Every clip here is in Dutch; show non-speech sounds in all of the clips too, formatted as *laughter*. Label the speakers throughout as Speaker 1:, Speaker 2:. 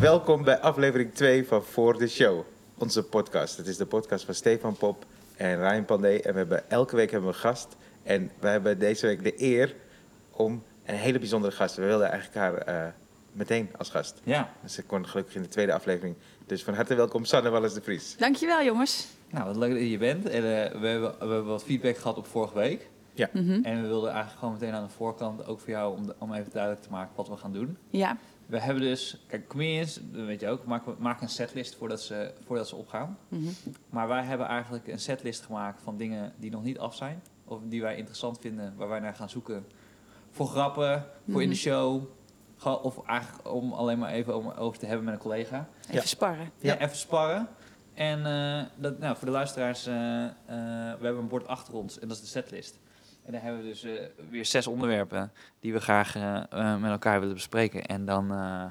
Speaker 1: Welkom bij aflevering 2 van Voor de Show, onze podcast. Het is de podcast van Stefan Pop en Ryan Pandey. En we hebben, elke week hebben we een gast. En we hebben deze week de eer om een hele bijzondere gast. We wilden eigenlijk haar eh, meteen als gast.
Speaker 2: Ja,
Speaker 1: Ze kon gelukkig in de tweede aflevering. Dus van harte welkom, Sanne Wallis de Vries.
Speaker 3: Dankjewel, jongens.
Speaker 2: nou wat leuk dat je hier bent. En, eh, we, hebben, we hebben wat feedback gehad op vorige week.
Speaker 1: Ja.
Speaker 3: Mhm.
Speaker 2: En we wilden eigenlijk gewoon meteen aan de voorkant, ook voor jou, om, de- om even duidelijk te maken wat we gaan doen.
Speaker 3: Ja,
Speaker 2: We hebben dus, kijk, comedians, dat weet je ook, maken, maken een setlist voordat ze, voordat ze opgaan.
Speaker 3: Mhm.
Speaker 2: Maar wij hebben eigenlijk een setlist gemaakt van dingen die nog niet af zijn. Of die wij interessant vinden, waar wij naar gaan zoeken. Voor grappen, voor in de show. Gewoon- Of eigenlijk om alleen maar even om- over te hebben met een collega.
Speaker 3: even
Speaker 1: Ja.
Speaker 3: sparren.
Speaker 1: Ja.
Speaker 2: Ja. even sparren. En eh, dat, nou, voor de luisteraars, eh, eh, we hebben een bord achter ons en dat is de setlist. En daar hebben we dus eh, weer zes onderwerpen die we graag eh, eh, met elkaar willen bespreken. En dan eh,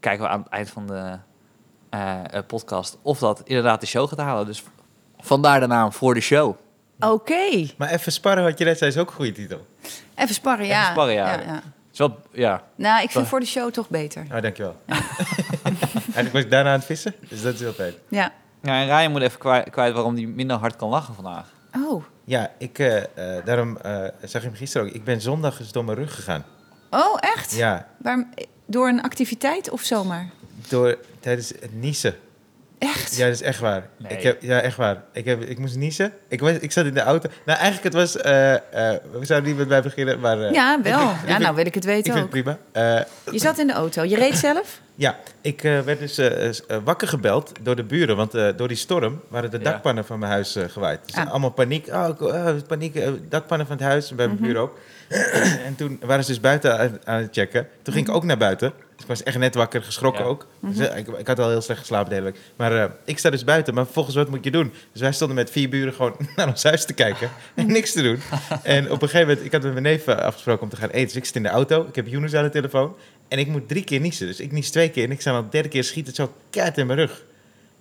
Speaker 2: kijken we aan het eind van de eh, eh, podcast of dat inderdaad de show gaat halen. Dus v- vandaar de naam voor de show.
Speaker 3: Oké.
Speaker 1: Maar even sparren had je net zei, is ook een goede titel.
Speaker 3: Even sparren, ja.
Speaker 2: Even sparren, ja. Het is wel, ja.
Speaker 3: Nou, ik vind voor de show toch beter.
Speaker 1: Ah, dankjewel. *laughs* Eigenlijk was ik daarna aan het vissen, dus dat is heel fijn.
Speaker 3: Ja.
Speaker 2: ja en Ryan moet even kwijt, kwijt waarom hij minder hard kan lachen vandaag.
Speaker 3: Oh.
Speaker 1: Ja, ik, eh, eh, daarom eh, zag je hem gisteren ook. Ik ben zondag eens door mijn rug gegaan.
Speaker 3: Oh, echt?
Speaker 1: Ja,
Speaker 3: Waarom- door een activiteit of zomaar?
Speaker 1: Door, tijdens het niezen.
Speaker 3: Echt?
Speaker 1: Ja, dat is echt waar.
Speaker 2: Nee.
Speaker 1: Ik heb, ja, echt waar. Ik, heb, ik moest niezen. Ik, was, ik zat in de auto. Nou, eigenlijk, het was... eh, eh, we zouden niet met mij beginnen, maar... eh,
Speaker 3: Ja, wel.
Speaker 1: ik
Speaker 3: Ja,
Speaker 1: vind-
Speaker 3: nou wil ik het
Speaker 1: Ik
Speaker 3: weten
Speaker 1: vind het
Speaker 3: ook.
Speaker 1: prima. Eh,
Speaker 3: Je zat in de auto. Je
Speaker 1: *laughs*
Speaker 3: reed zelf?
Speaker 1: ja, ik eh, werd dus eh, eh, wakker gebeld door de buren. Want eh, door die storm waren de
Speaker 2: Ja.
Speaker 1: dakpannen van mijn huis eh, gewaaid. Dus
Speaker 3: Ah.
Speaker 1: allemaal paniek. Oh, ik- oh, paniek. eh, dakpannen van het huis, bij
Speaker 3: Mhm.
Speaker 1: mijn buren ook. en toen waren ze dus buiten aan, aan het checken. Toen ging ik ook naar buiten. Dus ik was echt net wakker, geschrokken
Speaker 2: Ja.
Speaker 1: ook. Dus, eh, ik, ik had al heel slecht geslapen de hele week. Maar eh, ik sta dus buiten. Maar volgens wat moet je doen? Dus wij stonden met vier buren gewoon *laughs* naar ons huis te kijken. En niks te doen. En op een gegeven moment, ik had met mijn neef eh, afgesproken om te gaan eten. Dus ik zit in de auto. Ik heb Younes aan de telefoon. En ik moet drie keer niezen. Dus ik nies twee keer. En ik sta al de derde keer schiet het zo keihard in mijn rug.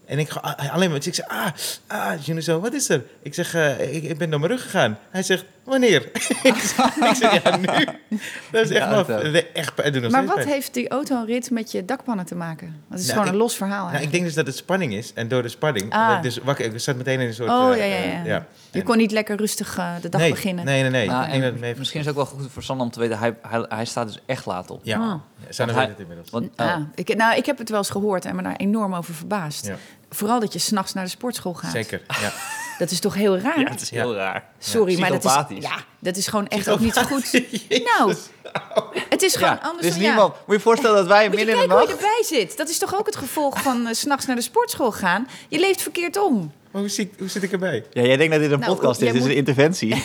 Speaker 1: En ik ga ah, alleen maar, dus ik zeg, ah, ah, Juno zo, wat is er? Ik zeg, eh, ik, ik ben door mijn rug gegaan. Hij zegt, wanneer? *laughs* ik zeg, ik zeg, ja, nu. Dat is echt,
Speaker 2: Ja,
Speaker 1: wel-
Speaker 2: dat ook.
Speaker 1: nee, echt pijn. Het doet nog
Speaker 3: Maar
Speaker 1: steeds
Speaker 3: wat
Speaker 1: pijn.
Speaker 3: heeft die autorit met je dakpannen te maken? Dat is
Speaker 1: Nou,
Speaker 3: gewoon een
Speaker 1: ik-
Speaker 3: los verhaal
Speaker 1: Nou, ik
Speaker 3: eigenlijk.
Speaker 1: denk dus dat het spanning is. En door de spanning,
Speaker 3: Ah.
Speaker 1: omdat ik dus wakker, ik zat meteen in een soort...
Speaker 3: Oh,
Speaker 1: eh,
Speaker 3: ja, ja,
Speaker 1: eh,
Speaker 3: ja.
Speaker 1: En-
Speaker 3: Je kon niet lekker rustig eh, de dag
Speaker 1: nee,
Speaker 3: beginnen.
Speaker 1: Nee, nee, nee.
Speaker 2: Nou,
Speaker 1: ik
Speaker 2: en
Speaker 1: denk dat het mee...
Speaker 2: misschien is het ook wel goed voor Sander om te weten, hij, hij, hij staat dus echt laat op.
Speaker 1: Ja,
Speaker 3: Ah.
Speaker 1: ja Sanne
Speaker 2: Want
Speaker 1: weet
Speaker 2: hij-
Speaker 1: het inmiddels.
Speaker 2: Want, oh.
Speaker 3: Ah, ik, nou, ik heb het wel eens gehoord en me daar enorm over verbaasd.
Speaker 1: Ja.
Speaker 3: Vooral dat je s'nachts naar de sportschool gaat.
Speaker 1: Zeker, ja.
Speaker 3: Dat is toch heel raar?
Speaker 2: Ja, het is heel raar.
Speaker 3: Sorry, maar dat is,
Speaker 2: Psychopathisch.
Speaker 3: ja, dat is gewoon echt
Speaker 1: Oh,
Speaker 3: ook niet zo
Speaker 1: *laughs*
Speaker 3: goed. Nou, het is gewoon
Speaker 2: Ja,
Speaker 3: anders
Speaker 2: dus
Speaker 3: dan
Speaker 2: niemand. Moet je je voorstellen dat wij
Speaker 3: Ja. Moet je
Speaker 2: midden in de
Speaker 3: kijken hoe je
Speaker 2: nacht.
Speaker 3: erbij zit. Dat is toch ook het gevolg van eh, 's s'nachts naar de sportschool gaan. Je leeft verkeerd om.
Speaker 1: Maar hoe, zit, hoe zit ik erbij?
Speaker 2: Ja, jij denkt dat dit een
Speaker 3: Nou,
Speaker 2: podcast is.
Speaker 3: jij
Speaker 2: Dit is
Speaker 3: moet-
Speaker 2: een
Speaker 3: *laughs*
Speaker 2: interventie.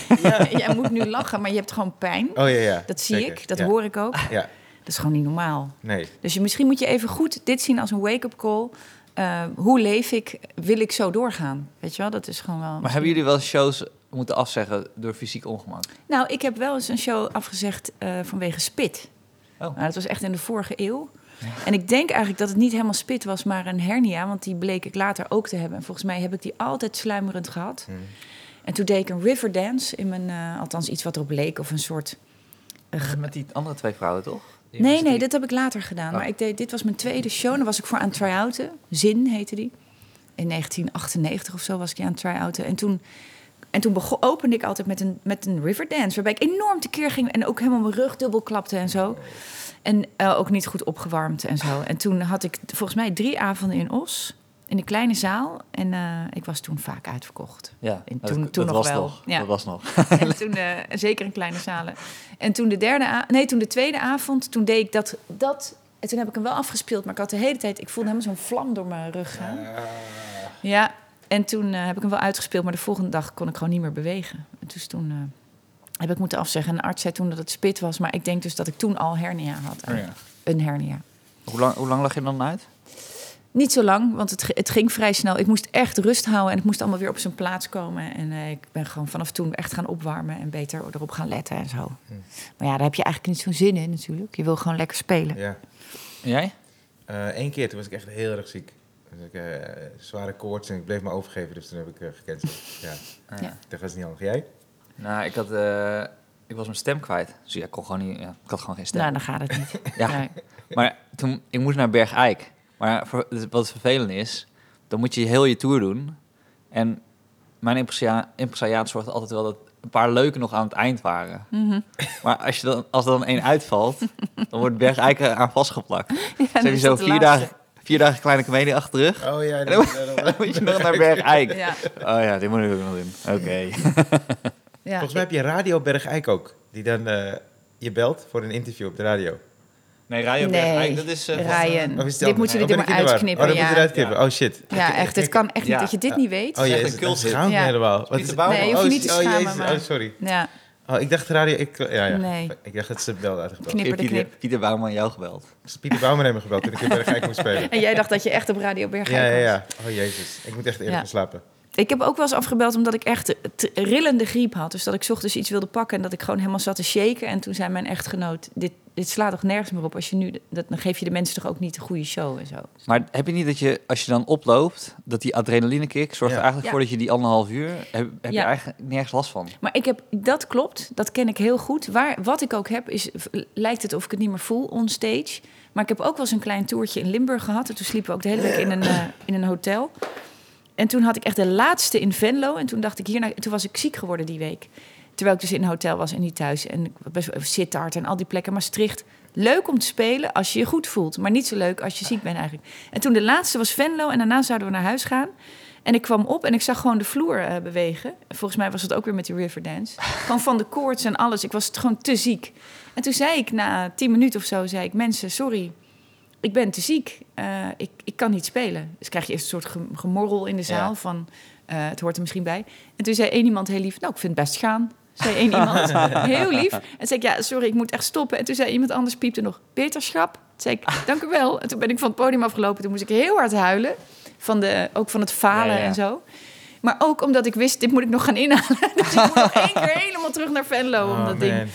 Speaker 3: Jij moet nu lachen, maar je hebt gewoon pijn.
Speaker 1: Oh, ja, ja.
Speaker 3: Dat zie
Speaker 1: Zeker,
Speaker 3: ik, dat
Speaker 1: ja.
Speaker 3: hoor ik ook.
Speaker 1: Ja,
Speaker 3: Dat is gewoon niet normaal.
Speaker 1: nee.
Speaker 3: Dus je, misschien moet je even goed dit zien als een wake-up call. Eh, hoe leef ik? Wil ik zo doorgaan? Weet je wel, dat is gewoon wel...
Speaker 2: Maar hebben jullie wel shows moeten afzeggen door fysiek ongemak?
Speaker 3: Nou, ik heb wel eens een show afgezegd eh, vanwege spit.
Speaker 2: Oh.
Speaker 3: Nou, dat was echt in de vorige eeuw. En ik denk eigenlijk dat het niet helemaal spit was, maar een hernia. Want die bleek ik later ook te hebben. En volgens mij heb ik die altijd sluimerend gehad. En toen deed ik een riverdance in mijn... eh, althans, iets wat erop leek of een soort...
Speaker 2: Met die andere twee vrouwen, toch? Die
Speaker 3: Nee,
Speaker 2: mensen
Speaker 3: nee,
Speaker 2: die-
Speaker 3: dat heb ik later gedaan.
Speaker 2: Oh.
Speaker 3: Maar ik deed, dit was mijn tweede show. Daar was ik voor aan try-outen. Zin heette die. In 1998 of zo was ik die aan het try-outen. En toen, en toen begon, opende ik altijd met een, met een riverdance. Waarbij ik enorm tekeer ging. En ook helemaal mijn rug dubbel klapte en zo. En eh, ook niet goed opgewarmd en zo. En toen had ik volgens mij drie avonden in Os. In een kleine zaal. En eh, ik was toen vaak uitverkocht.
Speaker 2: Ja,
Speaker 3: En
Speaker 2: dat-
Speaker 3: toen-
Speaker 2: dat,
Speaker 3: toen nog
Speaker 2: was
Speaker 3: wel.
Speaker 2: Nog.
Speaker 3: Ja.
Speaker 2: Dat was nog.
Speaker 3: En toen, eh, zeker in kleine zalen. En toen de, derde a- nee, toen de tweede avond, toen deed ik dat, dat. En toen heb ik hem wel afgespeeld, maar ik had de hele tijd... Ik voelde helemaal zo'n vlam door mijn rug gaan. Ja, en toen eh, heb ik hem wel uitgespeeld, maar de volgende dag kon ik gewoon niet meer bewegen. En dus toen eh, heb ik moeten afzeggen. En de arts zei toen dat het spit was, maar ik denk dus dat ik toen al hernia had.
Speaker 2: Oh
Speaker 3: eigenlijk. Een hernia.
Speaker 2: Hoe, lang, hoe lang lag je dan uit?
Speaker 3: Niet zo lang, want het, g- het ging vrij snel. Ik moest echt rust houden en het moest allemaal weer op zijn plaats komen. En eh, ik ben gewoon vanaf toen echt gaan opwarmen en beter erop gaan letten en zo. Maar ja, daar heb je eigenlijk niet zo'n zin in natuurlijk. Je wil gewoon lekker spelen.
Speaker 1: Ja.
Speaker 2: En jij?
Speaker 1: Eén Eh, keer, toen was ik echt heel erg ziek. Dus ik eh, zware koorts en ik bleef me overgeven, dus toen heb ik eh, gecanceld. Ja,
Speaker 2: Ah.
Speaker 3: Ja.
Speaker 1: dat was niet handig. Jij?
Speaker 2: Nou, ik, had, eh, ik was mijn stem kwijt. Dus
Speaker 3: Dus
Speaker 2: ja, ik, kon gewoon niet, ja, ik had gewoon geen
Speaker 1: *laughs*
Speaker 2: stem.
Speaker 3: Nou, dan gaat het niet.
Speaker 2: Ja.
Speaker 3: Nee.
Speaker 2: Maar toen, ik moest naar Bergijk. Maar Maar voor- dus wat vervelend is, dan moet je heel je tour doen. En mijn impresia- impresariaat zorgt altijd wel dat een paar leuke nog aan het eind waren.
Speaker 3: Mhm.
Speaker 2: Maar als, je dan, als er dan één uitvalt, dan wordt Berg Eiken aan
Speaker 3: *laughs*
Speaker 2: vastgeplakt.
Speaker 3: Ja,
Speaker 2: Dus
Speaker 3: dan
Speaker 2: heb je
Speaker 3: is
Speaker 2: zo
Speaker 3: dat de
Speaker 2: vier
Speaker 3: laatste.
Speaker 2: dagen, vier dagen kleine comedie achter de rug. *laughs*
Speaker 1: Oh *laughs* ja,
Speaker 2: En dan-
Speaker 1: dat- dat-
Speaker 2: Dan moet je nog naar Berg Eik.
Speaker 3: Ja,
Speaker 2: Oh ja, dit moet ik ook nog doen. Oké.
Speaker 3: ja.
Speaker 1: Volgens mij heb je Radio Berg Eik ook. Die dan eh, je belt voor een interview op de radio.
Speaker 2: Nee, Ryan
Speaker 3: Nee,
Speaker 2: Berg Eik, dat is... eh,
Speaker 3: Ryan,
Speaker 1: Of is het
Speaker 3: Mm. dit
Speaker 1: anders?
Speaker 3: moet je er
Speaker 1: Oh, ben
Speaker 3: maar
Speaker 1: ik in de war?
Speaker 3: uitknippen.
Speaker 1: Oh, dat
Speaker 3: ja.
Speaker 1: moet je eruit knippen. Oh shit.
Speaker 3: ja, echt. Het kan echt niet
Speaker 2: Ja.
Speaker 3: dat je dit
Speaker 1: Ja.
Speaker 3: niet weet.
Speaker 1: Oh
Speaker 2: echt
Speaker 1: jee,
Speaker 2: een
Speaker 1: is het
Speaker 2: cultuur.
Speaker 1: schaam me
Speaker 3: Ja.
Speaker 1: helemaal. Wat
Speaker 2: Niet te
Speaker 1: is-
Speaker 2: bouwen.
Speaker 3: Nee, je hoeft
Speaker 1: oh,
Speaker 3: niet te
Speaker 1: oh,
Speaker 3: schamen,
Speaker 1: jezus.
Speaker 3: maar-
Speaker 1: Oh, sorry.
Speaker 3: Ja,
Speaker 1: Oh, ik dacht radio... Ik, ja, ja.
Speaker 3: Nee.
Speaker 1: Ik dacht dat ze belde uitgebeld.
Speaker 3: knipper de
Speaker 2: Pieter,
Speaker 3: knip.
Speaker 2: Pieter Bouwman jou gebeld.
Speaker 1: Ze Pieter Bouwman hebben gebeld toen ik in Berg Eik moest spelen.
Speaker 3: En jij dacht dat je echt op Radio Berg
Speaker 1: Ja, ja, ja. Oh jezus. Ik moet echt eerder
Speaker 3: Ja.
Speaker 1: gaan slapen.
Speaker 3: Ik heb ook wel eens afgebeld omdat ik echt eh, t- rillende griep had. Dus dat ik 's ochtends iets wilde pakken en dat ik gewoon helemaal zat te shaken. En toen zei mijn echtgenoot, dit, dit slaat toch nergens meer op. Als je nu, d- dat, dan geef je de mensen toch ook niet de goede show en zo.
Speaker 2: Maar heb je niet dat je, als je dan oploopt, dat die adrenaline kick zorgt
Speaker 1: Ja.
Speaker 2: er eigenlijk
Speaker 3: Ja.
Speaker 2: voor dat je die anderhalf uur, heb, heb je
Speaker 3: Ja.
Speaker 2: eigenlijk nergens last van.
Speaker 3: Maar ik heb, dat klopt, dat ken ik heel goed. Waar, wat ik ook heb, is, v- lijkt het of ik het niet meer voel onstage. Maar ik heb ook wel eens een klein toertje in Limburg gehad. En toen sliepen we ook de hele week in een, eh, in een hotel. En toen had ik echt de laatste in Venlo. En toen dacht ik hierna, toen was ik ziek geworden die week. Terwijl ik dus in een hotel was en niet thuis. En ik was best wel Sittard en al die plekken. Maastricht. Leuk om te spelen als je je goed voelt. Maar niet zo leuk als je ziek bent eigenlijk. En toen de laatste was Venlo. En daarna zouden we naar huis gaan. En ik kwam op en ik zag gewoon de vloer eh, bewegen. Volgens mij was het ook weer met die Riverdance. Gewoon van de koorts en alles. Ik was t- gewoon te ziek. En toen zei ik na tien minuten of zo, zei ik... Mensen, sorry, ik ben te ziek. Eh, ik, ik kan niet spelen. Dus krijg je eerst een soort gem- gemorrel in de zaal
Speaker 2: Ja.
Speaker 3: van... eh, het hoort er misschien bij. En toen zei één iemand heel lief... Nou, ik vind het best gaan. Zei één iemand, heel lief. En toen zei ik, ja, sorry, ik moet echt stoppen. En toen zei iemand anders, piepte nog, beterschap. Toen zei ik, dank u wel. En toen ben ik van het podium afgelopen. Toen moest ik heel hard huilen. Van de, ook van het falen
Speaker 2: Ja, ja.
Speaker 3: en zo. Maar ook omdat ik wist, dit moet ik nog gaan inhalen. *laughs* Dus ik moet nog één keer helemaal terug naar Venlo om
Speaker 1: Oh,
Speaker 3: dat ding.
Speaker 1: man.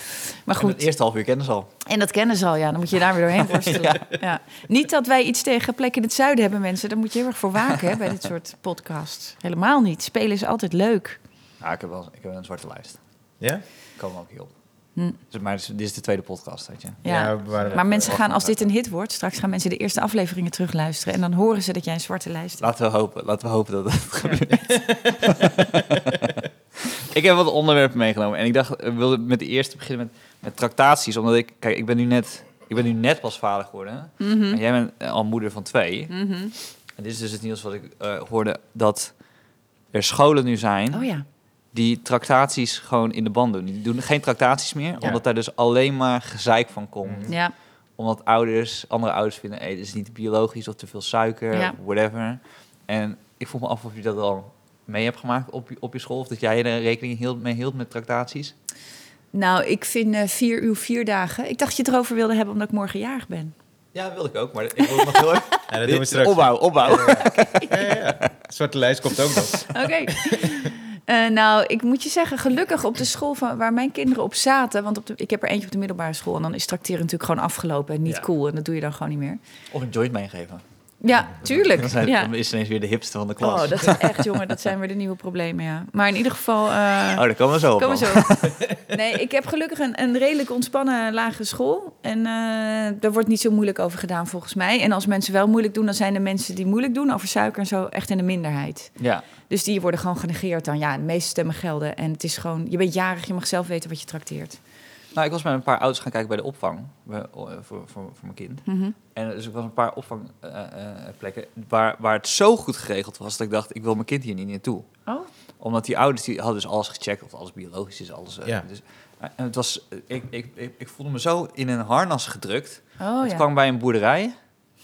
Speaker 3: Maar
Speaker 2: Goed. Het
Speaker 3: goed,
Speaker 2: eerste half uur kennen ze al.
Speaker 3: en dat kennen ze al, ja. Dan moet je je daar weer doorheen worstelen. ja. Niet dat wij iets tegen plekken in het zuiden hebben, mensen. Daar moet je heel erg voor waken hè, bij dit soort podcasts. Helemaal niet. Spelen is altijd leuk.
Speaker 2: Ja, Nou, ik heb wel ik heb een zwarte lijst.
Speaker 1: Ja?
Speaker 2: Komen we ook hierop.
Speaker 3: Hm.
Speaker 2: Dus, maar dit is, dit is de tweede podcast, weet je.
Speaker 3: Ja.
Speaker 1: we waren
Speaker 2: Eh,
Speaker 3: maar
Speaker 1: even-
Speaker 3: mensen gaan, als dit een hit wordt, straks gaan mensen de eerste afleveringen terugluisteren. En dan horen ze dat jij een zwarte lijst hebt.
Speaker 2: Laten we hopen, laten we hopen dat *laughs* het gebeurt. ik heb wat onderwerpen meegenomen en ik dacht, ik wilde met de eerste beginnen met, met tractaties, omdat ik, kijk, ik ben nu net, ik ben nu net pas vader geworden. En jij bent eh, al moeder van twee. En dit is dus het nieuws wat ik eh, hoorde dat er scholen nu zijn
Speaker 3: Oh ja.
Speaker 2: die tractaties gewoon in de band doen. Die doen geen tractaties meer,
Speaker 1: Ja.
Speaker 2: omdat daar dus alleen maar gezeik van komt
Speaker 1: Mhm.
Speaker 3: Ja.
Speaker 2: omdat ouders, andere ouders vinden, hey, dit is niet biologisch of te veel suiker,
Speaker 3: Ja.
Speaker 2: whatever. En ik vroeg me af of je dat al mee hebt gemaakt op je, op je school, of dat jij er rekening hield, mee hield met tractaties.
Speaker 3: Nou, ik vind eh, vier uur vier dagen. Ik dacht dat je het erover wilde hebben omdat ik morgen jarig
Speaker 2: *laughs*
Speaker 3: ben.
Speaker 2: Ja, dat wilde ik ook, maar ik wil het nog *laughs* heel even-
Speaker 1: Ja, dat
Speaker 2: Dit
Speaker 1: doen we
Speaker 2: is
Speaker 1: straks.
Speaker 3: Oh,
Speaker 2: Opbouw, opbouw.
Speaker 1: Ja, ja, ja. Zwarte lijst komt ook nog.
Speaker 3: Oké. *laughs* Eh, nou, ik moet je zeggen, gelukkig op de school van, waar mijn kinderen op zaten. Want op de, ik heb er eentje op de middelbare school. En dan is tracteren natuurlijk gewoon afgelopen en niet
Speaker 2: Ja.
Speaker 3: cool. En dat doe je dan gewoon niet meer.
Speaker 2: Of een joint meegeven.
Speaker 3: Ja, tuurlijk.
Speaker 2: Dan, zijn,
Speaker 3: ja.
Speaker 2: dan is het ineens weer de hipste van de klas.
Speaker 3: Oh, dat is echt, jongen, dat zijn weer de nieuwe problemen, ja. Maar in ieder geval... eh,
Speaker 2: Oh, daar komen we zo op.
Speaker 3: Kom maar
Speaker 2: man.
Speaker 3: zo.
Speaker 2: *laughs*
Speaker 3: Nee, ik heb gelukkig een, een redelijk ontspannen lagere school. En eh, daar wordt niet zo moeilijk over gedaan volgens mij. En als mensen wel moeilijk doen, dan zijn de mensen die moeilijk doen over suiker en zo echt in de minderheid.
Speaker 2: Ja,
Speaker 3: Dus die worden gewoon genegeerd dan. Ja, de meeste stemmen gelden. En het is gewoon, je bent jarig, je mag zelf weten wat je trakteert.
Speaker 2: nou, ik was met een paar ouders gaan kijken bij de opvang bij- voor, voor, voor mijn kind. En dus ik was een paar eh, opvangplekken waar, waar het zo goed geregeld was dat ik dacht, ik wil mijn kind hier niet naartoe.
Speaker 3: Oh,
Speaker 2: Omdat die ouders die hadden dus alles gecheckt of alles biologisch is, alles. eh,
Speaker 1: Ja.
Speaker 2: dus, en het was, eh, ik, ik, ik, ik voelde me zo in een harnas gedrukt.
Speaker 3: oh
Speaker 2: het
Speaker 3: ja.
Speaker 2: kwam bij een boerderij.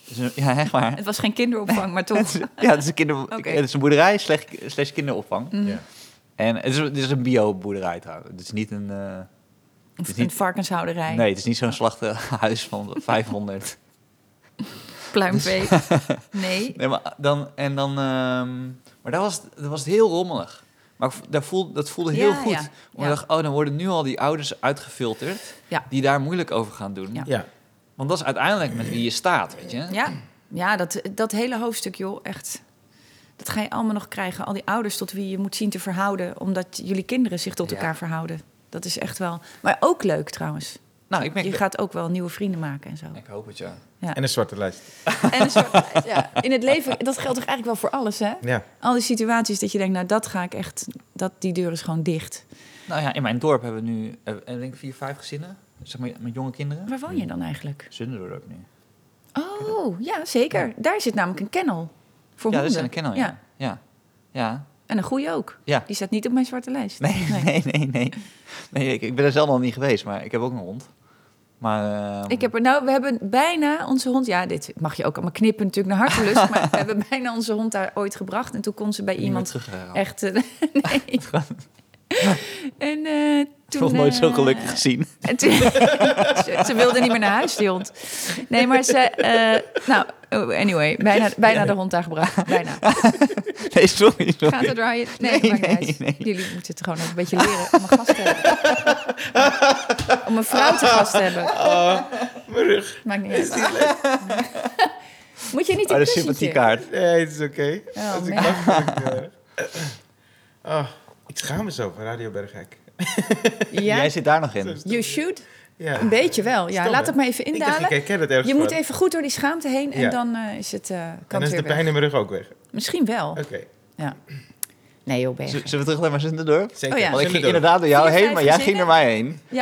Speaker 2: Dus een- ja, echt waar.
Speaker 3: Het was geen kinderopvang, maar toch.
Speaker 2: Ja, *laughs* het is een, kinder,
Speaker 3: *laughs* Oké.
Speaker 2: het is een boerderij slash, slash kinderopvang.
Speaker 3: Mm.
Speaker 1: Ja.
Speaker 2: En het is, het is een bio-boerderij trouwens. Het is niet een. eh,
Speaker 3: Of
Speaker 2: is
Speaker 3: een
Speaker 2: niet-
Speaker 3: varkenshouderij,
Speaker 2: nee, het is niet zo'n *laughs* slachthuis van 500. *laughs*
Speaker 3: pluimvee. Nee.
Speaker 2: Nee, maar dan, en dan, ehm, maar daar was, het- dat was het heel rommelig. Maar ik vo- daar voelde, dat voelde heel
Speaker 3: Ja,
Speaker 2: goed.
Speaker 3: ja,
Speaker 2: Want
Speaker 3: ja.
Speaker 2: ik dacht, oh, dan worden nu al die ouders uitgefilterd...
Speaker 3: Ja.
Speaker 2: die daar moeilijk over gaan doen.
Speaker 3: Ja.
Speaker 1: Ja.
Speaker 2: Want dat is uiteindelijk met wie je staat, weet je.
Speaker 3: Ja, ja dat, dat hele hoofdstuk, joh, echt. Dat ga je allemaal nog krijgen. Al die ouders tot wie je moet zien te verhouden. Omdat jullie kinderen zich tot
Speaker 2: Ja.
Speaker 3: elkaar verhouden. Dat is echt wel. Maar ook leuk trouwens.
Speaker 2: Nou, ik merk
Speaker 3: Je
Speaker 2: dat-
Speaker 3: gaat ook wel nieuwe vrienden maken en zo.
Speaker 2: Ik hoop het, ja.
Speaker 1: En een zwarte lijst.
Speaker 3: En een
Speaker 2: *laughs*
Speaker 3: soort- ja, in het leven, dat geldt toch eigenlijk wel voor alles, hè?
Speaker 1: Ja.
Speaker 3: Al die situaties dat je denkt, nou dat ga ik echt, dat, die deur is gewoon dicht.
Speaker 2: Nou ja, in mijn dorp hebben we nu, eh, ik denk vier, vijf gezinnen. Zeg maar, met jonge kinderen.
Speaker 3: Waar woon je dan eigenlijk?
Speaker 2: Zunderdorp nu.
Speaker 3: Oh, ja, zeker. Daar zit namelijk een kennel voor
Speaker 2: ja, dat is
Speaker 3: honden.
Speaker 2: een kennel,
Speaker 3: Ja.
Speaker 2: ja. Ja. ja.
Speaker 3: En een goeie ook.
Speaker 2: Ja.
Speaker 3: Die staat niet op mijn zwarte lijst.
Speaker 2: Nee,
Speaker 3: Nee.
Speaker 2: *laughs* nee, nee, nee. Nee, ik, ik ben er zelf nog niet geweest, maar ik heb ook een hond. Maar, ehm,
Speaker 3: Ik heb er, nou, we hebben bijna onze hond. Ja, dit mag je ook allemaal knippen, natuurlijk, naar hartelust. maar we hebben bijna onze hond daar ooit gebracht. En toen kon ze bij
Speaker 2: niet meer
Speaker 3: iemand
Speaker 2: teruggegaan.
Speaker 3: echt. eh, *laughs* nee. en eh, toen.
Speaker 2: Nog nooit zo
Speaker 3: eh,
Speaker 2: gelukkig gezien.
Speaker 3: *laughs*
Speaker 2: *laughs*
Speaker 3: En toen- *laughs* ze, ze wilde niet meer naar huis, die hond. Nee, maar ze... eh, nou, oh, anyway, bijna, bijna de hond daar gebracht. Bijna.
Speaker 2: Nee, sorry. sorry.
Speaker 3: Gaat het
Speaker 1: *laughs*
Speaker 3: draaien? Nee,
Speaker 2: Nee,
Speaker 3: maakt niet
Speaker 2: nee,
Speaker 3: uit.
Speaker 2: nee.
Speaker 3: Jullie moeten het gewoon nog een beetje leren om een gast te
Speaker 1: *laughs*
Speaker 3: hebben. Om een vrouw te gast te hebben.
Speaker 1: Oh, mijn rug.
Speaker 3: Maakt niet uit. *laughs* Moet je niet
Speaker 2: Oh,
Speaker 3: een
Speaker 2: de
Speaker 3: kussentje?
Speaker 2: sympathiekaart.
Speaker 1: Nee, het is oké.
Speaker 3: Oh,
Speaker 1: Als ik
Speaker 3: man.
Speaker 1: mag, dan ik, eh,
Speaker 3: *laughs*
Speaker 1: oh, ik schaam me zo van Radio Berghek.
Speaker 3: Ja,
Speaker 2: Jij zit daar nog in.
Speaker 3: you should.
Speaker 1: Ja.
Speaker 3: Een beetje wel. Ja,
Speaker 1: Stom,
Speaker 3: laat
Speaker 1: hè?
Speaker 3: het maar even
Speaker 1: Ik dacht, ik
Speaker 3: indalen.
Speaker 1: herken het ergens
Speaker 3: Je moet
Speaker 1: van.
Speaker 3: even goed door die schaamte heen en
Speaker 1: Ja.
Speaker 3: dan eh, is het, eh,
Speaker 1: En
Speaker 3: kan
Speaker 1: dan
Speaker 3: het
Speaker 1: is
Speaker 3: weer
Speaker 1: de
Speaker 3: weg.
Speaker 1: pijn in Eh. mijn rug ook weg. Oké,
Speaker 3: Misschien wel. Nee joh,
Speaker 2: Z-
Speaker 3: Berg.
Speaker 2: Zullen we terug naar Zunderdorp?
Speaker 1: zeker.
Speaker 3: Oh ja.
Speaker 2: Want ik ging
Speaker 1: Zullen we door?
Speaker 2: inderdaad door jou
Speaker 3: Vier,
Speaker 2: heen,
Speaker 3: vijf
Speaker 2: maar jij ging
Speaker 3: gezinnen?
Speaker 2: door mij heen.
Speaker 1: *laughs*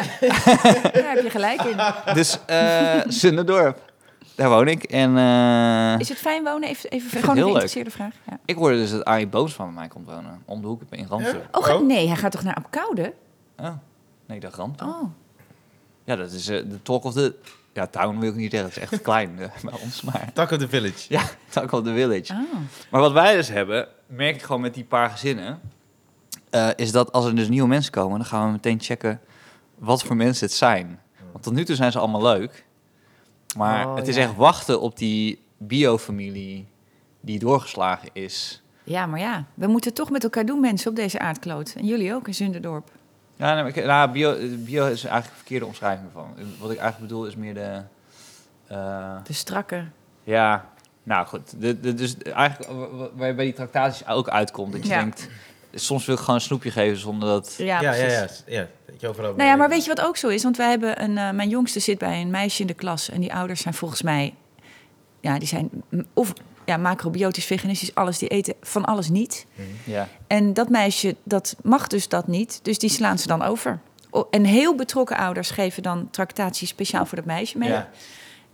Speaker 3: Ja, daar heb je gelijk in.
Speaker 2: Dus
Speaker 3: *laughs*
Speaker 2: eh Zunderdorp, daar woon ik. En eh,
Speaker 3: Is het fijn wonen? Even, even
Speaker 2: het
Speaker 3: gewoon
Speaker 2: heel
Speaker 3: een
Speaker 2: leuk.
Speaker 3: geïnteresseerde vraag. Ja.
Speaker 2: ik hoorde dus dat Arie Booms van mij komt wonen. Om de hoek in Ramsdorp.
Speaker 3: Oh, ga-
Speaker 1: Oh.
Speaker 3: nee, hij gaat toch naar Apkoude?
Speaker 2: Oh, nee, ik dacht Ramsdorp.
Speaker 3: Oh.
Speaker 2: Ja, dat is eh, de talk of the... Ja, town wil ik niet zeggen. Het is echt klein eh, *laughs* bij ons, maar...
Speaker 1: Talk of the Village.
Speaker 2: Ja, talk of the village.
Speaker 3: oh.
Speaker 2: Maar wat wij dus hebben, merk ik gewoon met die paar gezinnen... eh, is dat als er dus nieuwe mensen komen... dan gaan we meteen checken wat voor mensen het zijn. Want tot nu toe zijn ze allemaal leuk. Maar
Speaker 3: Oh,
Speaker 2: het is
Speaker 3: ja.
Speaker 2: echt wachten op die biofamilie die doorgeslagen is.
Speaker 3: Ja, maar ja, we moeten het toch met elkaar doen, mensen, op deze aardkloot. En jullie ook in Zunderdorp.
Speaker 2: Ja, nee, maar ik- nou, bio, eh, bio is eigenlijk een verkeerde omschrijving van. Wat ik eigenlijk bedoel is meer de... eh,
Speaker 3: De strakke.
Speaker 2: Ja, nou goed. De, de, dus eigenlijk wa- wa- waar je bij die tractaties ook uitkomt. Dat je
Speaker 3: Ja.
Speaker 2: denkt, soms wil ik gewoon een snoepje geven zonder dat...
Speaker 3: Ja,
Speaker 1: ja, ja,
Speaker 3: precies.
Speaker 1: ja, ja. Dat je overal
Speaker 3: Nou ja, maar weet je wat ook zo is? Want wij hebben een, eh, mijn jongste zit bij een meisje in de klas. En die ouders zijn volgens mij, ja, die zijn m- of ja, macrobiotisch, veganistisch, alles. Die eten van alles niet.
Speaker 1: Mhm.
Speaker 2: Ja.
Speaker 3: En dat meisje, dat mag dus dat niet. Dus die slaan ze dan over. O- En heel betrokken ouders geven dan tractatie speciaal voor dat meisje mee.
Speaker 1: Ja.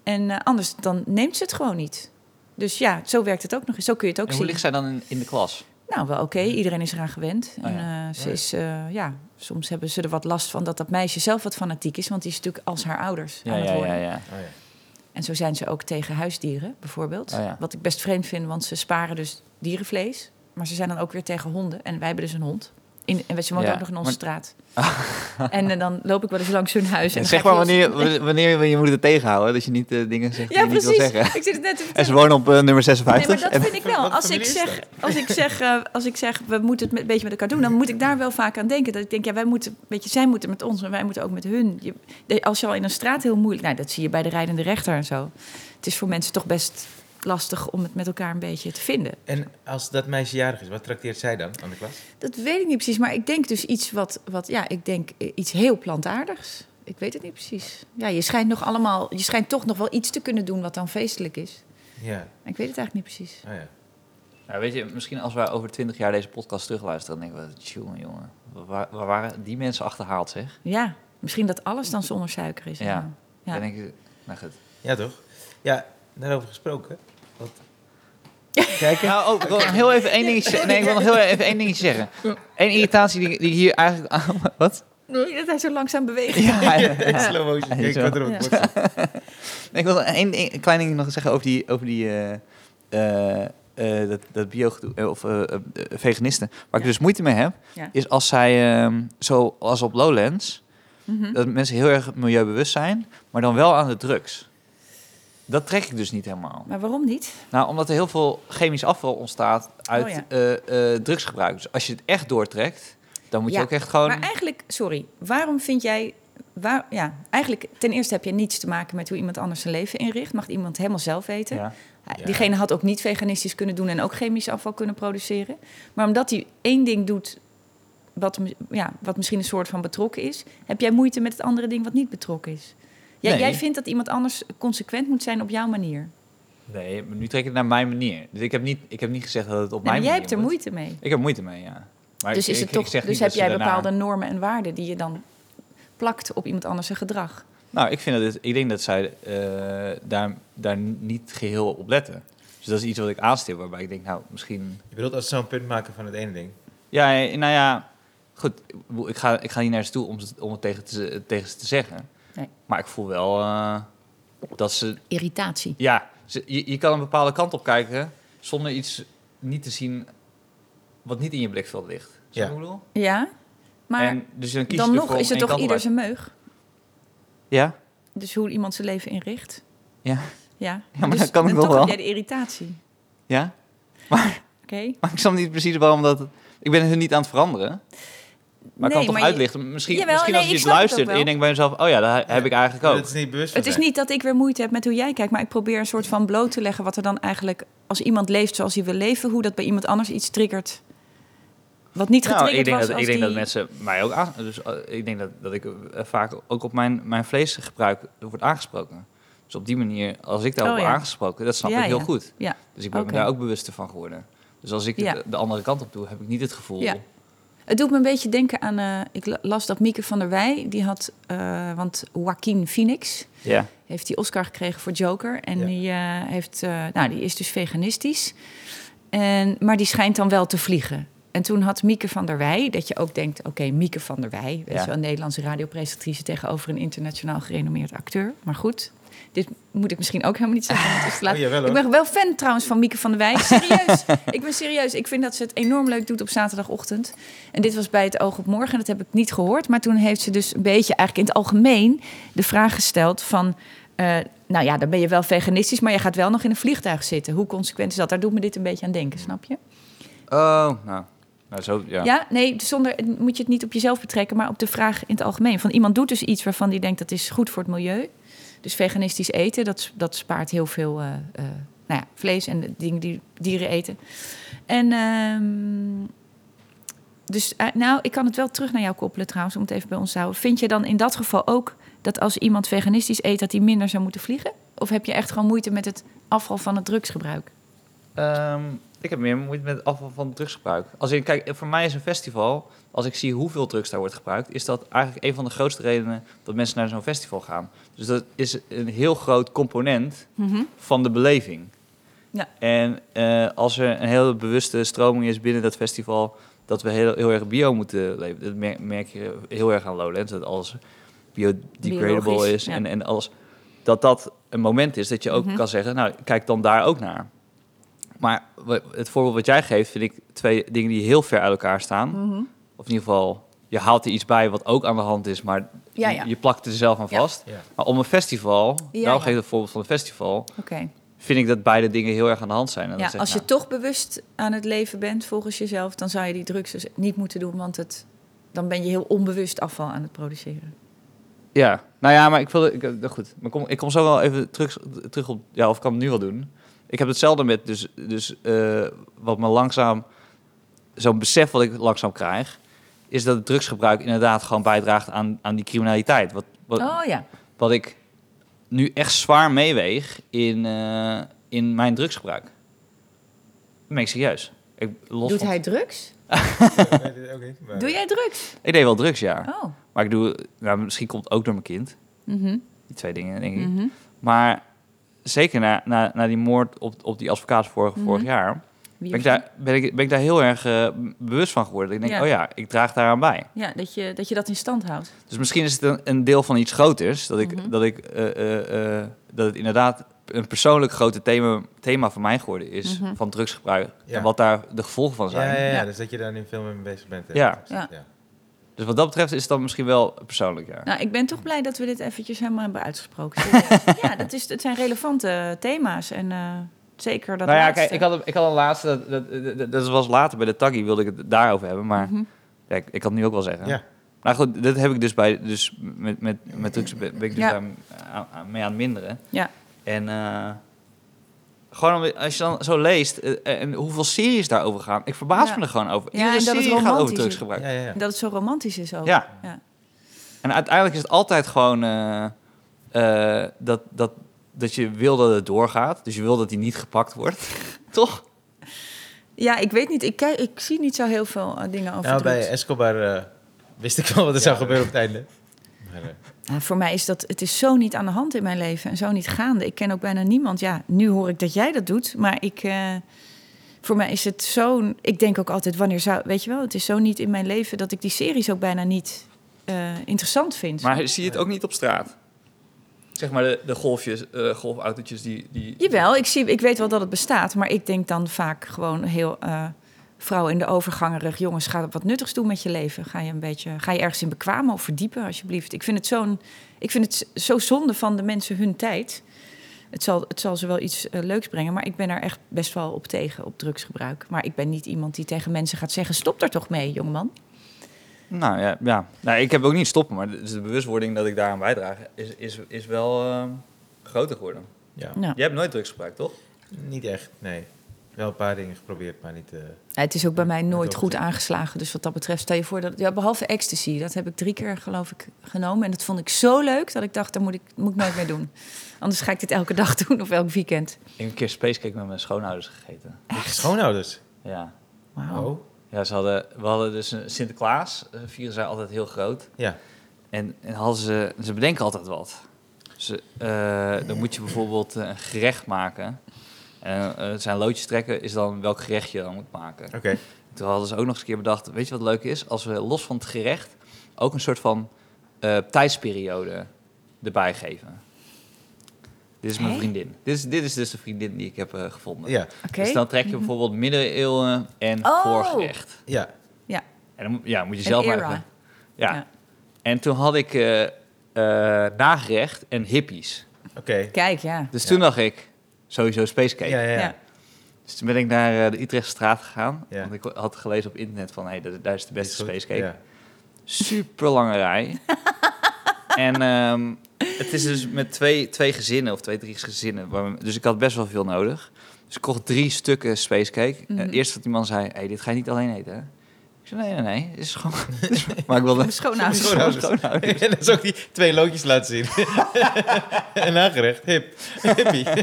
Speaker 3: En eh, anders dan neemt ze het gewoon niet. Dus ja, zo werkt het ook nog eens. Zo kun je het ook
Speaker 2: En hoe
Speaker 3: zien.
Speaker 2: ligt zij dan in, in de klas?
Speaker 3: Nou, wel oké. Iedereen is eraan gewend.
Speaker 2: Oh
Speaker 3: en
Speaker 2: Mhm. ja.
Speaker 3: eh, ze is, eh, ja, soms hebben ze er wat last van dat dat meisje zelf wat fanatiek is. Want die is natuurlijk als haar ouders
Speaker 2: Ja,
Speaker 3: aan het
Speaker 2: ja, ja,
Speaker 3: worden.
Speaker 2: ja.
Speaker 1: Oh, ja.
Speaker 3: En zo zijn ze ook tegen huisdieren, bijvoorbeeld.
Speaker 2: Oh ja.
Speaker 3: Wat ik best vreemd vind, want ze sparen dus dierenvlees. Maar ze zijn dan ook weer tegen honden. En wij hebben dus een hond. In, en ze woont
Speaker 2: Ja,
Speaker 3: ook nog in onze
Speaker 2: maar- *laughs*
Speaker 3: straat. en eh, dan loop ik wel eens langs hun huis. En dan
Speaker 2: zeg
Speaker 3: ga ik
Speaker 2: maar
Speaker 3: heel
Speaker 2: wanneer, wanneer je moet het tegenhouden. Dat je niet eh, dingen zegt
Speaker 3: snel- Ja,
Speaker 2: die je niet wil
Speaker 3: precies.
Speaker 2: zeggen. *laughs*
Speaker 3: Ik zit het net te
Speaker 2: En
Speaker 3: vertellen.
Speaker 2: ze wonen op eh, nummer
Speaker 3: Nee,
Speaker 2: 56.
Speaker 3: maar dat
Speaker 2: en-
Speaker 3: vind ik
Speaker 1: Wat
Speaker 3: wel.
Speaker 1: voor
Speaker 3: Als ik,
Speaker 1: manier is
Speaker 3: zeg, als, ik zeg, eh, als ik zeg, we moeten het met- een beetje met elkaar doen, dan moet ik daar wel vaak aan denken. Dat ik denk, ja, wij moeten, weet je, zij moeten met ons en wij moeten ook met hun. Je, de- als je al in een straat heel moeilijk, nou, dat zie je bij de rijdende rechter en zo. Het is voor mensen toch best lastig om het met elkaar een beetje te vinden.
Speaker 1: En als dat meisje jarig is, wat trakteert zij dan aan de klas?
Speaker 3: Dat weet ik niet precies, maar ik denk dus iets wat, wat ja, ik denk eh, iets heel plantaardigs. Ik weet het niet precies. Ja, je schijnt nog allemaal, je schijnt toch nog wel iets te kunnen doen wat dan feestelijk is.
Speaker 1: Ja,
Speaker 3: Ik weet het eigenlijk niet precies.
Speaker 1: oh ja.
Speaker 2: Nou, weet je, misschien als wij over 20 jaar deze podcast terugluisteren... dan denken we, tjonge jongen, waar, waar waren die mensen achterhaald, zeg?
Speaker 3: Ja, misschien dat alles dan zonder suiker is.
Speaker 2: Ja.
Speaker 3: Ja.
Speaker 2: Dan denk ik, nou goed.
Speaker 1: Ja, toch? Ja, daarover gesproken. Want
Speaker 2: Kijken. Nou, oh, ik wil nog heel even één dingetje, zeggen. nee, ik wil nog heel even één dingetje zeggen. Eén irritatie die, die ik hier eigenlijk *laughs* aan... Wat?
Speaker 3: Nee, dat hij zo langzaam beweegt.
Speaker 1: *laughs*
Speaker 2: Ja,
Speaker 1: in
Speaker 2: *laughs*
Speaker 1: slow motion, kijk wat er op het
Speaker 3: Ja.
Speaker 1: bord staat.
Speaker 2: Nee, ik wil nog één ding- een klein ding nog zeggen over die... Over die eh, eh, eh, dat, dat bio of eh, eh, veganisten. Waar ik
Speaker 3: Ja.
Speaker 2: dus moeite mee heb,
Speaker 3: Ja.
Speaker 2: is als zij, ehm zoals op Lowlands,
Speaker 3: Mhm.
Speaker 2: dat mensen heel erg milieubewust zijn, maar dan wel aan de drugs. Dat trek ik dus niet helemaal.
Speaker 3: Maar waarom niet?
Speaker 2: Nou, omdat er heel veel chemisch afval ontstaat uit
Speaker 3: Oh ja.
Speaker 2: eh, eh, drugsgebruik. Dus als je het echt doortrekt, dan moet
Speaker 3: Ja,
Speaker 2: je ook echt gewoon...
Speaker 3: Maar eigenlijk, sorry, waarom vind jij... Waar, ja, eigenlijk, ten eerste heb je niets te maken met hoe iemand anders zijn leven inricht. Mag iemand helemaal zelf weten.
Speaker 2: Ja.
Speaker 3: Hij-
Speaker 1: Ja.
Speaker 3: Diegene had ook niet veganistisch kunnen doen en ook chemisch afval kunnen produceren. Maar omdat hij één ding doet wat, mi- ja, wat misschien een soort van betrokken is, heb jij moeite met het andere ding wat niet betrokken is? Jij,
Speaker 2: Nee.
Speaker 3: jij vindt dat iemand anders consequent moet zijn op jouw manier.
Speaker 2: Nee, maar nu trek ik het naar mijn manier. Dus ik heb niet, ik heb niet gezegd dat het op
Speaker 3: Nou,
Speaker 2: mijn
Speaker 3: jij
Speaker 2: manier
Speaker 3: hebt er
Speaker 2: moet.
Speaker 3: moeite mee.
Speaker 2: Ik heb moeite mee, ja. Maar
Speaker 3: dus
Speaker 2: ik-
Speaker 3: is
Speaker 2: ik-
Speaker 3: het
Speaker 2: ik
Speaker 3: toch,
Speaker 2: zeg niet
Speaker 3: dus
Speaker 2: dat
Speaker 3: heb
Speaker 2: ze
Speaker 3: jij
Speaker 2: daarna-
Speaker 3: bepaalde normen en waarden die je dan plakt op iemand anders zijn gedrag?
Speaker 2: Nou, ik, vind dat het, ik denk dat zij eh, daar, daar niet geheel op letten. Dus dat is iets wat ik aanstip, waarbij ik denk, nou, misschien...
Speaker 1: Je bedoelt als ze zo'n punt maken van het ene ding.
Speaker 2: Ja, nou ja, goed, ik bedoel, ik ga, ik ga niet naar ze toe om, ze- om het tegen, te, tegen ze te zeggen.
Speaker 3: Nee.
Speaker 2: Maar ik voel wel eh, dat ze...
Speaker 3: Irritatie.
Speaker 2: Ja, ze- je, je kan een bepaalde kant op kijken zonder iets niet te zien wat niet in je blikveld ligt. Snap je
Speaker 1: Ja.
Speaker 2: wat ik bedoel?
Speaker 3: Ja, maar
Speaker 2: en, dus dan, kies je
Speaker 3: dan
Speaker 2: ervoor
Speaker 3: nog
Speaker 2: om
Speaker 3: is het
Speaker 2: één
Speaker 3: toch
Speaker 2: kant op
Speaker 3: ieder zijn meug.
Speaker 2: uit- Ja?
Speaker 3: Dus hoe iemand zijn leven inricht.
Speaker 2: Ja.
Speaker 3: Ja,
Speaker 2: Ja, maar
Speaker 3: dus,
Speaker 2: dat kan ik
Speaker 3: en
Speaker 2: nog
Speaker 3: toch
Speaker 2: wel.
Speaker 3: heb jij de irritatie.
Speaker 2: Ja?
Speaker 3: Oké.
Speaker 2: *laughs* Maar ik snap niet precies waarom dat... Ik ben hun niet aan het veranderen. Maar ik
Speaker 3: Nee,
Speaker 2: kan toch
Speaker 3: je-
Speaker 2: uitlichten? Misschien,
Speaker 3: Jawel,
Speaker 2: misschien
Speaker 3: nee,
Speaker 2: als je
Speaker 3: ik
Speaker 2: het
Speaker 3: snap het
Speaker 2: luistert
Speaker 3: ook
Speaker 2: en je
Speaker 3: wel.
Speaker 2: denkt bij jezelf... oh ja, dat heb ik eigenlijk
Speaker 1: Dat
Speaker 2: ook.
Speaker 1: is niet bewust van
Speaker 3: Het is
Speaker 1: zijn.
Speaker 3: niet dat ik weer moeite heb met hoe jij kijkt, maar ik probeer een soort van bloot te leggen wat er dan eigenlijk, als iemand leeft zoals hij wil leven, hoe dat bij iemand anders iets triggert. Wat niet
Speaker 2: Nou,
Speaker 3: getriggerd
Speaker 2: ik denk,
Speaker 3: was
Speaker 2: dat, ik
Speaker 3: als
Speaker 2: denk
Speaker 3: die...
Speaker 2: dat mensen mij ook aan... Dus, eh, ik denk dat, dat ik eh, vaak ook op mijn, mijn vleesgebruik wordt aangesproken. Dus op die manier, als ik daarop
Speaker 3: Oh,
Speaker 2: word
Speaker 3: ja.
Speaker 2: aangesproken... dat snap
Speaker 3: Ja,
Speaker 2: ik heel
Speaker 3: ja.
Speaker 2: goed.
Speaker 3: Ja.
Speaker 2: Dus ik ben
Speaker 3: Oké.
Speaker 2: me daar ook bewuster van geworden. Dus als ik het,
Speaker 3: Ja.
Speaker 2: eh, de andere kant op doe, heb ik niet het gevoel...
Speaker 3: Ja. Het doet me een beetje denken aan. eh, ik la- las dat Mieke van der Wij, die had. eh, want Joaquin Phoenix
Speaker 2: Ja.
Speaker 3: heeft die Oscar gekregen voor Joker. En
Speaker 1: Ja.
Speaker 3: die, eh, heeft, eh, nou, die is dus veganistisch. En, maar die schijnt dan wel te vliegen. En toen had Mieke van der Wij, dat je ook denkt: oké, Mieke van der Wij, weet
Speaker 2: Ja.
Speaker 3: je wel, een Nederlandse radiopresentatrice tegenover een internationaal gerenommeerd acteur. Maar goed, dit moet ik misschien ook helemaal niet zeggen. want het is te laat.
Speaker 1: Oh, jawel,
Speaker 3: ik
Speaker 1: hoor.
Speaker 3: ben wel fan trouwens van Mieke van der Wij. Serieus, *laughs* ik ben serieus. Ik vind dat ze het enorm leuk doet op zaterdagochtend. En dit was bij het oog op morgen. Dat heb ik niet gehoord. Maar toen heeft ze dus een beetje eigenlijk in het algemeen de vraag gesteld van... eh, nou ja, dan ben je wel veganistisch, maar je gaat wel nog in een vliegtuig zitten. Hoe consequent is dat? Daar doet me dit een beetje aan denken, snap je?
Speaker 2: Oh, nou. Nou, zo, ja.
Speaker 3: Ja, nee, zonder moet je het niet op jezelf betrekken, maar op de vraag in het algemeen. Van iemand doet dus iets waarvan die denkt dat is goed voor het milieu. Dus veganistisch eten, dat, dat spaart heel veel eh, eh, nou ja, vlees en de dingen die dieren eten. En ehm, dus, eh, nou, ik kan het wel terug naar jou koppelen trouwens, om het even bij ons te houden. Vind je dan in dat geval ook dat als iemand veganistisch eet, dat hij minder zou moeten vliegen? Of heb je echt gewoon moeite met het afval van het drugsgebruik?
Speaker 2: Ehm, ik heb meer moeite met het afval van drugsgebruik. Als in, kijk, voor mij is een festival, als ik zie hoeveel drugs daar wordt gebruikt, is dat eigenlijk een van de grootste redenen dat mensen naar zo'n festival gaan. Dus dat is een heel groot component van de beleving.
Speaker 3: Ja.
Speaker 2: En eh, als er een hele bewuste stroming is binnen dat festival, dat we heel, heel erg bio moeten leven. Dat mer- merk je heel erg aan Lowlands, dat alles biodegradable
Speaker 3: Biologisch,
Speaker 2: is
Speaker 3: ja.
Speaker 2: en, en alles. Dat dat een moment is dat je ook
Speaker 3: Mhm.
Speaker 2: kan zeggen, nou, kijk dan daar ook naar. Maar wa- het voorbeeld wat jij geeft, vind ik twee dingen die heel ver uit elkaar staan.
Speaker 3: Mhm.
Speaker 2: Of in ieder geval, je haalt er iets bij wat ook aan de hand is, maar
Speaker 3: Ja,
Speaker 2: je-
Speaker 3: ja.
Speaker 2: Je, plakt er zelf aan
Speaker 3: Ja.
Speaker 2: vast.
Speaker 1: *laughs* Ja.
Speaker 2: Maar om een festival,
Speaker 3: Ja,
Speaker 2: daarom
Speaker 3: ja.
Speaker 2: geef ik het voorbeeld van een festival,
Speaker 3: Oké.
Speaker 2: vind ik dat beide dingen heel erg aan de hand zijn. En dan
Speaker 3: Ja,
Speaker 2: zeg ik,
Speaker 3: als je
Speaker 2: nou,
Speaker 3: toch bewust aan het leven bent volgens jezelf, dan zou je die drugs dus niet moeten doen, want het, dan ben je heel onbewust afval aan het produceren.
Speaker 2: Ja, nou ja, maar ik wil... Ik, eh, goed, maar kom, ik kom zo wel even terug, terug op... Ja, of ik kan het nu wel doen. Ik heb hetzelfde met dus, dus eh, wat me langzaam... Zo'n besef wat ik langzaam krijg... is dat het drugsgebruik inderdaad gewoon bijdraagt aan, aan die criminaliteit. Wat, wat,
Speaker 3: Oh ja,
Speaker 2: wat ik nu echt zwaar meeweeg in, eh, in mijn drugsgebruik. Dat meen ik serieus. Ik, los
Speaker 3: doet
Speaker 2: van-
Speaker 3: hij drugs?
Speaker 1: Nee, dit ook niet, maar-
Speaker 3: Doe jij drugs?
Speaker 2: ik deed wel drugs, ja.
Speaker 3: Oh.
Speaker 2: Maar ik doe... Nou, misschien komt het ook door mijn kind.
Speaker 3: Mhm,
Speaker 2: Die twee dingen, denk ik.
Speaker 3: mhm.
Speaker 2: Maar zeker na, na, na die moord op, op die advocaat vorig,
Speaker 3: Mhm.
Speaker 2: vorig jaar...
Speaker 3: Wie
Speaker 2: Ben ik,
Speaker 3: was
Speaker 2: daar, ben, ik, ben ik daar heel erg eh, m- bewust van geworden. Ik denk,
Speaker 3: Ja.
Speaker 2: oh ja, ik draag daaraan bij.
Speaker 3: die? Ja, dat je, dat je dat in stand houdt.
Speaker 2: Dus misschien is het een, een deel van iets groters. Dat, ik,
Speaker 3: Mhm.
Speaker 2: dat, ik, eh, eh, eh, dat het inderdaad een persoonlijk grote thema, thema van mij geworden is...
Speaker 3: Mhm.
Speaker 2: van drugsgebruik
Speaker 1: Ja.
Speaker 2: en wat daar de gevolgen van
Speaker 1: Ja,
Speaker 2: zijn.
Speaker 1: ja, ja,
Speaker 3: Ja.
Speaker 1: dus dat je daar nu veel mee bezig bent. hè.
Speaker 2: Ja.
Speaker 3: Ja.
Speaker 2: Dus wat dat betreft is het dan misschien wel persoonlijk, ja.
Speaker 3: Nou, ik ben toch blij dat we dit eventjes helemaal hebben
Speaker 2: *laughs*
Speaker 3: uitgesproken. Serieus. ja, dat is, het zijn relevante thema's en eh, zeker dat
Speaker 2: nou ja,
Speaker 3: laatste.
Speaker 2: kijk, ik had, een- ik had een laatste... Dat, dat, dat- dat, dat was later bij de taggy, wilde ik het daarover hebben. Maar
Speaker 3: Mhm.
Speaker 2: ja, ik, ik kan het nu ook wel zeggen.
Speaker 1: Ja.
Speaker 2: Nou goed, dat heb ik dus bij, dus met, met, met drugs ben ben ik dus
Speaker 3: Ja.
Speaker 2: daar aan- aan- mee aan het minderen.
Speaker 3: Ja.
Speaker 2: En eh, Gewoon om- als je dan zo leest eh, en hoeveel series daarover gaan. Ik verbaas
Speaker 3: Ja.
Speaker 2: me er gewoon over.
Speaker 3: Ja,
Speaker 2: Iedere
Speaker 3: en dat het
Speaker 2: serie gaat over
Speaker 3: romantisch
Speaker 2: drugs
Speaker 1: Ja,
Speaker 3: is.
Speaker 2: gebruiken.
Speaker 1: ja, ja.
Speaker 3: En dat het zo romantisch is ook.
Speaker 2: Ja.
Speaker 3: Ja.
Speaker 2: En uiteindelijk is het altijd gewoon eh, eh, dat, dat, dat je wil dat het doorgaat. Dus je wil dat die niet gepakt
Speaker 3: *laughs*
Speaker 2: wordt. Toch?
Speaker 3: Ja, ik weet niet. Ik, kijk, ik zie niet zo heel veel eh, dingen over
Speaker 1: Nou, bij
Speaker 3: drugs.
Speaker 1: Escobar eh, wist ik wel wat er zou gebeuren op het einde. Maar, eh,
Speaker 3: Nou, voor mij is dat... Het is zo niet aan de hand in mijn leven en zo niet gaande. Ik ken ook bijna niemand. Ja, nu hoor ik dat jij dat doet. Maar ik... eh, voor mij is het zo... Ik denk ook altijd, wanneer zou... Weet je wel, het is zo niet in mijn leven... dat ik die series ook bijna niet eh, interessant vind.
Speaker 2: Maar zie je het ook niet op straat? Zeg maar de, de golfjes, eh, golfautootjes die... die
Speaker 3: Jawel, ik, zie, ik weet wel dat het bestaat, maar ik denk dan vaak gewoon heel eh vrouw in de overgangerig. Jongens, ga wat nuttigs doen met je leven. Ga je een beetje, ga je ergens in bekwamen of verdiepen, alsjeblieft. Ik vind het zo'n, ik vind het zo zonde van de mensen hun tijd. Het zal, het zal ze wel iets eh, leuks brengen, maar ik ben er echt best wel op tegen op drugsgebruik. Maar ik ben niet iemand die tegen mensen gaat zeggen: stop daar toch mee, jongeman.
Speaker 2: Nou ja, ja. Nou, ik heb ook niet stoppen, maar de, dus de bewustwording dat ik daaraan bijdraag is, is, is wel eh, groter geworden.
Speaker 1: ja,
Speaker 3: Nou,
Speaker 2: Jij hebt nooit drugs gebruikt, toch?
Speaker 1: niet echt, nee. Wel een paar dingen geprobeerd, maar niet... eh,
Speaker 3: het is ook bij mij nooit
Speaker 1: ook
Speaker 3: goed
Speaker 1: niet.
Speaker 3: aangeslagen. Dus wat dat betreft, stel je voor dat. Ja, behalve ecstasy, dat heb ik drie keer, geloof ik, genomen. En dat vond ik zo leuk dat ik dacht: dat moet ik, moet ik nooit meer doen. Anders ga ik dit elke dag *laughs* doen of elk weekend.
Speaker 2: Ik heb een keer spacecake met mijn schoonouders gegeten.
Speaker 1: met je schoonouders.
Speaker 2: Ja.
Speaker 3: Wauw.
Speaker 1: Oh.
Speaker 2: Ja, ze hadden, we hadden dus een Sinterklaas, eh, vieren zij altijd heel groot.
Speaker 1: Ja.
Speaker 2: En, en hadden ze, ze bedenken altijd wat. Ze, eh, dan moet je bijvoorbeeld eh, een gerecht maken. En eh, zijn loodjes trekken is dan welk gerecht je dan moet maken.
Speaker 1: Oké.
Speaker 2: Toen hadden ze ook nog eens een keer bedacht, weet je wat leuk is? Als we los van het gerecht ook een soort van eh, tijdsperiode erbij geven. Dit is mijn
Speaker 3: Hè?
Speaker 2: vriendin. Dit is, dit is dus de vriendin die ik heb eh, gevonden.
Speaker 1: Ja. Mhm.
Speaker 3: Oké.
Speaker 2: Dus dan trek je bijvoorbeeld middeleeuwen en
Speaker 3: Oh.
Speaker 2: voorgerecht.
Speaker 1: Ja.
Speaker 2: En dan moet- ja, moet je
Speaker 3: Een
Speaker 2: zelf maar
Speaker 3: era.
Speaker 2: even- Ja.
Speaker 3: Ja.
Speaker 2: En toen had ik eh, eh, nagerecht en hippies.
Speaker 1: Oké.
Speaker 3: Kijk, ja.
Speaker 2: Dus
Speaker 1: Ja.
Speaker 2: toen dacht ik, sowieso spacecake.
Speaker 1: Ja, ja, ja.
Speaker 3: Ja.
Speaker 2: Dus toen ben ik naar eh, de Utrechtse straat gegaan.
Speaker 1: Ja.
Speaker 2: Want ik had gelezen op internet van, hé, hey, daar- daar is de
Speaker 1: Is
Speaker 2: beste
Speaker 1: goed.
Speaker 2: spacecake.
Speaker 1: Ja. *laughs*
Speaker 2: super lange
Speaker 3: *laughs*
Speaker 2: rij. en ehm, het is dus met twee, twee gezinnen of twee, drie gezinnen. waar we- Dus ik had best wel veel nodig. Dus ik kocht drie stukken spacecake. En
Speaker 3: Mhm.
Speaker 2: het eerste wat die man zei, hey, dit ga je niet alleen eten, hè? Ik zei, nee, nee, nee. Het is
Speaker 3: *laughs*
Speaker 2: gewoon... maar ik wilde...
Speaker 3: Schoonouders.
Speaker 1: Schoonouders.
Speaker 2: Schoonouders.
Speaker 1: En dan zou ik die twee loodjes laten zien. *laughs* en nagerecht, hip. Hippie.
Speaker 2: *laughs*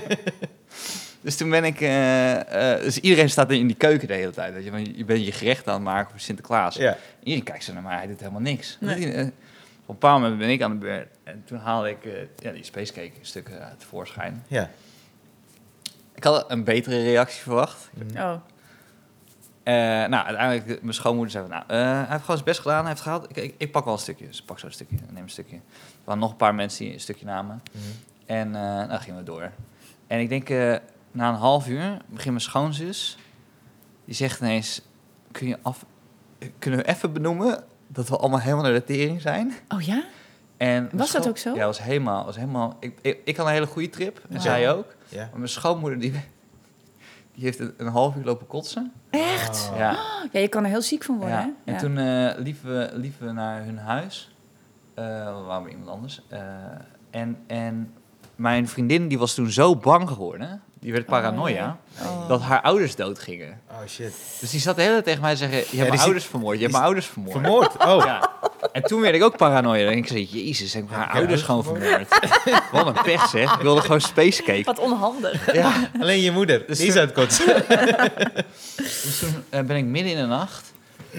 Speaker 2: Dus toen ben ik... eh, eh, dus iedereen staat in die keuken de hele tijd. Weet je? Want je bent je gerecht aan het maken voor Sinterklaas.
Speaker 1: Ja.
Speaker 2: Iedereen kijkt zo naar mij, hij doet helemaal niks.
Speaker 3: Nee.
Speaker 2: Doet hij, eh, op een bepaald moment ben ik aan de beurt. En toen haalde ik eh, ja, die spacecake stukken uit voorschijn.
Speaker 1: Ja.
Speaker 2: Ik had een betere reactie verwacht.
Speaker 3: Oh.
Speaker 2: Eh, nou, uiteindelijk, de- mijn schoonmoeder zei van, nou, eh, hij heeft gewoon zijn best gedaan, hij heeft het gehaald. Ik, ik, ik pak wel een stukje. Dus ik pak zo'n stukje, en neem een stukje. Er waren nog een paar mensen die een stukje namen.
Speaker 1: Mhm.
Speaker 2: En eh nou gingen we door. En ik denk, eh, na een half uur begint mijn schoonzus. Die zegt ineens, kun je af, eh, kunnen we even benoemen dat we allemaal helemaal naar de tering zijn?
Speaker 3: Oh ja?
Speaker 2: En mijn
Speaker 3: Was dat
Speaker 2: scho-
Speaker 3: ook zo?
Speaker 2: Ja, was helemaal, was helemaal. Ik, ik, ik had een hele goede trip, en
Speaker 3: Wauw.
Speaker 2: zij ook.
Speaker 1: Ja.
Speaker 2: Maar mijn schoonmoeder, die, *laughs* die heeft een, een half uur lopen kotsen.
Speaker 3: Echt?
Speaker 1: Oh.
Speaker 2: Ja.
Speaker 3: Ja, je kan er heel ziek van worden,
Speaker 2: ja.
Speaker 3: hè?
Speaker 2: En
Speaker 3: Ja.
Speaker 2: toen eh, liepen, we, liepen we naar hun huis. Eh we waren bij iemand anders. Eh, en, en mijn vriendin die was toen zo bang geworden, die werd paranoia,
Speaker 3: Oh.
Speaker 2: dat haar ouders doodgingen.
Speaker 1: Oh, shit.
Speaker 2: Dus die zat de hele tijd tegen mij te zeggen, je hebt
Speaker 1: die
Speaker 2: mijn
Speaker 1: zit-
Speaker 2: ouders vermoord, je hebt mijn ouders vermoord.
Speaker 1: Vermoord. Oh.
Speaker 2: Ja. En toen werd ik ook paranoia. En ik zei, jezus, ik heb haar
Speaker 1: Ja,
Speaker 2: ouders gewoon vermoord. *laughs* Wat een pech, zeg. Ik wilde gewoon spacecake.
Speaker 3: Wat onhandig.
Speaker 2: Ja.
Speaker 1: Alleen je moeder.
Speaker 2: Dus
Speaker 1: die is
Speaker 2: toen-
Speaker 1: uit kot. *laughs*
Speaker 2: Dus toen eh, ben ik midden in de nacht,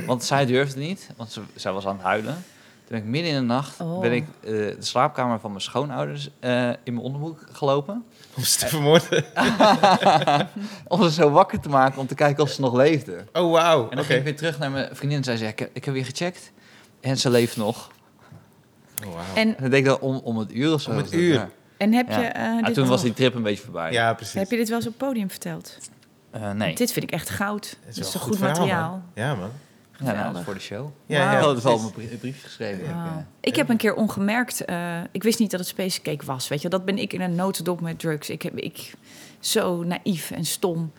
Speaker 2: want zij durfde niet, want ze, zij was aan het huilen. Toen ben ik midden in de nacht
Speaker 3: Oh.
Speaker 2: ben ik, eh, de slaapkamer van mijn schoonouders eh, in mijn onderbroek gelopen.
Speaker 1: Om ze te vermoorden.
Speaker 2: Om ze zo wakker te maken, om te kijken of ze nog leefden.
Speaker 1: Oh, wauw.
Speaker 2: En
Speaker 1: Oké.
Speaker 2: dan ging ik weer terug naar mijn vriendin en zij zei, ik heb, ik heb weer gecheckt. En ze leeft nog.
Speaker 1: Oh, wauw.
Speaker 3: *laughs* En,
Speaker 2: En dat deed ik dan om, om het uur of zo.
Speaker 1: Om het
Speaker 2: was dat,
Speaker 1: uur.
Speaker 2: ja.
Speaker 3: en heb
Speaker 2: Ja.
Speaker 3: je... eh,
Speaker 2: Ah,
Speaker 3: dit
Speaker 2: toen was die trip een beetje voorbij.
Speaker 1: Ja, precies.
Speaker 3: Heb je dit wel eens op het podium verteld?
Speaker 2: Eh, nee.
Speaker 3: Dit vind ik echt goud.
Speaker 1: Het
Speaker 3: Dit is
Speaker 1: wel
Speaker 3: een goed,
Speaker 1: verhaal,
Speaker 3: materiaal.
Speaker 1: man. Ja, man.
Speaker 2: Ja, nou, dat is
Speaker 3: Geweldig.
Speaker 2: voor de show.
Speaker 1: Ja,
Speaker 2: Ja,
Speaker 1: ja.
Speaker 2: ik had het wel op mijn brie- briefje geschreven.
Speaker 3: Wauw.
Speaker 2: Ja.
Speaker 3: Ah. Ik heb een keer ongemerkt, eh, ik wist niet dat het spacecake was. Weet je, wel. dat ben ik in een notendop met drugs. Ik heb ik zo naïef en stom. Toen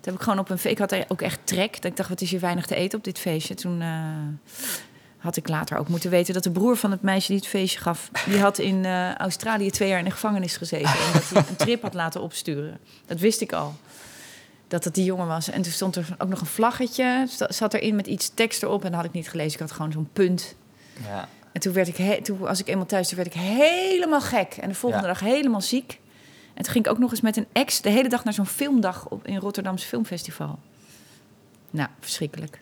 Speaker 3: heb ik gewoon op een fe- ik had er ook echt trek. Dat ik dacht, wat is hier weinig te eten op dit feestje? Toen eh, Had ik later ook moeten weten dat de broer van het meisje die het feestje gaf... die had in eh, Australië twee jaar in de gevangenis gezeten. En dat hij een trip had laten opsturen. Dat wist ik al. Dat dat die jongen was. En toen stond er ook nog een vlaggetje. sta- Zat erin met iets tekst erop. En dat had ik niet gelezen. Ik had gewoon zo'n punt.
Speaker 2: Ja.
Speaker 3: En toen werd ik, he- toen was ik eenmaal thuis, toen werd ik helemaal gek. En de volgende
Speaker 2: Ja.
Speaker 3: dag helemaal ziek. En toen ging ik ook nog eens met een ex de hele dag naar zo'n filmdag op, in Rotterdamse Filmfestival. Nou, verschrikkelijk.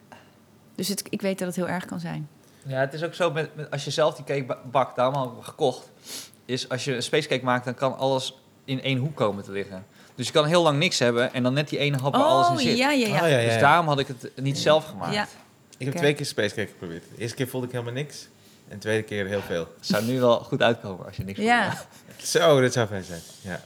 Speaker 3: Dus het, ik weet dat het heel erg kan zijn.
Speaker 2: ja, het is ook zo met, met- als je zelf die cake ba- bakt, daarom hebben we gekocht. Is als je een spacecake maakt, dan kan alles in één hoek komen te liggen. Dus je kan heel lang niks hebben en dan net die ene hap waar alles in
Speaker 3: oh,
Speaker 2: zit.
Speaker 3: ja, ja, ja.
Speaker 1: Oh, ja, ja,
Speaker 2: Dus
Speaker 1: ja.
Speaker 2: daarom had ik het niet zelf
Speaker 1: Oh,
Speaker 2: gemaakt.
Speaker 3: Ja.
Speaker 1: Ik heb
Speaker 3: Ja.
Speaker 1: twee keer spacecake geprobeerd. De eerste keer voelde ik helemaal niks. En de tweede keer heel veel.
Speaker 2: Zou nu wel goed uitkomen als je niks
Speaker 3: Ja.
Speaker 2: van maakt.
Speaker 1: Zo, dat zou fijn zijn. Ja.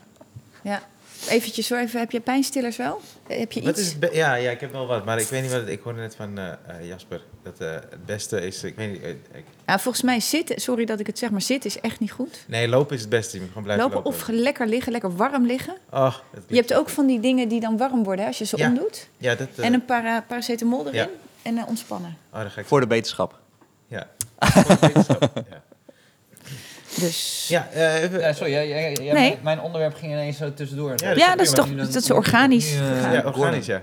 Speaker 3: ja. Eventjes hoor, even, heb je pijnstillers wel? Eh, Heb je
Speaker 1: Wat
Speaker 3: iets?
Speaker 1: is het be- ja, ja, ik heb wel wat. Maar ik weet niet wat het... Ik hoorde net van eh, eh, Jasper dat eh, het beste is... Ik weet niet... eh, ik-
Speaker 3: Nou, volgens mij zitten, sorry dat ik het zeg, maar zitten is echt niet goed.
Speaker 1: nee, lopen is het beste. Je moet gewoon blijven
Speaker 3: Lopen,
Speaker 1: lopen.
Speaker 3: of ge- lekker liggen, lekker warm liggen.
Speaker 1: Oh, dat
Speaker 3: Je
Speaker 1: klinkt
Speaker 3: hebt ook van die dingen die dan warm worden hè, als je ze
Speaker 1: Ja.
Speaker 3: omdoet.
Speaker 1: Ja, dat... eh,
Speaker 3: En een para- paracetamol erin
Speaker 1: Ja.
Speaker 3: en eh, ontspannen.
Speaker 1: Oh, dan ga *laughs* ik...
Speaker 2: Voor de wetenschap.
Speaker 1: Ja. Voor de wetenschap, ja.
Speaker 3: Dus
Speaker 1: Ja, eh, even-
Speaker 2: Ja, sorry, jij, jij, jij-
Speaker 3: Nee.
Speaker 2: mijn onderwerp ging ineens zo tussendoor.
Speaker 1: Ja,
Speaker 3: Ja, dat is toch dat is organisch.
Speaker 2: eh,
Speaker 3: gegaan.
Speaker 1: ja, organisch, ja.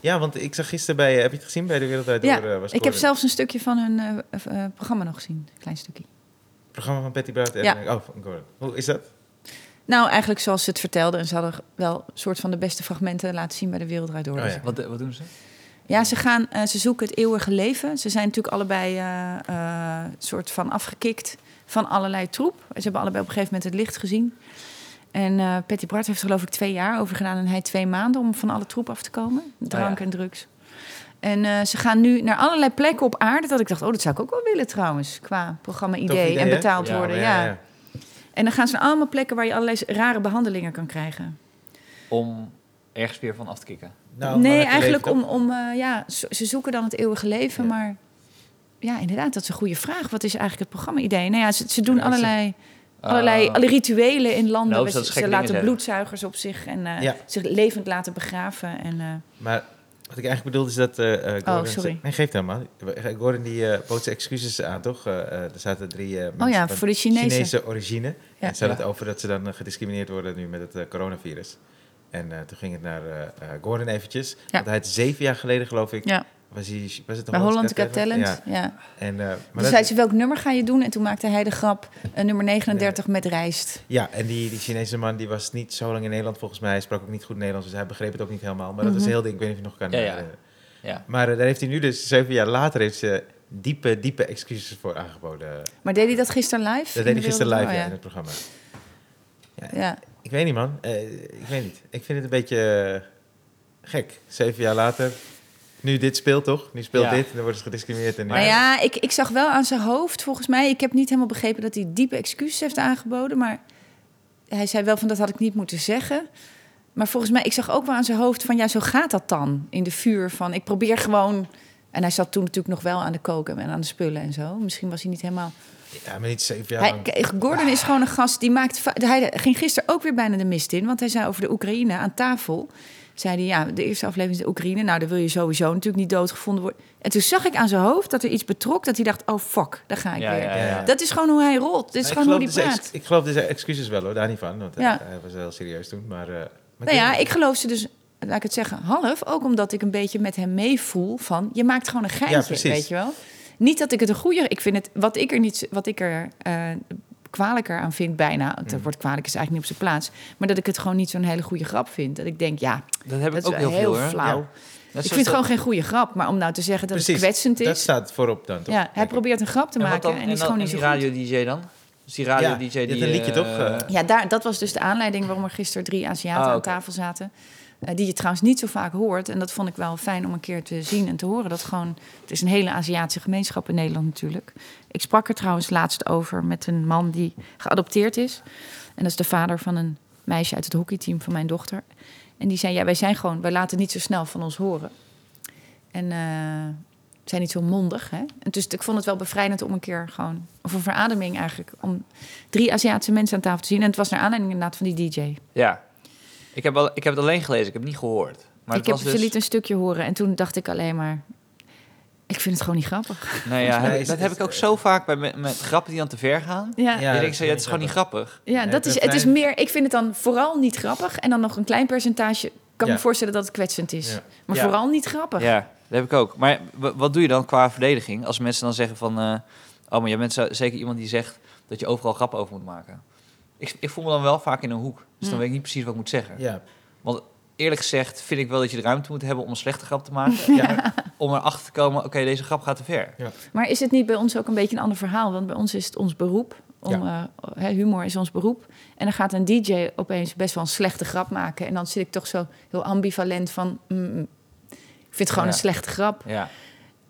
Speaker 1: Ja, want ik zag gisteren bij... eh, heb je het gezien bij De Wereld Draait Door?
Speaker 3: Ja,
Speaker 1: eh, was
Speaker 3: ik heb
Speaker 1: Gordon.
Speaker 3: zelfs een stukje van hun eh, eh, programma nog gezien. Een klein stukje.
Speaker 1: Het programma van Patty Brown.
Speaker 3: Ja.
Speaker 1: Oh, van Gordon. Hoe is dat?
Speaker 3: Nou, eigenlijk zoals ze het vertelden. En ze hadden wel een soort van de beste fragmenten laten zien bij de Wereld Draait Door.
Speaker 1: Oh,
Speaker 3: Dus
Speaker 1: ja.
Speaker 2: Wat, eh, wat doen ze?
Speaker 3: Ja, ze, gaan, eh, ze zoeken het eeuwige leven. Ze zijn natuurlijk allebei eh eh, soort van afgekikt van allerlei troep. Ze hebben allebei op een gegeven moment het licht gezien. En eh Patty Bart heeft er geloof ik twee jaar over gedaan en hij twee maanden om van alle troep af te komen. Drank
Speaker 2: ja.
Speaker 3: en drugs. En eh, ze gaan nu naar allerlei plekken op aarde. Dat ik dacht, oh, dat zou ik ook wel willen trouwens. Qua
Speaker 1: Tof
Speaker 3: programma-idee
Speaker 1: idee,
Speaker 3: en
Speaker 1: hè?
Speaker 3: betaald
Speaker 2: Ja,
Speaker 3: worden.
Speaker 1: maar
Speaker 3: Ja, En dan gaan ze naar allemaal plekken waar je allerlei rare behandelingen kan krijgen.
Speaker 2: Om ergens weer van af te kicken.
Speaker 1: Nou, maar
Speaker 3: nee,
Speaker 1: het
Speaker 3: eigenlijk
Speaker 1: leeft
Speaker 3: om,
Speaker 1: op.
Speaker 3: om eh, ja, zo- ze zoeken dan het eeuwige leven,
Speaker 1: Ja.
Speaker 3: maar ja, inderdaad, dat is een goede vraag. Wat is eigenlijk het programma-idee? Nou ja, ze, ze doen
Speaker 1: Ja, ze- Ah.
Speaker 3: allerlei, allerlei,
Speaker 2: Eh,
Speaker 3: alle rituelen in landen.
Speaker 2: Nou,
Speaker 3: We-
Speaker 2: dat is gekke
Speaker 3: ze ze
Speaker 2: dingen
Speaker 3: laten
Speaker 2: zeggen.
Speaker 3: bloedzuigers op zich en eh,
Speaker 1: Ja.
Speaker 3: zich levend laten begraven. En, eh,
Speaker 1: Maar wat ik eigenlijk bedoelde is dat... eh, eh, Gordon
Speaker 3: Oh, sorry.
Speaker 1: Nee, geeft helemaal. Gordon die eh bood zijn excuses aan, toch? Eh, eh, er zaten drie eh, mensen
Speaker 3: oh ja,
Speaker 1: van
Speaker 3: voor de Chinezen.
Speaker 1: Chinese origine.
Speaker 3: Ja.
Speaker 1: en ze hadden
Speaker 2: Ja.
Speaker 1: het over dat ze dan eh, gediscrimineerd worden nu met het eh, coronavirus. En eh, toen ging het naar eh, eh, Gordon eventjes. Want hij had zeven jaar geleden, geloof ik...
Speaker 3: Ja.
Speaker 1: Was, hij, was het
Speaker 3: Bij Holland Got Talent. Dus
Speaker 1: Ja.
Speaker 3: Ja.
Speaker 1: En, eh, maar
Speaker 3: Toen
Speaker 1: dat-
Speaker 3: zei ze welk nummer ga je doen? En toen maakte hij de grap eh, nummer 39 met rijst.
Speaker 1: Ja, en die, die Chinese man die was niet zo lang in Nederland volgens mij. Hij sprak ook niet goed Nederlands, dus hij begreep het ook niet helemaal. Maar dat was
Speaker 3: Mhm.
Speaker 1: heel ding, ik weet niet of je het nog kan
Speaker 2: Ja, ja.
Speaker 1: herinneren.
Speaker 2: ja.
Speaker 1: Maar eh, daar heeft hij nu dus, zeven jaar later, heeft ze diepe, diepe excuses voor aangeboden.
Speaker 3: Maar deed hij dat gisteren live?
Speaker 1: Dat
Speaker 3: In
Speaker 1: deed hij
Speaker 3: de
Speaker 1: gisteren live
Speaker 3: Wereld-
Speaker 1: ja,
Speaker 3: oh,
Speaker 1: in het programma.
Speaker 3: ja. ja.
Speaker 1: Ik weet niet man, Eh, ik weet niet. Ik vind het een beetje eh, gek. Zeven jaar later, nu dit speelt toch? Nu speelt
Speaker 2: Ja.
Speaker 1: dit en dan worden ze gediscrimineerd. En nu-
Speaker 3: Nou ja, ik, ik zag wel aan zijn hoofd, volgens mij. Ik heb niet helemaal begrepen dat hij diepe excuses heeft aangeboden. Maar hij zei wel van dat had ik niet moeten zeggen. Maar volgens mij, ik zag ook wel aan zijn hoofd van ja, zo gaat dat dan. In de vuur van ik probeer gewoon. En hij zat toen natuurlijk nog wel aan de koken en aan de spullen en zo. Misschien was hij niet helemaal.
Speaker 1: Ja, maar niet zeven jaar
Speaker 3: Hij,
Speaker 1: lang.
Speaker 3: K- Gordon is gewoon een gast die maakt. fa- Hij ging gisteren ook weer bijna de mist in, want hij zei over de Oekraïne aan tafel. Zei hij, ja, de eerste aflevering is de Oekraïne. Nou, dan wil je sowieso natuurlijk niet doodgevonden worden. En toen zag ik aan zijn hoofd dat er iets betrok, dat hij dacht, oh fuck, daar ga ik
Speaker 2: Ja,
Speaker 3: weer.
Speaker 2: ja,
Speaker 1: Ja,
Speaker 2: ja.
Speaker 1: ja.
Speaker 3: Dat is gewoon hoe hij rolt. Dit is
Speaker 1: Maar ik
Speaker 3: gewoon hoe
Speaker 1: geloof
Speaker 3: hij
Speaker 1: dus ex-
Speaker 3: praat.
Speaker 1: Ik geloof dus excuses wel hoor, daar niet van. Want
Speaker 3: Ja.
Speaker 1: hij, hij was wel serieus toen. Maar, eh, maar
Speaker 3: Nou ja,
Speaker 1: weet
Speaker 3: ik geloof ze dus, laat ik het zeggen, half. Ook omdat ik een beetje met hem meevoel van... je maakt gewoon een
Speaker 1: Ja,
Speaker 3: geintje,
Speaker 1: precies.
Speaker 3: weet je wel. Niet dat ik het een goede... Ik vind het, wat ik er, niet, wat ik er eh, kwalijker aan vind bijna... het
Speaker 1: Mm.
Speaker 3: woord kwalijk is eigenlijk niet op zijn plaats... maar dat ik het gewoon niet zo'n hele goede grap vind. Dat ik denk, ja,
Speaker 2: Dat heb
Speaker 3: dat
Speaker 2: ik
Speaker 3: is
Speaker 2: ook heel,
Speaker 3: heel,
Speaker 2: veel, hoor.
Speaker 3: flauw.
Speaker 1: Ja.
Speaker 2: Net
Speaker 3: Ik
Speaker 2: zoals
Speaker 3: vind het
Speaker 2: dat-
Speaker 3: gewoon geen goede grap. Maar om nou te zeggen dat
Speaker 1: Precies,
Speaker 3: het kwetsend
Speaker 1: Dat
Speaker 3: is...
Speaker 1: staat voorop dan toch?
Speaker 3: Ja, hij
Speaker 1: Denk ik.
Speaker 3: probeert een grap te
Speaker 2: En
Speaker 3: maken
Speaker 2: wat dan-
Speaker 3: en,
Speaker 2: en
Speaker 3: die is
Speaker 2: dan-
Speaker 3: gewoon
Speaker 2: en
Speaker 3: niet zo
Speaker 2: die
Speaker 3: goed.
Speaker 2: radio-dj dan? Dus die radio-dj
Speaker 1: Ja, je
Speaker 2: die...
Speaker 1: had een liedje
Speaker 2: eh,
Speaker 1: toch, eh?
Speaker 3: Ja, daar, dat was dus de aanleiding waarom er gisteren drie Aziaten
Speaker 2: Ah,
Speaker 3: aan
Speaker 2: oké.
Speaker 3: tafel zaten. Eh, die je trouwens niet zo vaak hoort. En dat vond ik wel fijn om een keer te zien en te horen. Dat gewoon, het is een hele Aziatische gemeenschap in Nederland natuurlijk. Ik sprak er trouwens laatst over met een man die geadopteerd is. En dat is de vader van een meisje uit het hockeyteam van mijn dochter. En die zei, ja, wij zijn gewoon, wij laten niet zo snel van ons horen. En eh, zijn niet zo mondig. Hè? En dus ik vond het wel bevrijdend om een keer gewoon... of een verademing eigenlijk, om drie Aziatische mensen aan tafel te zien. En het was naar aanleiding inderdaad van die DJ.
Speaker 2: Ja. Ik heb, wel, ik heb het alleen gelezen, ik heb het niet gehoord. Maar het
Speaker 3: ik heb,
Speaker 2: was
Speaker 3: Ze
Speaker 2: dus...
Speaker 3: liet een stukje horen en toen dacht ik alleen maar... Ik vind het gewoon niet grappig. *laughs*
Speaker 1: *laughs*
Speaker 2: Nou ja,
Speaker 1: mij
Speaker 2: heb-
Speaker 1: is-
Speaker 2: dat heb
Speaker 1: is-
Speaker 2: ik ook zo vaak bij me- met grappen die dan te ver gaan.
Speaker 3: Ja, ja.
Speaker 2: Ja, ik
Speaker 1: dat
Speaker 2: denk zo, ja,
Speaker 1: vind
Speaker 2: het
Speaker 1: ik
Speaker 2: is gewoon niet
Speaker 1: ook
Speaker 2: grappig.
Speaker 1: Nee,
Speaker 3: dat is,
Speaker 1: dat
Speaker 3: het is
Speaker 1: zijn-
Speaker 3: meer, ik vind het dan vooral niet grappig. En dan nog een klein percentage kan
Speaker 1: Ja.
Speaker 3: me voorstellen dat het kwetsend is.
Speaker 1: Ja.
Speaker 3: Maar
Speaker 2: Ja.
Speaker 3: vooral niet grappig.
Speaker 2: Ja, dat heb ik ook. Maar w- wat doe je dan qua verdediging? Als mensen dan zeggen van... eh, oh, maar jij bent zo- zeker iemand die zegt dat je overal grappen over moet maken. Ik, ik voel me dan wel vaak in een hoek. Dus dan
Speaker 3: Hm.
Speaker 2: weet ik niet precies wat ik moet zeggen.
Speaker 1: Ja,
Speaker 2: Eerlijk gezegd vind ik wel dat je de ruimte moet hebben om een slechte grap te maken.
Speaker 3: *laughs*
Speaker 1: ja, maar-
Speaker 2: Om erachter te komen, oké, deze grap gaat te ver.
Speaker 3: Maar is het niet bij ons ook een beetje een ander verhaal? Want bij ons is het ons beroep. Om, eh, hè, humor is ons beroep. En dan gaat een DJ opeens best wel een slechte grap maken. En dan zit ik toch zo heel ambivalent van. mm, mm, ik vind het gewoon
Speaker 2: Ja.
Speaker 3: een slechte grap.
Speaker 2: Ja. Ja,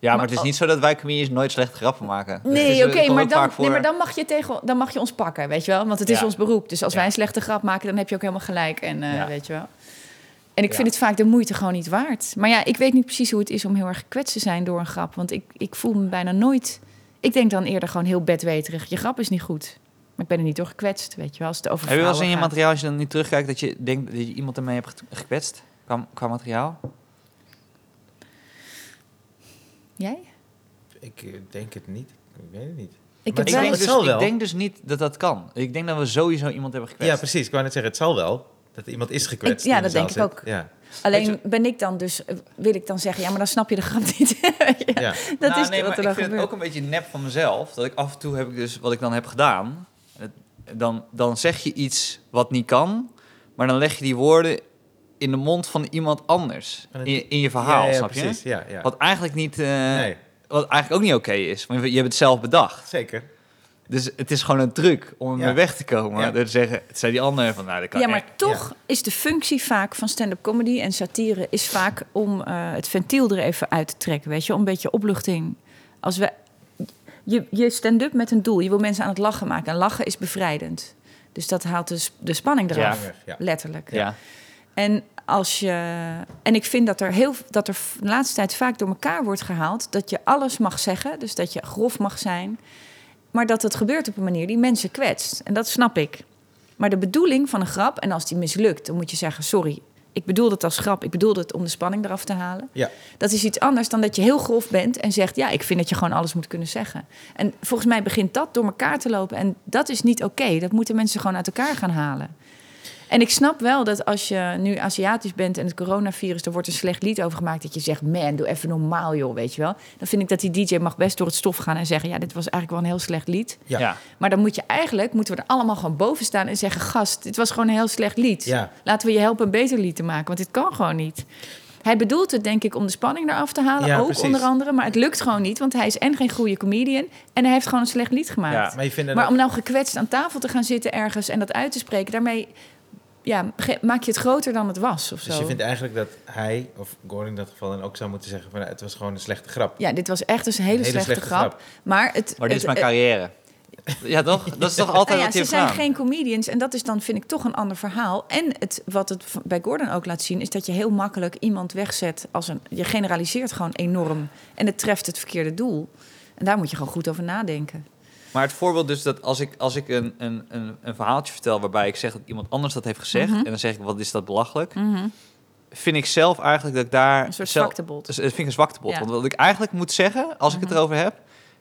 Speaker 2: maar,
Speaker 3: Maar
Speaker 2: het is
Speaker 3: al-
Speaker 2: niet zo dat wij comedians nooit slechte grappen maken. Het is,
Speaker 3: Nee,
Speaker 2: eh,
Speaker 3: oké,
Speaker 2: komt
Speaker 3: maar,
Speaker 2: ook
Speaker 3: dan,
Speaker 2: vaak
Speaker 3: nee,
Speaker 2: voor-
Speaker 3: maar dan, mag je tegen, dan mag je ons pakken, weet je wel? Want het is
Speaker 2: Ja.
Speaker 3: ons beroep. Dus als
Speaker 2: Ja.
Speaker 3: wij een slechte grap maken, dan heb je ook helemaal gelijk. En eh,
Speaker 2: Ja.
Speaker 3: weet je wel. En ik
Speaker 1: Ja.
Speaker 3: vind het vaak de moeite gewoon niet waard. Maar ja, ik weet niet precies hoe het is om heel erg gekwetst te zijn door een grap. Want ik, ik voel me bijna nooit... Ik denk dan eerder gewoon heel bedweterig. Je grap is niet goed. Maar ik ben er niet door gekwetst, weet je wel. Als het over
Speaker 2: Heb je wel eens in
Speaker 3: vrouwen
Speaker 2: je
Speaker 3: gaat.
Speaker 2: materiaal, als je dan niet terugkijkt, dat je denkt dat je iemand ermee hebt ge- gekwetst? Qua, qua materiaal?
Speaker 3: Jij?
Speaker 1: ik eh, denk het niet. Ik weet het niet.
Speaker 3: Ik
Speaker 1: Maar
Speaker 3: heb
Speaker 1: zal-
Speaker 2: Ik
Speaker 3: wel
Speaker 2: denk,
Speaker 1: het
Speaker 2: dus,
Speaker 1: zal
Speaker 2: ik
Speaker 1: wel.
Speaker 2: denk dus niet dat dat kan. Ik denk dat we sowieso iemand hebben
Speaker 1: Ja,
Speaker 2: gekwetst.
Speaker 1: precies. Ik wou net zeggen, het zal wel. Dat iemand is gekwetst.
Speaker 3: Ik- ja,
Speaker 1: in de
Speaker 3: dat denk
Speaker 1: zaal
Speaker 3: ik
Speaker 1: zit.
Speaker 3: ook. *laughs*
Speaker 1: Ja,
Speaker 3: Alleen ben ik dan dus... eh, Wil ik dan zeggen, ja, maar dan snap je de grap niet. *laughs* Weet je?
Speaker 1: ja.
Speaker 3: Dat
Speaker 2: Nou,
Speaker 3: is
Speaker 2: nee,
Speaker 3: wat
Speaker 2: maar
Speaker 3: er
Speaker 2: ik
Speaker 3: dan
Speaker 2: vind
Speaker 3: gebeurt.
Speaker 2: het ook een beetje nep van mezelf. Dat ik af en toe heb ik dus wat ik dan heb gedaan. het- Dan, dan zeg je iets wat niet kan, maar dan leg je die woorden in de mond van iemand anders.
Speaker 1: En het-
Speaker 2: In, in je verhaal,
Speaker 1: Ja, ja,
Speaker 2: snap je?
Speaker 1: precies. Ja, ja.
Speaker 2: Wat eigenlijk niet. eh,
Speaker 1: Nee,
Speaker 2: Wat eigenlijk ook niet oké is. Want je hebt het zelf bedacht.
Speaker 1: zeker.
Speaker 2: Dus het is gewoon een truc om ermee
Speaker 1: Ja.
Speaker 2: weg te komen.
Speaker 1: Ja.
Speaker 2: Door te zeggen, het zei die ander van, nou, dat kan
Speaker 3: Ja,
Speaker 2: echt
Speaker 3: maar toch is de functie vaak van stand-up comedy en satire is vaak om eh, het ventiel er even uit te trekken, weet je, om een beetje opluchting. Als we je, je stand-up met een doel, je wil mensen aan het lachen maken en lachen is bevrijdend. Dus dat haalt de, sp- de spanning
Speaker 2: Ja.
Speaker 3: eraf,
Speaker 1: Ja.
Speaker 3: letterlijk.
Speaker 2: Ja.
Speaker 3: En als je en ik vind dat er heel dat er de laatste tijd vaak door elkaar wordt gehaald dat je alles mag zeggen, dus dat je grof mag zijn, maar dat het gebeurt op een manier die mensen kwetst. En dat snap ik. Maar de bedoeling van een grap en als die mislukt, dan moet je zeggen sorry. Ik bedoelde het als grap. Ik bedoelde het om de spanning eraf te halen.
Speaker 1: Ja.
Speaker 3: Dat is iets anders dan dat je heel grof bent en zegt: Ja, ik vind dat je gewoon alles moet kunnen zeggen. En volgens mij begint dat door elkaar te lopen. En dat is niet oké. Dat moeten mensen gewoon uit elkaar gaan halen. En ik snap wel dat als je nu Aziatisch bent en het coronavirus, er wordt een slecht lied over gemaakt. Dat je zegt: Man, doe even normaal, joh, weet je wel. Dan vind ik dat die DJ mag best door het stof gaan en zeggen: Ja, dit was eigenlijk wel een heel slecht lied.
Speaker 1: Ja.
Speaker 2: Ja.
Speaker 3: Maar dan moet je eigenlijk, moeten we er allemaal gewoon boven staan en zeggen: Gast, dit was gewoon een heel slecht lied.
Speaker 1: Ja.
Speaker 3: Laten we je helpen een beter lied te maken, want dit kan gewoon niet. Hij bedoelt het, denk ik, om de spanning eraf te halen,
Speaker 1: Ja,
Speaker 3: ook
Speaker 1: precies.
Speaker 3: onder andere. Maar het lukt gewoon niet, want hij is en geen goede comedian en hij heeft gewoon een slecht lied gemaakt.
Speaker 1: Maar je vindt
Speaker 3: Maar
Speaker 1: dat...
Speaker 3: om nou gekwetst aan tafel te gaan zitten ergens en dat uit te spreken, daarmee ja, ge- maak je het groter dan het was of zo.
Speaker 1: Dus je vindt eigenlijk dat hij, of Gordon in dat geval, dan ook zou moeten zeggen van... nou, het was gewoon een slechte grap.
Speaker 3: Ja, dit was echt dus een hele, slechte, grap. Maar, het,
Speaker 2: Maar dit is
Speaker 3: het-
Speaker 2: mijn carrière. Ja,
Speaker 3: *laughs*
Speaker 2: toch? Dat is toch altijd
Speaker 3: Nou ja,
Speaker 2: wat je
Speaker 3: ze
Speaker 2: hebt
Speaker 3: zijn
Speaker 2: gedaan?
Speaker 3: geen comedians en dat is dan, vind ik, toch een ander verhaal. En het, wat het v- bij Gordon ook laat zien, is dat je heel makkelijk iemand wegzet als een. Je generaliseert gewoon enorm en het treft het verkeerde doel. En daar moet je gewoon goed over nadenken.
Speaker 2: Maar het voorbeeld dus dat als ik, als ik een, een, een, een verhaaltje vertel waarbij ik zeg dat iemand anders dat heeft gezegd...
Speaker 3: Mhm.
Speaker 2: en dan zeg ik, wat is dat belachelijk? Vind ik zelf eigenlijk dat ik daar...
Speaker 3: Een soort
Speaker 2: zelf-
Speaker 3: zwaktebod.
Speaker 2: Dus, dat vind ik een zwaktebod.
Speaker 3: Ja. Mhm.
Speaker 2: Want wat ik eigenlijk moet zeggen, als ik het erover heb...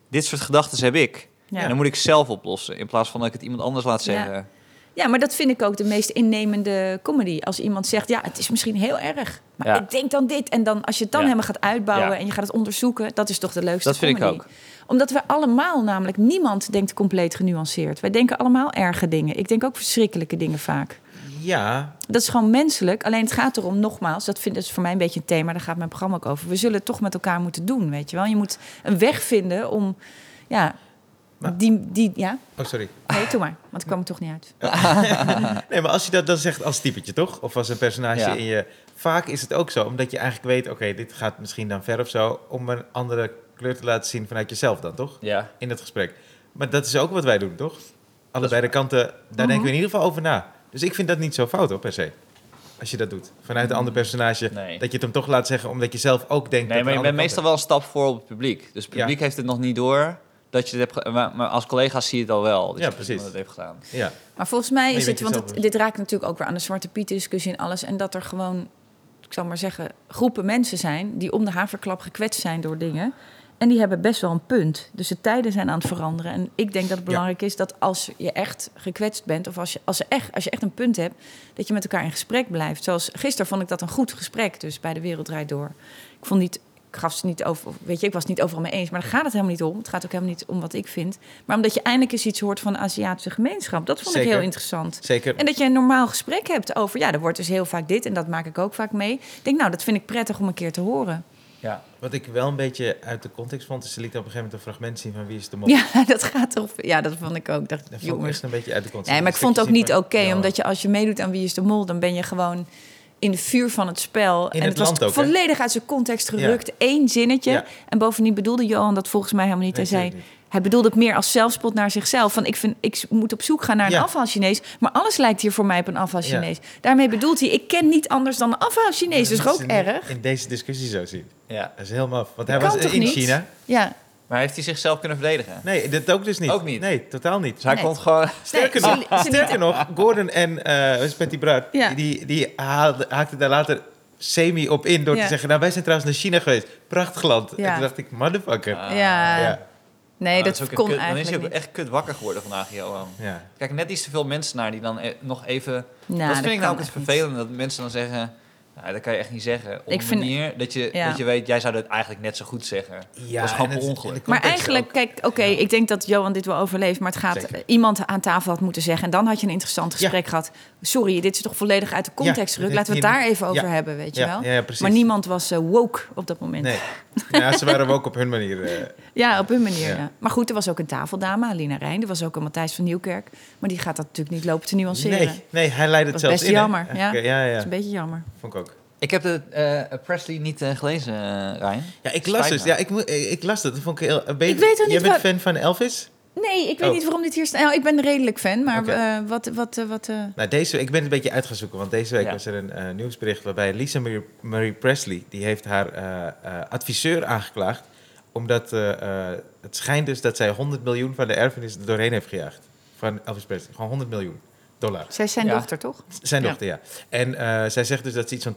Speaker 2: dit soort gedachten heb ik. En dan
Speaker 3: Ja.
Speaker 2: moet ik zelf oplossen. In plaats van dat ik het iemand anders laat
Speaker 3: Ja.
Speaker 2: zeggen.
Speaker 3: ja, maar dat vind ik ook de meest innemende comedy. Als iemand zegt, ja, het is misschien heel erg, maar
Speaker 2: Ja.
Speaker 3: ik denk dan dit. En dan als je het dan
Speaker 2: Ja.
Speaker 3: helemaal gaat uitbouwen
Speaker 2: Ja.
Speaker 3: en je gaat het onderzoeken, dat is toch de leukste
Speaker 2: Dat vind ik
Speaker 3: comedy.
Speaker 2: ook.
Speaker 3: Omdat we allemaal namelijk, niemand denkt compleet genuanceerd. Wij denken allemaal erge dingen. Ik denk ook verschrikkelijke dingen vaak.
Speaker 1: Ja,
Speaker 3: Dat is gewoon menselijk. Alleen het gaat erom, nogmaals, dat, vind, dat is voor mij een beetje een thema. Daar gaat mijn programma ook over. We zullen het toch met elkaar moeten doen, weet je wel. Je moet een weg vinden om, ja,
Speaker 1: Maar-
Speaker 3: die, die, ja.
Speaker 1: oh sorry.
Speaker 3: Nee, doe maar, want ik kwam er toch niet uit.
Speaker 1: Nee, maar als je dat dan zegt als typetje, toch? Of als een personage
Speaker 2: Ja.
Speaker 1: in je... Vaak is het ook zo, omdat je eigenlijk weet... oké, dit gaat misschien dan ver of zo... om een andere kleur te laten zien vanuit jezelf dan, toch?
Speaker 2: Ja.
Speaker 1: In dat gesprek. Maar dat is ook wat wij doen, toch? Allebei de kanten, daar
Speaker 2: Mhm.
Speaker 1: denken we in ieder geval over na. Dus ik vind dat niet zo fout, hoor, per se. Als je dat doet. Vanuit een ander personage.
Speaker 2: Mhm. Nee.
Speaker 1: Dat je het hem toch laat zeggen, omdat je zelf ook denkt...
Speaker 2: Nee,
Speaker 1: dat
Speaker 2: maar je
Speaker 1: de
Speaker 2: bent
Speaker 1: andere
Speaker 2: meestal
Speaker 1: kant
Speaker 2: wel een stap voor op het publiek. Dus het
Speaker 1: Ja.
Speaker 2: publiek heeft het nog niet door. Dat je het hebt ge- maar, maar als collega's zie je het al wel. Dat
Speaker 1: Ja,
Speaker 2: je dat
Speaker 1: precies.
Speaker 2: iemand Dat heeft gedaan.
Speaker 1: is. Ja,
Speaker 3: Maar volgens mij
Speaker 1: je
Speaker 3: is
Speaker 1: bent
Speaker 3: het, dus. want
Speaker 1: jezelf
Speaker 3: het- dit raakt natuurlijk ook weer aan de Zwarte Piet discussie en alles. En dat er gewoon, ik zal maar zeggen, groepen mensen zijn die om de haverklap gekwetst zijn door dingen. En die hebben best wel een punt. Dus de tijden zijn aan het veranderen. En ik denk dat het belangrijk is dat als je echt gekwetst bent... of als je, als, je echt, als je echt een punt hebt, dat je met elkaar in gesprek blijft. Zoals gisteren vond ik dat een goed gesprek, dus bij De Wereld Draait Door. Ik vond niet... Ik gaf ze niet over, weet je, ik was het niet overal mee eens. Maar daar gaat het helemaal niet om. Het gaat ook helemaal niet om wat ik vind. Maar omdat je eindelijk eens iets hoort van de Aziatische gemeenschap. Dat vond ik
Speaker 1: Zeker.
Speaker 3: heel interessant.
Speaker 1: Zeker.
Speaker 3: En dat je een normaal gesprek hebt over, ja, er wordt dus heel vaak dit en dat maak ik ook vaak mee. Ik denk, nou, dat vind ik prettig om een keer te horen.
Speaker 2: Ja.
Speaker 1: Wat ik wel een beetje uit de context vond, is ze liet op een gegeven moment een fragment zien van wie is de mol.
Speaker 3: Ja, *laughs* dat gaat toch. Ja, dat vond ik ook. Dacht,
Speaker 1: Dat vond ik
Speaker 3: jongens.
Speaker 1: echt een beetje uit de context.
Speaker 3: Nee, maar ik vond het ook
Speaker 1: Een stukje
Speaker 3: niet
Speaker 1: zien
Speaker 3: oké,
Speaker 1: van- Ja,
Speaker 3: omdat je als je meedoet aan Wie is de Mol, dan ben je gewoon in de vuur van het spel. en
Speaker 1: het
Speaker 3: het was
Speaker 1: land ook, hè?
Speaker 3: volledig uit zijn context gerukt. Eén zinnetje.
Speaker 1: Ja.
Speaker 3: En bovendien bedoelde Johan dat volgens mij helemaal niet.
Speaker 1: Nee,
Speaker 3: hij zei,
Speaker 1: tuurlijk
Speaker 3: hij bedoelde het meer als zelfspot naar zichzelf. Van ik, vind, ik moet op zoek gaan naar een
Speaker 1: Ja.
Speaker 3: afhaal-Chinees. Maar alles lijkt hier voor mij op een afhaal-Chinees.
Speaker 1: Ja.
Speaker 3: Daarmee bedoelt hij, ik ken niet anders dan een afhaal-Chinees. Dus
Speaker 1: Dat
Speaker 3: ook
Speaker 1: ze niet
Speaker 3: erg.
Speaker 1: In deze discussie zo zien.
Speaker 2: ja.
Speaker 1: Dat is heel maf. Want hij
Speaker 3: Kan
Speaker 1: was
Speaker 3: toch
Speaker 1: in
Speaker 3: niet?
Speaker 1: China.
Speaker 3: Ja.
Speaker 2: Maar heeft hij zichzelf kunnen verdedigen?
Speaker 1: Nee, dat ook dus niet.
Speaker 2: Ook niet.
Speaker 1: Nee, totaal niet.
Speaker 2: Dus hij
Speaker 3: Nee.
Speaker 2: komt gewoon...
Speaker 1: Sterker,
Speaker 3: Nee,
Speaker 1: nog,
Speaker 3: ze- ze
Speaker 1: sterker nog, Gordon en eh Patty Bruid,
Speaker 3: Ja.
Speaker 1: die, die haalde- haakten daar later semi op in door
Speaker 3: Ja.
Speaker 1: te zeggen... nou, wij zijn trouwens naar China geweest. Prachtig land. En
Speaker 3: Ja.
Speaker 1: toen dacht ik, motherfucker.
Speaker 2: Ah,
Speaker 3: ja.
Speaker 1: ja,
Speaker 3: Nee,
Speaker 2: Ah,
Speaker 3: dat,
Speaker 2: is ook een
Speaker 3: kon
Speaker 2: kut- Dan is
Speaker 3: eigenlijk
Speaker 2: hij ook
Speaker 3: niet.
Speaker 2: echt kut wakker geworden vandaag, Johan.
Speaker 1: ja.
Speaker 2: Kijk, net iets te veel mensen naar die dan e- nog even...
Speaker 3: Nou,
Speaker 2: dat vind ik
Speaker 3: kan
Speaker 2: nou ook het
Speaker 3: echt niet.
Speaker 2: vervelende, dat mensen dan zeggen... Nou, dat kan je echt niet zeggen. Op
Speaker 3: Ik
Speaker 2: een
Speaker 3: vind-
Speaker 2: manier dat je,
Speaker 3: Ja.
Speaker 2: dat je weet, jij zou dat eigenlijk net zo goed zeggen.
Speaker 1: Ja,
Speaker 2: dat is gewoon
Speaker 1: en
Speaker 2: per
Speaker 1: het-
Speaker 2: ongeluk.
Speaker 1: en de
Speaker 3: Maar
Speaker 1: context
Speaker 3: eigenlijk,
Speaker 1: ook.
Speaker 3: kijk, oké, ik denk dat Johan dit wel overleeft. Maar het gaat
Speaker 1: Zeker.
Speaker 3: iemand aan tafel had moeten zeggen. En dan had je een interessant gesprek gehad. Sorry, dit is toch volledig uit de context
Speaker 1: dit
Speaker 3: gerukt.
Speaker 1: heeft
Speaker 3: Laten we het
Speaker 1: hier-
Speaker 3: daar even over
Speaker 1: ja.
Speaker 3: hebben, weet je
Speaker 1: Ja,
Speaker 3: wel.
Speaker 1: ja, ja, precies.
Speaker 3: maar niemand was eh, woke op dat moment.
Speaker 1: Nee, ja, ze waren hem ook op hun manier. eh,
Speaker 3: Ja, op hun manier.
Speaker 1: Ja.
Speaker 3: ja. Maar goed, er was ook een tafeldame, Alina Rijn. Er was ook een Matthijs van Nieuwkerk. Maar die gaat dat natuurlijk niet lopen te nuanceren.
Speaker 1: nee, nee, hij leidde het
Speaker 3: Dat
Speaker 1: zelfs
Speaker 3: is best
Speaker 1: in. hè?
Speaker 3: jammer, ja.
Speaker 1: Oké, ja,
Speaker 3: Dat
Speaker 1: ja,
Speaker 3: is een beetje jammer.
Speaker 1: vond ik ook.
Speaker 2: Ik heb de eh, Presley niet eh, gelezen, eh, Ryan.
Speaker 1: Ja, ik
Speaker 2: Spijt
Speaker 1: las
Speaker 2: me.
Speaker 1: dus. Ja, ik, moet- ik ik las dat. Dat vond ik heel... een beetje-
Speaker 3: Ik weet ook
Speaker 1: Jij
Speaker 3: niet
Speaker 1: bent
Speaker 3: wat-
Speaker 1: fan van Elvis?
Speaker 3: Nee, ik weet
Speaker 1: Oh.
Speaker 3: niet waarom dit hier staat. Nou, ik ben redelijk fan, maar
Speaker 1: Oké.
Speaker 3: eh, wat... wat, eh, wat eh,
Speaker 1: Nou, deze, ik ben het een beetje uit gaan zoeken, want deze week
Speaker 2: Ja.
Speaker 1: was er een eh, nieuwsbericht waarbij Lisa Marie, Marie Presley, die heeft haar eh, eh, adviseur aangeklaagd, omdat eh, eh, het schijnt dus dat zij 100 miljoen van de erfenis er doorheen heeft gejaagd. Van Elvis Presley, gewoon 100 miljoen dollar.
Speaker 3: zij is zijn
Speaker 2: Ja.
Speaker 3: dochter, toch?
Speaker 1: Zijn
Speaker 3: Ja.
Speaker 1: dochter, ja. En eh, zij zegt dus dat ze iets van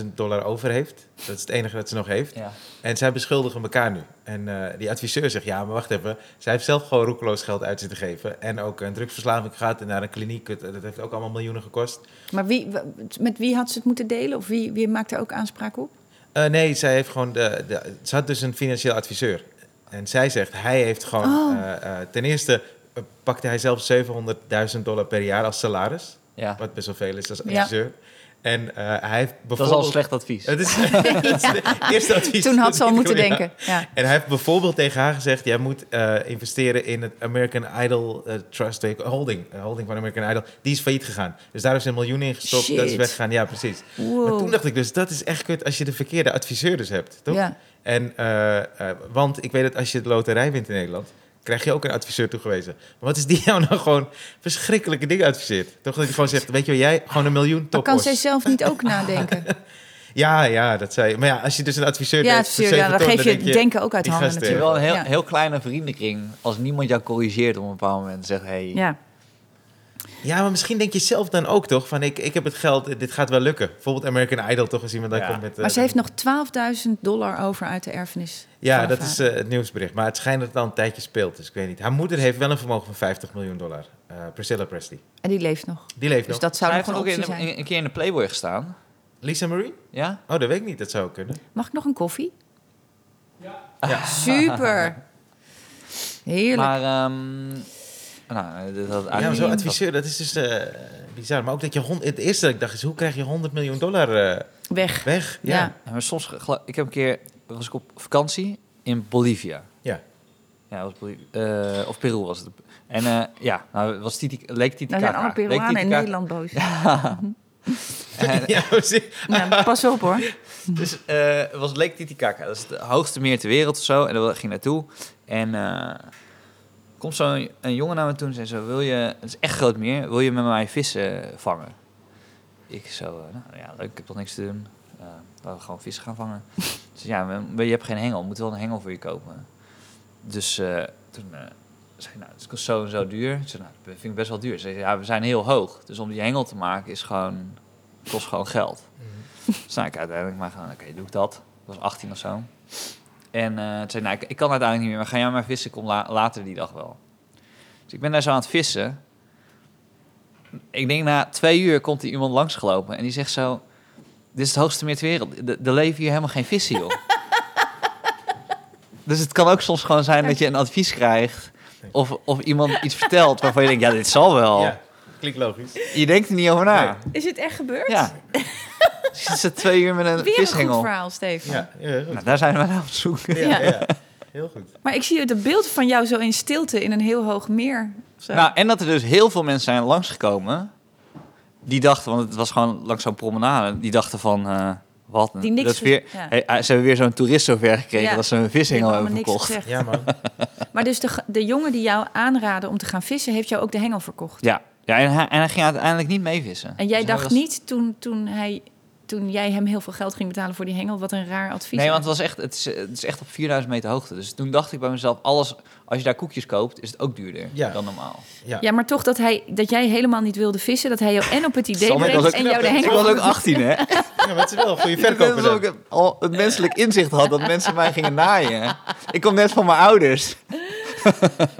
Speaker 1: 12.000 dollar over heeft. Dat is het enige dat ze nog heeft.
Speaker 2: Ja.
Speaker 1: En zij beschuldigen elkaar nu. En eh, die adviseur zegt, ja, maar wacht even. Zij heeft zelf gewoon roekeloos geld uit zitten geven. En ook een drugsverslaving gehad en naar een kliniek. Het- Dat heeft ook allemaal miljoenen gekost.
Speaker 3: Maar wie, w- met wie had ze het moeten delen? Of wie, wie maakt daar ook aanspraak
Speaker 1: *laughs*
Speaker 3: op?
Speaker 1: Eh, nee, zij heeft gewoon de, de- ze had dus een financieel adviseur. En zij zegt, hij heeft gewoon...
Speaker 3: Oh.
Speaker 1: eh, eh, ten eerste eh, pakte hij zelf 700.000 dollar per jaar als salaris.
Speaker 2: Ja.
Speaker 1: Wat best wel veel is als
Speaker 3: Ja.
Speaker 1: adviseur. En eh, hij heeft bijvoorbeeld...
Speaker 2: Dat is al slecht advies.
Speaker 1: Het is, het is
Speaker 3: *laughs*
Speaker 1: het eerste advies.
Speaker 3: Toen had ze al
Speaker 1: Ja.
Speaker 3: moeten denken. Ja.
Speaker 1: En hij heeft bijvoorbeeld tegen haar gezegd: jij moet eh, investeren in het American Idol eh, Trust weet ik- Holding. eh, holding van American Idol. Die is failliet gegaan. Dus daar is een miljoen in gestopt. Dat is
Speaker 3: Shit.
Speaker 1: weggegaan. Ja, precies.
Speaker 3: Wow.
Speaker 1: Maar toen dacht ik dus: dat is echt kut als je de verkeerde adviseur dus hebt, toch?
Speaker 3: Ja.
Speaker 1: En, eh, eh, want ik weet dat als je de loterij wint in Nederland, krijg je ook een adviseur toegewezen. Maar wat is die *laughs* jou nou gewoon verschrikkelijke dingen adviseert? Toch dat hij gewoon zegt, weet je wel, jij gewoon een miljoen
Speaker 3: Maar kan
Speaker 1: toppers.
Speaker 3: zij zelf niet ook
Speaker 1: *laughs*
Speaker 3: nadenken?
Speaker 1: Ja, ja, dat zei Maar ja, als je dus een adviseur
Speaker 3: ja,
Speaker 1: neemt
Speaker 3: het
Speaker 1: voor
Speaker 3: is- ja, dan
Speaker 1: zeven ton,
Speaker 3: geef je het
Speaker 1: denk
Speaker 3: denken ook uit
Speaker 1: die
Speaker 3: handen
Speaker 1: gasten-
Speaker 2: Het is
Speaker 3: natuurlijk.
Speaker 2: wel een heel,
Speaker 3: Ja.
Speaker 2: heel kleine vriendenkring. Als niemand jou corrigeert op een bepaald moment. Zeg, hey,
Speaker 3: Ja.
Speaker 1: Ja, maar misschien denk je zelf dan ook toch van ik, ik heb het geld, dit gaat wel lukken. Bijvoorbeeld American Idol toch als iemand daar
Speaker 2: Ja.
Speaker 1: komt met... eh,
Speaker 3: Maar ze heeft nog 12.000 dollar over uit de erfenis.
Speaker 1: Ja,
Speaker 3: van
Speaker 1: dat
Speaker 3: haar
Speaker 1: is
Speaker 3: vader.
Speaker 1: eh, het nieuwsbericht. Maar het schijnt dat het al een tijdje speelt, dus ik weet niet. Haar moeder heeft wel een vermogen van 50 miljoen dollar. Eh, Priscilla Presley.
Speaker 3: En die leeft nog.
Speaker 1: Die leeft
Speaker 3: Dus
Speaker 1: nog.
Speaker 3: dat zou
Speaker 2: Zij
Speaker 3: nog
Speaker 2: heeft
Speaker 3: een
Speaker 2: ook
Speaker 3: optie
Speaker 2: in,
Speaker 3: zijn.
Speaker 2: een, een keer in de Playboy gestaan.
Speaker 1: Lisa Marie?
Speaker 2: Ja?
Speaker 1: Oh, dat weet ik niet. Dat zou kunnen.
Speaker 3: Mag ik nog een koffie?
Speaker 2: *laughs*
Speaker 3: Ja. Super. Heerlijk.
Speaker 2: Maar, ehm nou, dat had
Speaker 1: ja, maar
Speaker 2: eigenlijk
Speaker 1: zo'n
Speaker 2: niet-
Speaker 1: adviseur, dat Ah, is dus eh, bizar. Maar ook dat je... hond- Het eerste dat ik dacht is, hoe krijg je 100 miljoen dollar eh,
Speaker 3: Weg.
Speaker 1: weg?
Speaker 3: Ja.
Speaker 1: Ja.
Speaker 2: Ja, maar soms, gelu- ik heb een keer, was ik op vakantie in Bolivia.
Speaker 1: Ja.
Speaker 2: Ja, was Bolivia, eh, of Peru was het. En eh, ja, nou, het was Titi, leek
Speaker 3: Nou
Speaker 2: Titicaca.
Speaker 3: zijn alle
Speaker 2: Leek
Speaker 3: Peruanen in
Speaker 2: Titicaca.
Speaker 3: Nederland boos.
Speaker 1: *laughs* Ja, precies.
Speaker 3: Ja, pas
Speaker 2: *laughs*
Speaker 3: op hoor.
Speaker 2: Dus eh, het was Lake Titicaca. Dat is het hoogste meer ter wereld of zo. En daar ging ik naartoe. En eh, komt zo'n een jongen naar me toe en zei zo... Wil je, het is echt groot meer, wil je met mij vissen vangen? Ik zo, eh, nou ja, leuk, ik heb toch niks te doen. Eh, laten we gewoon vissen gaan vangen. *laughs* Dus ja, maar- maar je hebt geen hengel. We moeten wel een hengel voor je kopen. Dus eh, toen eh, zei ik, nou, het kost zo en zo duur. Ik zei, nou, dat vind ik best wel duur. Ze zei, ja, we zijn heel hoog. Dus om die hengel te maken is gewoon, kost gewoon geld. Dus nou, ik uiteindelijk maar gaan, oké, doe ik dat. Ik was 18 of zo. En En eh, toen zei ik, nou, ik, ik kan uiteindelijk niet meer, maar ga jij maar vissen, kom la- later die dag wel. Dus ik ben daar zo aan het vissen. Ik denk na twee uur komt er iemand langsgelopen en die zegt zo... Dit is het hoogste meer ter wereld. De- Er leven hier helemaal geen vissen, joh. dus het kan ook soms gewoon zijn dat je een advies krijgt... Of, of iemand iets vertelt waarvan je denkt, ja, dit zal wel.
Speaker 1: Ja, klinkt logisch.
Speaker 2: Je denkt er niet over na.
Speaker 1: Nee.
Speaker 3: Is het echt gebeurd?
Speaker 2: Ja. Zit ze twee uur met een
Speaker 3: Weer een goed
Speaker 2: vishengel.
Speaker 3: verhaal, Steven.
Speaker 1: Ja, ja, goed.
Speaker 2: Nou, daar zijn we naar op zoek.
Speaker 1: Ja,
Speaker 3: Ja.
Speaker 1: ja. Heel goed.
Speaker 3: Maar ik zie het beeld van jou zo in stilte in een heel hoog meer. of Zo.
Speaker 2: Nou, en dat er dus heel veel mensen zijn langsgekomen. Die dachten, want het was gewoon langs zo'n promenade. Die dachten van, eh, wat?
Speaker 3: Die niks
Speaker 2: dat is weer,
Speaker 3: gezien, ja.
Speaker 2: Hey, eh, ze hebben weer zo'n toerist zover gekregen
Speaker 3: Ja.
Speaker 2: dat ze een
Speaker 3: Ik heb
Speaker 2: vishengel
Speaker 3: allemaal
Speaker 2: hebben
Speaker 3: niks
Speaker 2: verkocht.
Speaker 3: gezegd.
Speaker 1: Ja, man.
Speaker 3: Maar dus de, ge- de jongen die jou aanraden om te gaan vissen, heeft jou ook de hengel verkocht.
Speaker 2: Ja, ja en, hij, en hij ging uiteindelijk niet mee vissen.
Speaker 3: En jij
Speaker 2: Dus hij
Speaker 3: dacht
Speaker 2: was-
Speaker 3: niet toen, toen, hij, toen jij hem heel veel geld ging betalen voor die hengel, wat een raar advies.
Speaker 2: Nee, want het, was echt, het, is, het is echt op 4000 meter hoogte. Dus toen dacht ik bij mezelf, alles, als je daar koekjes koopt, is het ook duurder
Speaker 1: Ja.
Speaker 2: dan normaal.
Speaker 1: Ja.
Speaker 3: Ja, maar toch dat, hij, dat jij helemaal niet wilde vissen, dat hij jou en op het idee
Speaker 2: Sam, ik was
Speaker 3: brengt
Speaker 2: ook-
Speaker 3: en jou de
Speaker 2: Ik
Speaker 3: hengel
Speaker 2: was ook 18, hè?
Speaker 1: *laughs* ja, maar het is wel een goede
Speaker 2: Ik
Speaker 1: verkoper
Speaker 2: denk dat
Speaker 1: dan.
Speaker 2: ik het- al het menselijk inzicht had dat mensen mij gingen naaien. Ik kom net van mijn ouders.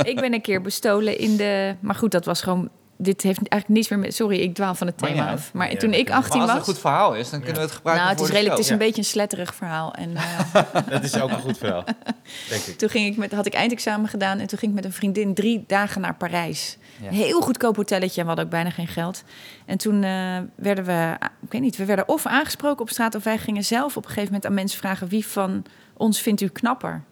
Speaker 3: Ik ben een keer bestolen in de. Maar goed, dat was gewoon. Dit heeft eigenlijk niets meer met. Sorry, ik dwaal van het
Speaker 2: Maar
Speaker 3: thema
Speaker 2: ja.
Speaker 3: af. Maar
Speaker 1: Ja,
Speaker 3: toen
Speaker 1: dat
Speaker 3: ik
Speaker 1: kan. Maar
Speaker 3: 18
Speaker 2: maar als het
Speaker 3: was.
Speaker 2: een goed verhaal is, dan kunnen we het gebruiken
Speaker 3: nou, het is
Speaker 2: voor de
Speaker 3: redelijk. Het is een
Speaker 1: show.
Speaker 3: beetje een sletterig verhaal. En eh, *laughs*
Speaker 1: Dat is ook een goed verhaal, denk ik.
Speaker 3: toen ging ik met, had ik eindexamen gedaan en toen ging ik met een vriendin drie dagen naar Parijs.
Speaker 2: Ja.
Speaker 3: Een heel goedkoop hotelletje en we hadden ook bijna geen geld. En toen eh, werden we, ik weet niet, we werden of aangesproken op straat of wij gingen zelf op een gegeven moment aan mensen vragen wie van ons vindt u knapper.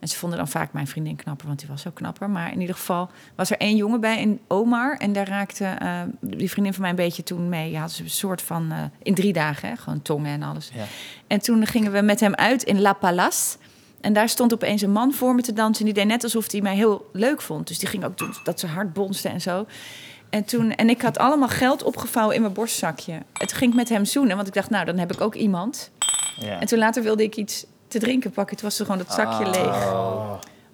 Speaker 3: En ze vonden dan vaak mijn vriendin knapper, want die was ook knapper. Maar in ieder geval was er één jongen bij, een Omar. En daar raakte eh, die vriendin van mij een beetje toen mee. Ja, dus een soort van, eh, in drie dagen, hè, gewoon tongen en alles.
Speaker 2: Ja.
Speaker 3: En toen gingen we met hem uit in La Palace. En daar stond opeens een man voor me te dansen. En die deed net alsof hij mij heel leuk vond. Dus die ging ook doen dat ze hard bonste en zo. En, toen, en ik had allemaal geld opgevouwen in mijn borstzakje. En toen ging ik met hem zoenen, want ik dacht, nou, dan heb ik ook iemand.
Speaker 2: Ja.
Speaker 3: En toen later wilde ik iets te drinken pakken. Toen was er gewoon dat zakje
Speaker 2: Ah.
Speaker 3: leeg.
Speaker 1: Oh,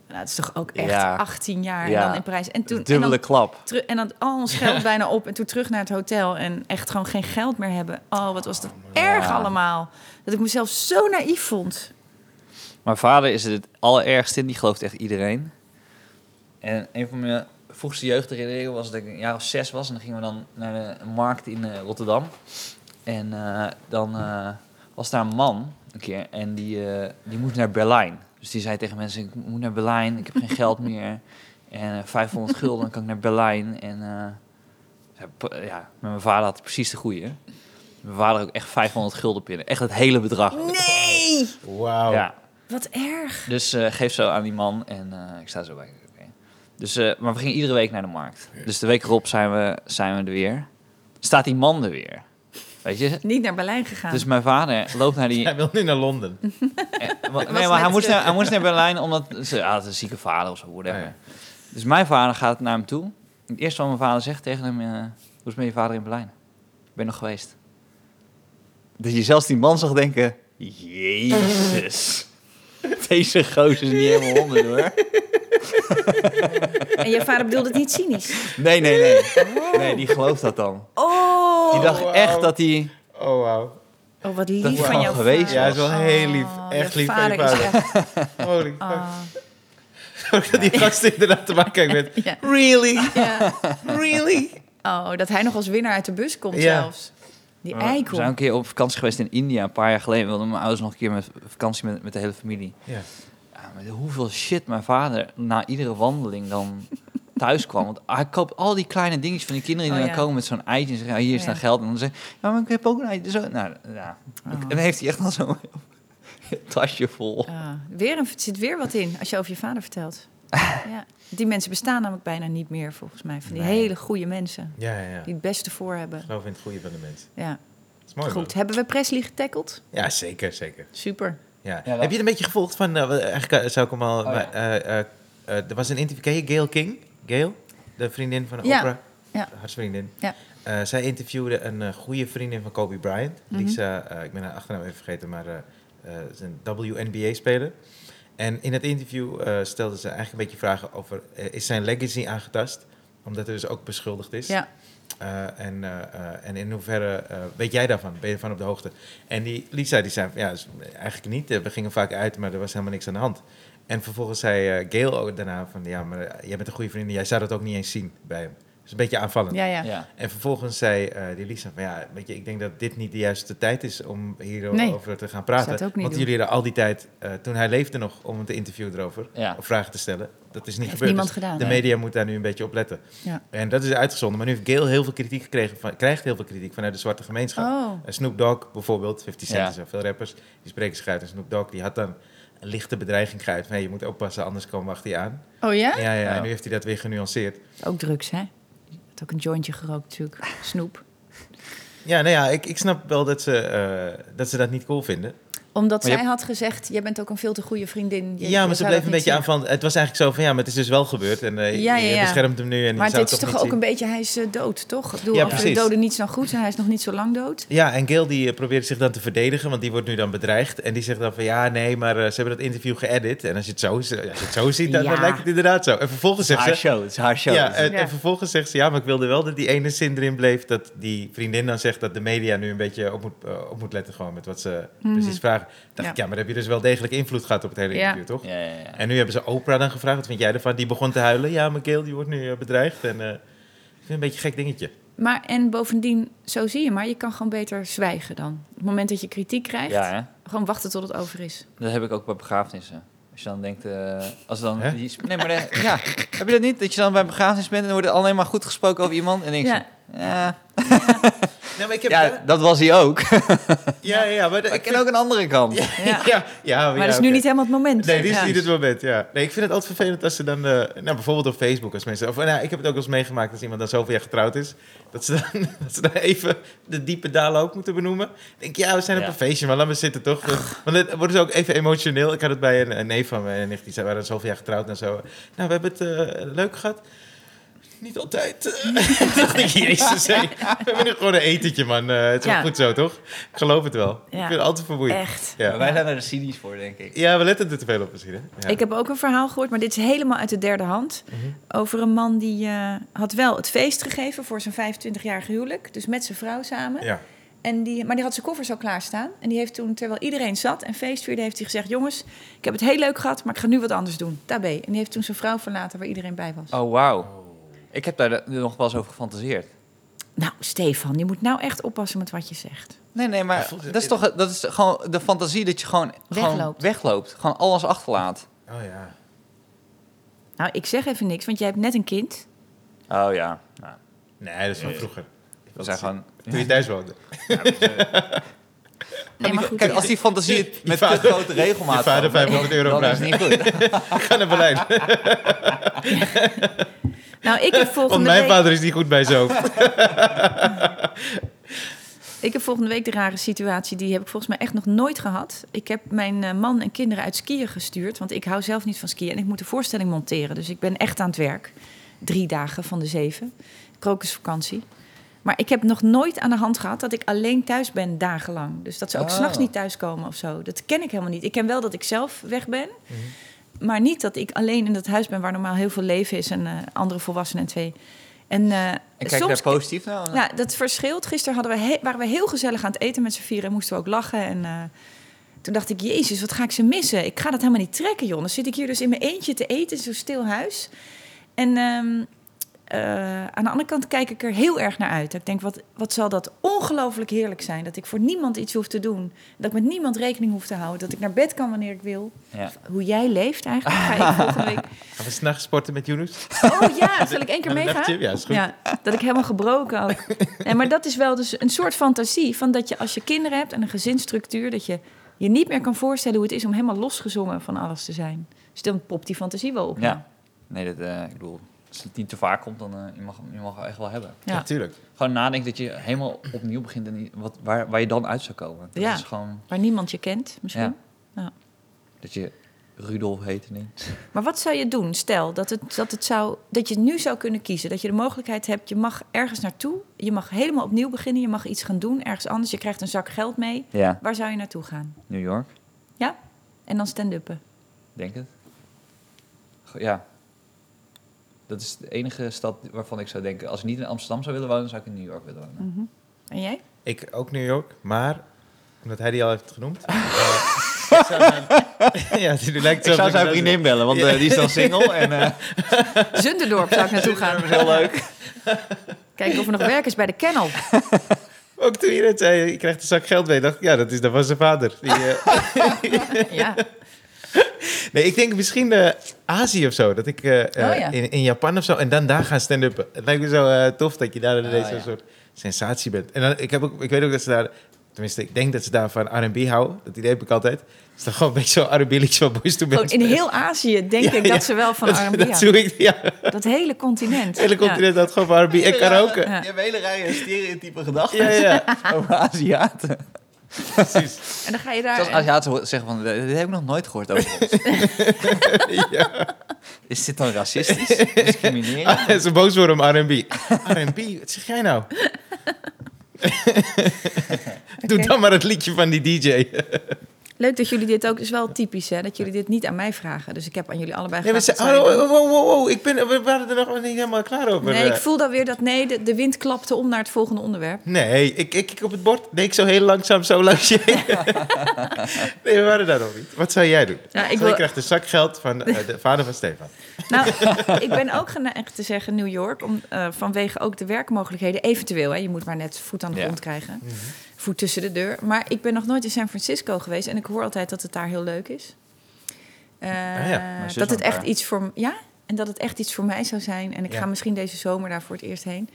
Speaker 3: Nou, dat is toch ook echt
Speaker 2: Ja.
Speaker 3: 18 jaar
Speaker 2: Ja.
Speaker 3: en dan in Parijs. En toen, en
Speaker 2: Dubbele
Speaker 3: dan,
Speaker 2: klap.
Speaker 3: teru- en dan al ons geld bijna op en toen terug naar het hotel. En echt gewoon geen geld meer hebben. Oh, wat was dat erg
Speaker 2: Ja.
Speaker 3: allemaal. Dat ik mezelf zo naïef vond.
Speaker 2: Mijn vader is het allerergst in, die gelooft echt iedereen. En een van mijn vroegste jeugdherinneringen was dat ik een jaar of zes was. En dan gingen we dan naar de markt in eh, Rotterdam. En eh, dan eh, was daar een man een keer en die, eh, die moest naar Berlijn. Dus die zei tegen mensen, ik moet naar Berlijn, ik heb geen geld meer. En eh, 500 gulden, dan kan ik naar Berlijn. En eh, ja, p- ja, maar mijn vader had precies de goede. Mijn vader ook echt 500 gulden pinnen. Echt het hele bedrag.
Speaker 3: Nee!
Speaker 1: wauw.
Speaker 2: Ja.
Speaker 3: Wat erg.
Speaker 2: Dus eh, geef zo aan die man en eh, ik sta zo bij. Oké. Dus, eh, maar we gingen iedere week naar de markt. Dus de week erop zijn we, zijn we er weer. Staat die man er weer? Weet je?
Speaker 3: Niet naar Berlijn gegaan.
Speaker 2: Dus mijn vader loopt naar
Speaker 1: *laughs*
Speaker 2: die.
Speaker 1: Hij wil nu naar Londen.
Speaker 2: eh, wa-
Speaker 3: net
Speaker 2: nee, maar hij moest,
Speaker 3: terug.
Speaker 2: naar, hij moest naar Berlijn omdat ze ah, het is een zieke vader of zo, whatever.
Speaker 1: Ja.
Speaker 2: Dus mijn vader gaat naar hem toe. Het eerste wat mijn vader zegt tegen hem: eh, Hoe is het met je vader in Berlijn? Ik ben nog geweest. Dat je zelfs die man zag denken:
Speaker 1: *laughs*
Speaker 2: Jezus, deze gozer is niet helemaal honderd hoor.
Speaker 3: En je vader bedoelde het niet cynisch.
Speaker 2: Nee, nee, nee. Nee, die gelooft dat dan.
Speaker 3: Oh,
Speaker 2: Die dacht
Speaker 1: wauw.
Speaker 2: echt dat hij...
Speaker 1: Oh, wauw.
Speaker 3: oh wat
Speaker 2: dat
Speaker 3: lief
Speaker 2: was
Speaker 3: van
Speaker 2: al
Speaker 3: jou.
Speaker 2: geweest
Speaker 1: Ja, hij is wel heel lief.
Speaker 3: Oh,
Speaker 1: Echt lief van je vader. Holy fuck. Ook dat die gast inderdaad te maken kijkt met...
Speaker 3: *laughs* Ja.
Speaker 1: *laughs* Really?
Speaker 3: Ja.
Speaker 1: Really?
Speaker 3: Oh, dat hij nog als winnaar uit de bus komt
Speaker 1: Ja.
Speaker 3: zelfs. Die
Speaker 2: Oh, We
Speaker 3: eikel.
Speaker 2: zijn een keer op vakantie geweest in India, een paar jaar geleden. We hadden mijn ouders nog een keer met vakantie met, met de hele familie.
Speaker 1: Ja.
Speaker 2: Ja, maar hoeveel shit mijn vader na iedere wandeling
Speaker 3: *laughs*
Speaker 2: dan thuis kwam. Want hij koopt al die kleine dingetjes van die kinderen die
Speaker 3: Oh,
Speaker 2: dan
Speaker 3: ja.
Speaker 2: komen met zo'n eitje. En zeggen, ja, hier is
Speaker 3: Ja.
Speaker 2: dan geld. En dan zeggen ja, maar ik heb ook een eitje. Zo, nou, ja.
Speaker 3: Oh.
Speaker 2: En dan heeft hij echt al zo'n *laughs* tasje vol.
Speaker 3: Ah, weer een, er zit weer wat in als je over je vader vertelt. ja. Die mensen bestaan namelijk bijna niet meer volgens mij. Van die
Speaker 2: Nee.
Speaker 3: hele goede mensen.
Speaker 1: Ja, ja, ja.
Speaker 3: Die het beste voor hebben.
Speaker 1: Ik geloof in het goede van de mens.
Speaker 3: Ja.
Speaker 1: Dat is mooi,
Speaker 3: Goed,
Speaker 1: man.
Speaker 3: hebben we Presley getackeld?
Speaker 1: Ja, zeker, zeker.
Speaker 3: Super.
Speaker 1: Ja.
Speaker 2: Ja, wel.
Speaker 1: Heb je het een beetje gevolgd van... eh, eigenlijk eh, zou ik hem
Speaker 3: Oh,
Speaker 1: al...
Speaker 2: ja.
Speaker 1: maar, eh, eh, eh, er was een interview... Ken je Gail King? Gail? De vriendin van
Speaker 3: Ja.
Speaker 1: Oprah?
Speaker 3: Ja.
Speaker 1: Haar vriendin.
Speaker 3: Ja.
Speaker 1: Eh, zij interviewde een eh, goede vriendin van Kobe Bryant.
Speaker 3: Mhm.
Speaker 1: Die is, eh, eh, ik ben haar achternaam even vergeten, maar eh eh, is een WNBA-speler. En in het interview eh, stelde ze eigenlijk een beetje vragen over... eh, is zijn legacy aangetast? Omdat hij dus ook beschuldigd is.
Speaker 3: Ja.
Speaker 1: Eh, en, eh, eh, en in hoeverre eh, weet jij daarvan? Ben je van op de hoogte? En die Lisa die zei, ja, is- eigenlijk niet. Eh, We gingen vaak uit, maar er was helemaal niks aan de hand. En vervolgens zei eh, Gail ook daarna van, ja, maar eh, jij bent een goede vriendin. Jij zou dat ook niet eens zien bij hem. Dus een beetje aanvallend.
Speaker 3: Ja, ja.
Speaker 2: ja.
Speaker 1: En vervolgens zei eh, die Lisa van, ja, weet je, ik denk dat dit niet de juiste tijd is om
Speaker 3: Nee,
Speaker 1: hierover te gaan praten.
Speaker 3: zou het ook niet
Speaker 1: Want
Speaker 3: doen.
Speaker 1: jullie hadden al die tijd, eh, toen hij leefde nog, om hem te interviewen erover.
Speaker 2: ja.
Speaker 1: Of vragen te stellen. Dat is niet
Speaker 3: Heeft
Speaker 1: gebeurd.
Speaker 3: niemand
Speaker 1: Dus
Speaker 3: gedaan.
Speaker 1: de
Speaker 2: Nee.
Speaker 1: media moet daar nu een beetje op letten.
Speaker 3: Ja.
Speaker 1: En dat is uitgezonden. Maar nu heeft Gail heel veel kritiek gekregen, van, krijgt heel veel kritiek vanuit de zwarte gemeenschap.
Speaker 3: Oh,
Speaker 1: Eh, Snoop Dogg bijvoorbeeld, 50 Cent,
Speaker 2: Ja.
Speaker 1: er zijn veel rappers, die spreken zich uit. En Snoop Dogg die had dan een lichte bedreiging geuit. Van, hey, je moet oppassen, anders komen we achter je aan.
Speaker 3: oh ja?
Speaker 1: Ja, ja,
Speaker 2: Ja.
Speaker 1: en nu heeft hij dat weer genuanceerd.
Speaker 3: Ook drugs, hè? Had ook een jointje gerookt natuurlijk. Snoep.
Speaker 1: Ja, nou ja, ik, ik snap wel dat ze, eh, dat ze dat niet cool vinden.
Speaker 3: Omdat
Speaker 2: Maar je
Speaker 3: zij had gezegd, jij bent ook een veel te goede vriendin. Je-
Speaker 1: ja,
Speaker 3: je
Speaker 1: maar ze
Speaker 3: zou
Speaker 1: bleef een
Speaker 3: dat
Speaker 1: beetje
Speaker 3: niet
Speaker 1: aan van... Het was eigenlijk zo van, ja, maar het is dus wel gebeurd. En eh,
Speaker 3: Ja,
Speaker 1: je
Speaker 3: ja, ja.
Speaker 1: beschermt hem nu en
Speaker 3: zien.
Speaker 1: je
Speaker 3: Maar
Speaker 1: zou
Speaker 3: het is toch,
Speaker 1: niet
Speaker 3: ook
Speaker 1: zien.
Speaker 3: een beetje, hij is eh, dood, toch? Ik bedoel,
Speaker 1: Ja,
Speaker 3: als de
Speaker 1: precies.
Speaker 3: doden niet zo goed zijn, hij is nog niet zo lang dood.
Speaker 1: Ja, en Gail die eh, probeert zich dan te verdedigen, want die wordt nu dan bedreigd. En die zegt dan van ja, nee, maar eh, ze hebben dat interview geëdit. En als je het zo, als je het zo ziet, dan, dan
Speaker 3: Ja.
Speaker 1: lijkt het inderdaad zo. En vervolgens
Speaker 2: Het is
Speaker 1: zegt
Speaker 2: haar
Speaker 1: ze.
Speaker 2: show, het is haar show.
Speaker 1: Ja, en,
Speaker 3: Ja.
Speaker 1: en vervolgens zegt ze ja, maar ik wilde wel dat die ene zin erin bleef. Dat die vriendin dan zegt dat de media nu een beetje op moet, eh, op moet letten, gewoon met wat ze
Speaker 3: Mhm.
Speaker 1: precies vragen. Dacht
Speaker 3: Ja.
Speaker 1: ik, ja, maar dan heb je dus wel degelijk invloed gehad op het hele
Speaker 3: Ja.
Speaker 1: interview, toch?
Speaker 2: ja, ja, ja.
Speaker 1: En nu hebben ze Oprah dan gevraagd, wat vind jij ervan? Die begon te huilen. Ja, maar Gail die wordt nu eh, bedreigd. En eh, ik vind het een beetje een gek dingetje.
Speaker 3: Maar en bovendien, zo zie je maar, je kan gewoon beter zwijgen dan. Op het moment dat je kritiek krijgt,
Speaker 2: Ja, hè?
Speaker 3: gewoon wachten tot het over is.
Speaker 2: Dat heb ik ook bij begrafenissen. Als je dan denkt, eh, als dan
Speaker 1: Hè?
Speaker 2: die- nee, maar de- ja, heb je dat niet? Dat je dan bij een begrafenis bent en er wordt alleen maar goed gesproken over iemand en denk
Speaker 1: *laughs*
Speaker 2: je,
Speaker 3: Ja.
Speaker 2: zo, ja,
Speaker 1: Nee, Nou, maar ik heb...
Speaker 2: ja,
Speaker 1: Ja,
Speaker 2: dat was hij *laughs* ook. Maar
Speaker 1: ja, ja maar
Speaker 2: ik ken ook een andere kant.
Speaker 1: Ja, *laughs* ja.
Speaker 3: Maar dat is nu niet helemaal het moment.
Speaker 1: Nee, dit is
Speaker 3: Ja.
Speaker 1: niet het moment, ja. Nee, ik vind het altijd vervelend als ze dan... eh, nou, bijvoorbeeld op Facebook als mensen... Of, nou, ik heb het ook wel eens meegemaakt als iemand dan zoveel jaar getrouwd is... dat ze dan, *laughs* dat ze dan even de diepe dalen ook moeten benoemen. Ik denk, ja, we zijn op
Speaker 2: Ja.
Speaker 1: een feestje, maar laat me zitten toch. Want dan worden ze ook even emotioneel. Ik had het bij een, een neef van mij en nicht, die zei, we waren zoveel jaar getrouwd en zo. Nou, we hebben het eh, leuk gehad. Niet altijd. *laughs* eh. dacht ik, jezus, hé. we hebben nu gewoon een etentje, man. Eh, het is wel
Speaker 3: Ja.
Speaker 1: goed zo, toch? Ik geloof het wel. Ik
Speaker 3: Ja.
Speaker 1: vind het altijd vermoeiend.
Speaker 3: Echt.
Speaker 1: Ja.
Speaker 2: Maar wij zijn er cynisch voor, denk ik.
Speaker 1: Ja, we letten er te veel op misschien. Hè? Ja.
Speaker 3: Ik heb ook een verhaal gehoord, maar dit is helemaal uit de derde hand.
Speaker 1: Mhm.
Speaker 3: Over een man die eh, had wel het feest gegeven voor zijn 25-jarig huwelijk. Dus met zijn vrouw samen.
Speaker 1: ja.
Speaker 3: En die, maar die had zijn koffers al klaarstaan. En die heeft toen, terwijl iedereen zat en feestvierde, heeft hij gezegd... jongens, ik heb het heel leuk gehad, maar ik ga nu wat anders doen. Tabé. En die heeft toen zijn vrouw verlaten waar iedereen bij was.
Speaker 2: Oh, wauw. Ik heb daar de- nog wel eens over gefantaseerd.
Speaker 3: Nou, Stefan, je moet nou echt oppassen met wat je zegt.
Speaker 2: Nee, nee, maar
Speaker 1: Maar voelt-
Speaker 2: dat is toch dat is gewoon de fantasie dat je gewoon gewoon
Speaker 3: Wegloopt.
Speaker 2: wegloopt. Gewoon alles achterlaat.
Speaker 1: Oh ja.
Speaker 3: Nou, ik zeg even niks, want jij hebt net een kind.
Speaker 2: Oh ja, nou,
Speaker 1: Nee, dat is van vroeger.
Speaker 2: we zijn gewoon...
Speaker 1: Toen je thuis woonde.
Speaker 3: Nee, maar goed.
Speaker 2: Kijk, als die fantasie het
Speaker 1: Je
Speaker 2: met te
Speaker 1: vader-
Speaker 2: grote regelmaat...
Speaker 1: je vader
Speaker 2: van-
Speaker 1: 500 euro
Speaker 2: dan is het niet *laughs* goed.
Speaker 1: Ik ga naar Berlijn.
Speaker 3: Nou, ik heb volgende
Speaker 1: Want mijn
Speaker 3: week...
Speaker 1: vader is niet goed bij zijn hoofd.
Speaker 3: Ik heb volgende week de rare situatie. Die heb ik volgens mij echt nog nooit gehad. Ik heb mijn eh, man en kinderen uit skiën gestuurd. Want ik hou zelf niet van skiën. En ik moet de voorstelling monteren. Dus ik ben echt aan het werk. Drie dagen van de zeven. Krokusvakantie. Maar ik heb nog nooit aan de hand gehad dat ik alleen thuis ben dagenlang. Dus dat ze ook
Speaker 2: Ah.
Speaker 3: s'nachts niet thuiskomen of zo. Dat ken ik helemaal niet. Ik ken wel dat ik zelf weg ben.
Speaker 2: Mhm.
Speaker 3: Maar niet dat ik alleen in dat huis ben waar normaal heel veel leven is. En eh, andere volwassenen en twee. En, eh,
Speaker 2: En kijk
Speaker 3: soms
Speaker 2: daar positief naar.
Speaker 3: ja, dat verschilt. Gisteren hadden we he- waren we heel gezellig aan het eten met z'n vieren en moesten we ook lachen. En eh, toen dacht ik, jezus, wat ga ik ze missen? Ik ga dat helemaal niet trekken, joh. Dan zit ik hier dus in mijn eentje te eten, in zo'n stil huis. En ehm, eh, aan de andere kant kijk ik er heel erg naar uit. Ik denk, wat, wat zal dat ongelooflijk heerlijk zijn? Dat ik voor niemand iets hoef te doen. Dat ik met niemand rekening hoef te houden. Dat ik naar bed kan wanneer ik wil.
Speaker 2: Ja.
Speaker 3: Hoe jij leeft eigenlijk, ga ik volgende week...
Speaker 1: Gaan we s'nachts sporten met Yunus?
Speaker 3: Oh
Speaker 1: *laughs*
Speaker 3: ja, zal ik één keer
Speaker 1: Een
Speaker 3: meegaan?
Speaker 1: nachtje? Ja, is goed.
Speaker 3: Ja, dat ik helemaal gebroken ook. Nee, maar dat is wel dus een soort fantasie van dat je als je kinderen hebt en een gezinsstructuur, dat je je niet meer kan voorstellen hoe het is om helemaal losgezongen van alles te zijn. Dus dan popt die fantasie wel op.
Speaker 2: Ja. Nee, dat, eh, ik bedoel, als het niet te vaak komt, dan eh, je mag je mag het echt wel hebben.
Speaker 3: Ja.
Speaker 1: Natuurlijk.
Speaker 2: Gewoon nadenken dat je helemaal opnieuw begint en wat, waar, waar je dan uit zou komen. Dat
Speaker 3: Ja.
Speaker 2: is gewoon
Speaker 3: Waar niemand je kent misschien.
Speaker 2: dat je Rudolf heet niet.
Speaker 3: Maar wat zou je doen, stel dat, het, dat, het zou, dat je nu zou kunnen kiezen, dat je de mogelijkheid hebt, je mag ergens naartoe, je mag helemaal opnieuw beginnen, je mag iets gaan doen ergens anders, je krijgt een zak geld mee.
Speaker 2: Ja,
Speaker 3: Waar zou je naartoe gaan?
Speaker 2: New York,
Speaker 3: Ja? En dan stand-uppen.
Speaker 2: denk het. Go- Ja. Dat is de enige stad waarvan ik zou denken... als ik niet in Amsterdam zou willen wonen, zou ik in New York willen wonen.
Speaker 3: Mhm. En jij?
Speaker 1: Ik ook New York, maar omdat hij die al heeft genoemd.
Speaker 3: *laughs*
Speaker 1: eh, ik zou mijn- ja, die lijkt
Speaker 2: Ik zou zijn vriendin bellen, want
Speaker 1: Ja.
Speaker 2: eh, die *laughs* is dan single. En, eh,
Speaker 3: Zunderdorp zou ik naartoe gaan.
Speaker 2: dat is heel leuk.
Speaker 3: Kijken of er nog werk is bij de kennel.
Speaker 1: Ook toen je net zei, je krijgt een zak geld mee, dacht ik, ja, dat, is, dat was zijn vader. Die, eh,
Speaker 3: Ja.
Speaker 1: nee, ik denk misschien eh, Azië of zo, dat ik eh, eh,
Speaker 3: Oh, ja.
Speaker 1: in, in Japan of zo, en dan daar gaan stand-uppen. Het lijkt me zo eh, tof dat je daar
Speaker 3: Oh,
Speaker 1: ineens
Speaker 2: Ah,
Speaker 1: zo'n
Speaker 2: ja.
Speaker 1: soort sensatie bent. En dan, ik, heb ook, ik weet ook dat ze daar, tenminste, ik denk dat ze daar van R&B houden, dat idee heb ik altijd. Het is dan gewoon een beetje zo'n R&B liedje van Boyz II
Speaker 3: Gewoon
Speaker 1: Men.
Speaker 3: in heel Azië denk
Speaker 1: Ja,
Speaker 3: ik dat
Speaker 1: ja.
Speaker 3: ze wel van
Speaker 1: Dat-
Speaker 3: R&B
Speaker 1: Dat
Speaker 3: houden.
Speaker 1: zoek ik, ja.
Speaker 3: Dat hele continent.
Speaker 1: Het hele continent had gewoon van R&B en karaoke.
Speaker 3: Ja.
Speaker 2: Je hebt hele rijen stereotype
Speaker 1: Ja,
Speaker 2: gedachten
Speaker 3: *laughs*
Speaker 1: ja,
Speaker 2: *laughs* over Aziaten.
Speaker 1: precies.
Speaker 3: Ja. En dan ga je daar...
Speaker 2: Zoals Aziaten ho- zeggen van, eh, dit heb ik nog nooit gehoord
Speaker 3: *laughs*
Speaker 2: over ons. Is dit dan racistisch? Discriminerend?
Speaker 1: Ah, ze boos worden om R&B. R&B, wat zeg jij
Speaker 3: *laughs*
Speaker 1: nou? *laughs* Doe
Speaker 3: Oké.
Speaker 1: dan maar het liedje van die DJ.
Speaker 3: Leuk dat jullie dit ook... is wel typisch, hè? Dat jullie dit niet aan mij vragen. Dus ik heb aan jullie allebei
Speaker 1: Nee, maar ze,
Speaker 3: gevraagd...
Speaker 1: oh,
Speaker 3: wat zouden
Speaker 1: oh, oh, oh, oh, ik ben, we waren er nog niet helemaal klaar over.
Speaker 3: Nee, ik
Speaker 1: Eh,
Speaker 3: voel dan weer dat nee, de, de wind klapte om naar het volgende onderwerp.
Speaker 1: nee ik, ik kijk op het bord. Nee, ik zo heel langzaam zo langs je.
Speaker 3: *laughs*
Speaker 1: heen. nee, we waren daar nog niet. Wat zou jij doen?
Speaker 3: Nou,
Speaker 1: Ik
Speaker 3: ik, wil,
Speaker 1: krijgt een zak geld van eh, de vader van Stefan.
Speaker 3: nou, ik ben ook geneigd te zeggen New York, om, eh, vanwege ook de werkmogelijkheden. Eventueel, hè, je moet maar net voet aan de
Speaker 2: Ja.
Speaker 3: grond krijgen.
Speaker 1: Mhm.
Speaker 3: Voet tussen de deur. Maar ik ben nog nooit in San Francisco geweest en ik hoor altijd dat het daar heel leuk is. Eh,
Speaker 1: Ah ja, mijn
Speaker 2: zus
Speaker 3: dat het
Speaker 2: woont
Speaker 3: echt
Speaker 2: daar.
Speaker 3: iets voor ja, en dat het echt iets voor mij zou zijn. En ik
Speaker 1: Ja.
Speaker 3: ga misschien deze zomer daar voor het eerst heen.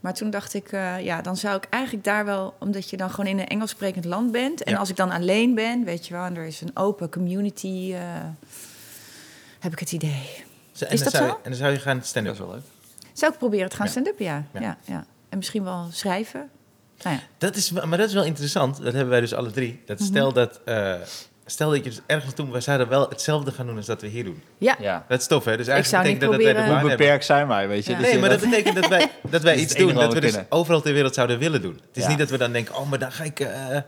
Speaker 3: Maar toen dacht ik, eh, ja, dan zou ik eigenlijk daar wel, omdat je dan gewoon in een Engels sprekend land bent. En
Speaker 1: Ja.
Speaker 3: als ik dan alleen ben, weet je wel, en er is een open community, eh, heb ik het idee.
Speaker 1: Zo, en
Speaker 3: Is
Speaker 1: dan
Speaker 3: dat
Speaker 1: zou
Speaker 3: zo?
Speaker 1: Je, en dan zou je gaan
Speaker 2: Dat
Speaker 1: stand-up.
Speaker 2: is wel leuk.
Speaker 3: Zou ik proberen te gaan
Speaker 1: Ja.
Speaker 3: stand-up, ja.
Speaker 1: Ja.
Speaker 3: Ja. Ja, En misschien wel schrijven. Nou ja.
Speaker 1: Dat is, wel- maar dat is wel interessant. Dat hebben wij dus alle drie. Dat
Speaker 3: Mhm.
Speaker 1: stel, dat, eh, stel dat je dus ergens toen... We zouden wel hetzelfde gaan doen als dat we hier doen.
Speaker 3: ja.
Speaker 2: Ja.
Speaker 1: Dat is tof, hè? Dus
Speaker 3: Ik zou
Speaker 1: eigenlijk
Speaker 3: niet
Speaker 1: betekent dat, dat wij de
Speaker 3: proberen-
Speaker 1: baan
Speaker 2: Hoe
Speaker 1: hebben.
Speaker 2: beperkt zijn wij, weet je?
Speaker 3: Ja.
Speaker 2: Dus
Speaker 1: Nee,
Speaker 2: je
Speaker 1: maar dat
Speaker 2: dat-
Speaker 1: betekent dat
Speaker 2: *laughs*
Speaker 1: wij, dat wij
Speaker 2: is
Speaker 1: iets
Speaker 2: het enige
Speaker 1: doen. Dat
Speaker 2: wat
Speaker 1: we
Speaker 2: we
Speaker 1: dus
Speaker 2: kunnen.
Speaker 1: overal ter wereld zouden willen doen. Het is
Speaker 2: Ja.
Speaker 1: niet dat we dan denken, oh, maar dan ga ik... eh,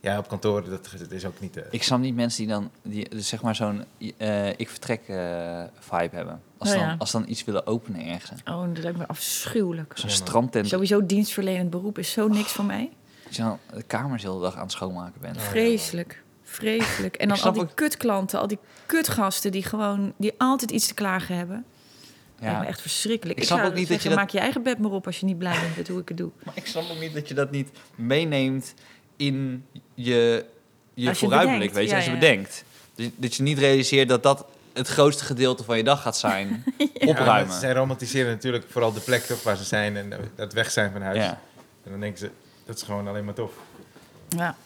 Speaker 1: ja, op kantoor, dat, dat is ook niet... eh,
Speaker 2: Ik snap niet mensen die dan, die, dus zeg maar zo'n eh, ik vertrek eh, vibe hebben. Als
Speaker 3: Oh
Speaker 2: ze
Speaker 3: ja.
Speaker 2: dan, als ze dan iets willen openen ergens.
Speaker 3: Oh, dat lijkt me afschuwelijk.
Speaker 2: Zo'n Oh,
Speaker 1: Ja, man.
Speaker 2: strandtent.
Speaker 3: Sowieso dienstverlenend beroep is zo niks voor mij.
Speaker 2: Als je dan de kamers de hele dag aan het schoonmaken bent.
Speaker 3: Vreselijk. Vreselijk.
Speaker 2: Ik
Speaker 3: En dan al
Speaker 2: snap
Speaker 3: die
Speaker 2: ook-
Speaker 3: kutklanten, al die kutgasten die gewoon, die altijd iets te klagen hebben. Lijkt me echt verschrikkelijk.
Speaker 2: Ik snap
Speaker 3: zou
Speaker 2: ook niet dat
Speaker 3: zeggen,
Speaker 2: je dat-
Speaker 3: maak je eigen bed maar op als je niet blij bent met hoe ik het doe.
Speaker 2: Maar ik snap ook niet dat je dat niet meeneemt in je, je
Speaker 3: Als je
Speaker 2: vooruitblik,
Speaker 3: bedenkt,
Speaker 2: weet je,
Speaker 3: ja,
Speaker 2: als je
Speaker 3: ja.
Speaker 2: bedenkt. Dus, dat je niet realiseert dat dat het grootste gedeelte van je dag gaat
Speaker 3: *laughs*
Speaker 2: zijn.
Speaker 1: Ja, maar
Speaker 2: Opruimen.
Speaker 1: zij romantiseren natuurlijk vooral de plek toch, waar ze zijn en eh, dat weg zijn van huis.
Speaker 2: Ja.
Speaker 1: En dan denken ze, dat is gewoon alleen maar tof.
Speaker 3: Ja.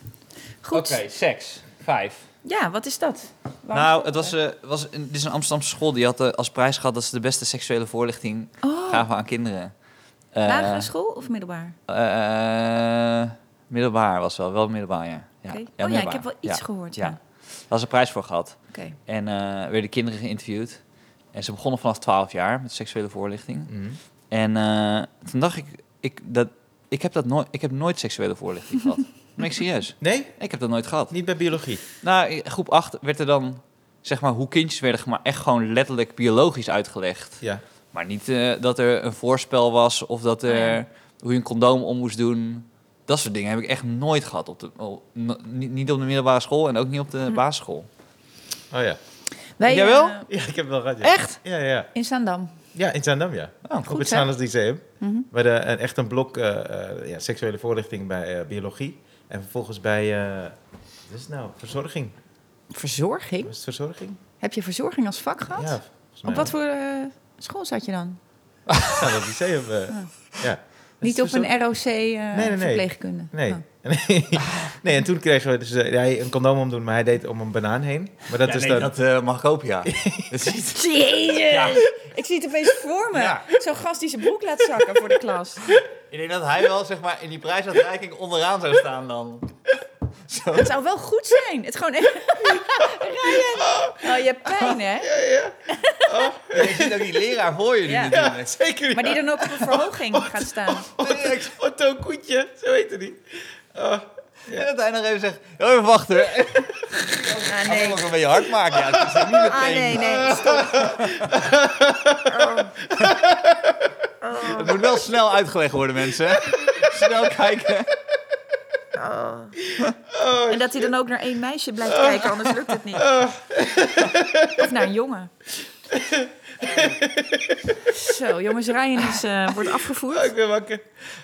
Speaker 3: Goed.
Speaker 2: seks. Vijf.
Speaker 3: Ja, wat is dat? Waarom
Speaker 2: Nou,
Speaker 3: is
Speaker 2: het
Speaker 3: dat
Speaker 2: was,
Speaker 3: er?
Speaker 2: eh was een, dit is een Amsterdamse school die had eh, als prijs gehad dat ze de beste seksuele voorlichting
Speaker 3: Oh,
Speaker 2: gaven aan kinderen. Eh,
Speaker 3: lagere school of middelbaar?
Speaker 2: eh, middelbaar was wel, wel middelbaar, ja. ja.
Speaker 3: Oké. oh ja, ik
Speaker 2: middelbaar.
Speaker 3: heb wel iets
Speaker 2: Ja,
Speaker 3: gehoord. Ja.
Speaker 2: ja. Daar was een prijs voor gehad.
Speaker 3: Oké.
Speaker 2: En eh werden kinderen geïnterviewd. En ze begonnen vanaf 12 jaar met seksuele voorlichting. En eh, toen dacht ik, ik, dat, ik, heb dat nooit, ik heb nooit seksuele voorlichting *laughs* gehad. Ben ik serieus?
Speaker 1: Nee,
Speaker 2: Ik heb dat nooit gehad.
Speaker 1: niet bij biologie.
Speaker 2: Nou, in groep 8 werd er dan, zeg maar, hoe kindjes werden gemaakt, echt gewoon letterlijk biologisch uitgelegd.
Speaker 1: Ja.
Speaker 2: Maar niet eh, dat er een voorspel was of dat er
Speaker 3: Ah,
Speaker 2: hoe je een condoom om moest doen. Dat soort dingen heb ik echt nooit gehad. Op de, oh, no- niet niet op de middelbare school en ook niet op de basisschool.
Speaker 1: Oh ja.
Speaker 3: Wij,
Speaker 2: Jawel?
Speaker 3: eh,
Speaker 1: *laughs* Ja, ik heb wel gehad. ja.
Speaker 2: Echt?
Speaker 1: Ja, ja.
Speaker 3: in Zandam.
Speaker 1: Ja, in Zaandam, ja.
Speaker 2: Oh,
Speaker 1: Op het
Speaker 3: hè?
Speaker 1: Zaanders Lyceum.
Speaker 3: Mhm.
Speaker 1: We hadden een- echt een blok eh, eh, ja, seksuele voorlichting bij eh, biologie. En vervolgens bij, eh wat is het nou, verzorging.
Speaker 3: Verzorging?
Speaker 1: Was het verzorging?
Speaker 3: Heb je verzorging als vak gehad?
Speaker 1: Ja, volgens mij.
Speaker 3: Op wat voor eh, school zat je dan?
Speaker 1: wel. *laughs* Zaanders Lyceum. eh,
Speaker 3: Ah.
Speaker 1: ja.
Speaker 3: Niet op een ROC eh
Speaker 1: nee, nee.
Speaker 3: verpleegkunde?
Speaker 1: Nee.
Speaker 3: Oh. *laughs*
Speaker 1: *laughs* nee. Nee, en toen kregen we dus eh, hij een condoom omdoen, maar hij deed om een banaan heen. Maar dat
Speaker 2: Ja,
Speaker 1: is
Speaker 2: nee,
Speaker 1: dan...
Speaker 2: dat eh, mag ik ook, *laughs* ja. Dat is-
Speaker 3: Jezus!
Speaker 2: Ja.
Speaker 3: Ik zie het opeens voor me.
Speaker 2: Ja.
Speaker 3: Zo'n gast die zijn broek laat zakken voor de klas.
Speaker 2: Ik denk dat hij wel zeg maar, in die prijsuitreiking onderaan zou staan dan. Zo.
Speaker 3: Het zou wel goed zijn. Het gewoon even... *laughs* Ryan! Oh, je hebt pijn, hè?
Speaker 2: Je ziet ook die leraar voor je nu
Speaker 3: Ja.
Speaker 2: natuurlijk.
Speaker 1: Ja, *laughs* zeker.
Speaker 3: Maar die dan
Speaker 1: Oh,
Speaker 3: ook op een verhoging gaat staan.
Speaker 1: Otto Koetje, zo heette die. Oh,
Speaker 2: En dat hij nog even zegt, "Oh, even wachten. Ik
Speaker 3: Ah,
Speaker 2: ga hem
Speaker 3: nee.
Speaker 2: nog een beetje hard maken. Ja, het is er niet meteen.
Speaker 3: Ah, nee, nee. Stop.
Speaker 2: Het moet wel snel uitgelegd worden, mensen. snel kijken.
Speaker 3: En dat hij dan ook naar één meisje blijft kijken, anders lukt het niet. Of naar een jongen. Zo, jongens, Ryan is, eh, wordt afgevoerd.
Speaker 1: oh, Ik ben wakker.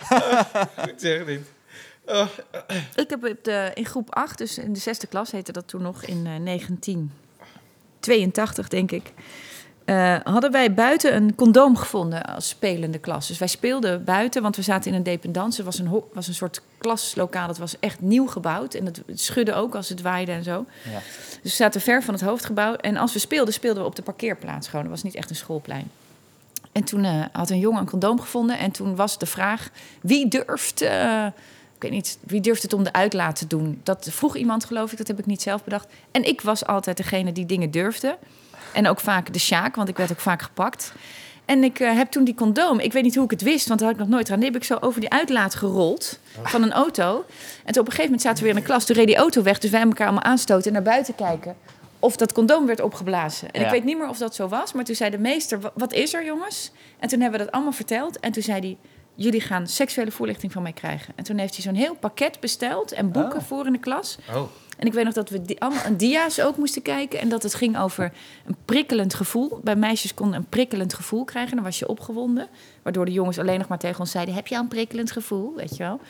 Speaker 1: Ah, *laughs* ik zeg het niet. Oh,
Speaker 3: Ik heb op de, in groep 8, dus in de zesde klas heette dat toen nog, in eh, 1982 denk ik. eh, hadden wij buiten een condoom gevonden als spelende klas. Dus wij speelden buiten, want we zaten in een dependance. Het was een, ho- was een soort klaslokaal, dat was echt nieuw gebouwd. En het schudde ook als het waaide en zo.
Speaker 2: Ja.
Speaker 3: Dus we zaten ver van het hoofdgebouw. En als we speelden, speelden we op de parkeerplaats gewoon. Dat was niet echt een schoolplein. En toen eh, had een jongen een condoom gevonden. En toen was de vraag: wie durft. eh, ik weet niet, wie durft het om de uitlaat te doen? Dat vroeg iemand, geloof ik, dat heb ik niet zelf bedacht. En ik was altijd degene die dingen durfde. En ook vaak de sjaak, want ik werd ook vaak gepakt. En ik eh, heb toen die condoom, ik weet niet hoe ik het wist, want dat had ik nog nooit gedaan. Die heb ik zo over die uitlaat gerold van een auto. En toen op een gegeven moment zaten we weer in de klas, toen reed die auto weg. Dus wij elkaar allemaal aanstoten en naar buiten kijken of dat condoom werd opgeblazen. En
Speaker 2: Ja.
Speaker 3: ik weet niet meer of dat zo was, maar toen zei de meester, "Wa- wat is er jongens? En toen hebben we dat allemaal verteld. En toen zei hij, jullie gaan seksuele voorlichting van mij krijgen. En toen heeft hij zo'n heel pakket besteld en boeken
Speaker 2: Oh.
Speaker 3: voor in de klas.
Speaker 1: oh.
Speaker 3: En ik weet nog dat we di- allemaal aan dia's ook moesten kijken. En dat het ging over een prikkelend gevoel. Bij meisjes konden een prikkelend gevoel krijgen. Dan was je opgewonden. Waardoor de jongens alleen nog maar tegen ons zeiden... heb je al een prikkelend gevoel? Weet je wel.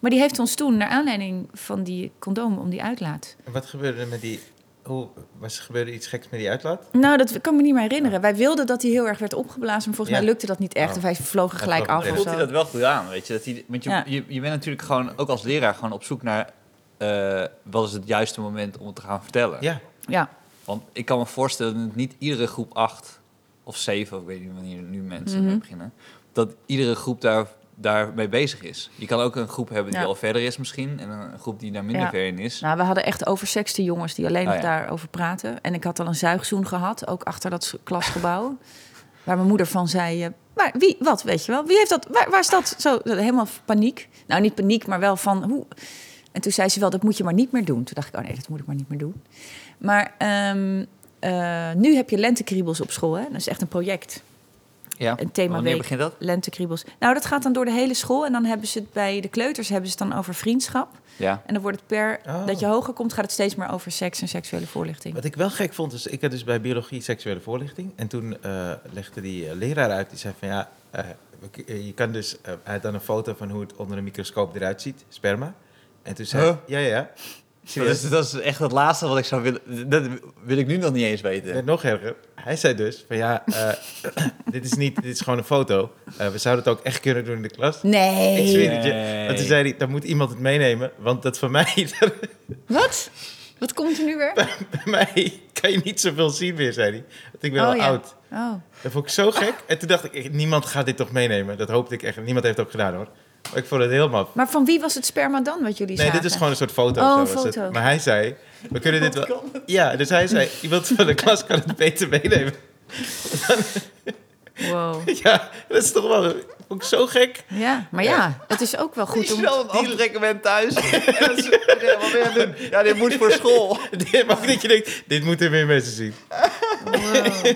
Speaker 3: Maar die heeft ons toen, naar aanleiding van die condoom om die uitlaat...
Speaker 1: En Wat gebeurde er met die... Hoe, was er gebeurde iets geks met die uitlaat?
Speaker 3: Nou, dat kan me niet meer herinneren. Wij wilden dat hij heel erg werd opgeblazen. Maar
Speaker 1: Ja.
Speaker 3: volgens mij lukte dat niet echt.
Speaker 1: Oh.
Speaker 3: Of hij vloog er
Speaker 1: Hij
Speaker 3: gelijk
Speaker 1: vloog
Speaker 3: af
Speaker 1: meteen.
Speaker 3: of
Speaker 2: Voelt hij
Speaker 3: zo.
Speaker 2: dat wel goed aan, weet je? Dat hij, want je,
Speaker 3: Ja.
Speaker 2: je, je bent natuurlijk gewoon, ook als leraar, gewoon op zoek naar... eh, wat is het juiste moment om het te gaan vertellen?
Speaker 1: Ja.
Speaker 3: Ja.
Speaker 2: Want ik kan me voorstellen dat niet iedere groep 8 of 7, of ik weet niet wanneer nu mensen
Speaker 3: Mhm.
Speaker 2: mee beginnen, dat iedere groep daar, daarmee bezig is. Je kan ook een groep hebben die
Speaker 3: Ja.
Speaker 2: al verder is misschien, en een groep die daar minder
Speaker 3: Ja.
Speaker 2: ver in is.
Speaker 3: Nou, we hadden echt oversexte jongens die
Speaker 2: Oh
Speaker 3: alleen nog
Speaker 2: ja.
Speaker 3: daarover praten. En ik had al een zuigzoen gehad, ook achter dat s- klasgebouw. waar mijn moeder van zei, eh, maar wie, wat, weet je wel? Wie heeft dat, waar, waar is dat? Zo, dat- helemaal paniek. Nou, niet paniek, maar wel van, hoe... En toen zei ze wel, dat moet je maar niet meer doen. Toen dacht ik, oh nee, dat moet ik maar niet meer doen. Maar ehm, eh, nu heb je lentekriebels op school, hè? Dat is echt een project
Speaker 2: ja.
Speaker 3: een themaweek.
Speaker 2: Wanneer begint dat?
Speaker 3: lentekriebels. Nou, dat gaat dan door de hele school. En dan hebben ze het bij de kleuters hebben ze het dan over vriendschap.
Speaker 2: Ja.
Speaker 3: En dan wordt het per
Speaker 1: Oh.
Speaker 3: dat je hoger komt, gaat het steeds meer over seks en seksuele voorlichting.
Speaker 1: Wat ik wel gek vond, is ik had dus bij biologie seksuele voorlichting. En toen eh, legde die eh, leraar uit, die zei van ja, eh, we k- eh, je kan dus, eh, hij had dan een foto van hoe het onder een microscoop eruit ziet, sperma. En toen zei
Speaker 2: Huh?
Speaker 1: ja, ja,
Speaker 2: *laughs*
Speaker 1: ja.
Speaker 2: Dat
Speaker 1: Serieus.
Speaker 2: is, dat is echt het laatste wat ik zou willen. Dat wil ik nu nog niet eens weten.
Speaker 1: En nog erger, hij zei dus van ja, eh, *coughs* dit, is niet, dit is gewoon een foto. Eh, we zouden het ook echt kunnen doen in de klas. Ik
Speaker 3: Nee.
Speaker 1: zweer het je.
Speaker 2: Nee.
Speaker 1: Want toen zei hij, dan moet iemand het meenemen, want dat van mij, *laughs*
Speaker 3: Wat? Wat komt er nu weer?
Speaker 1: bij mij kan je niet zoveel zien meer, zei hij. Want ik ben al
Speaker 3: ja.
Speaker 1: oud.
Speaker 3: Oh.
Speaker 1: Dat vond ik zo gek. En toen dacht ik, niemand gaat dit toch meenemen. Dat hoopte ik echt. Niemand heeft het ook gedaan hoor. Maar ik vond het heel maf.
Speaker 3: Maar van wie was het sperma dan wat jullie
Speaker 1: Nee,
Speaker 3: zagen?
Speaker 1: dit is gewoon een soort foto.
Speaker 3: Oh,
Speaker 1: zo
Speaker 3: een
Speaker 1: was het.
Speaker 3: foto.
Speaker 1: Maar hij zei, we kunnen dit wel... Ja, dus hij zei, iemand van de klas kan het beter meenemen. *laughs*
Speaker 3: Wow.
Speaker 1: Ja, dat is toch wel... Ook zo gek. *laughs*
Speaker 3: Ja, maar ja, het is ook wel goed om.
Speaker 2: een aftrekking thuis. *laughs* en dat ze- ja, wat wil je doen? Ja, dit moet voor school.
Speaker 1: Maar ook dat je denkt, dit moeten meer mensen zien.
Speaker 3: Wow.
Speaker 1: *laughs*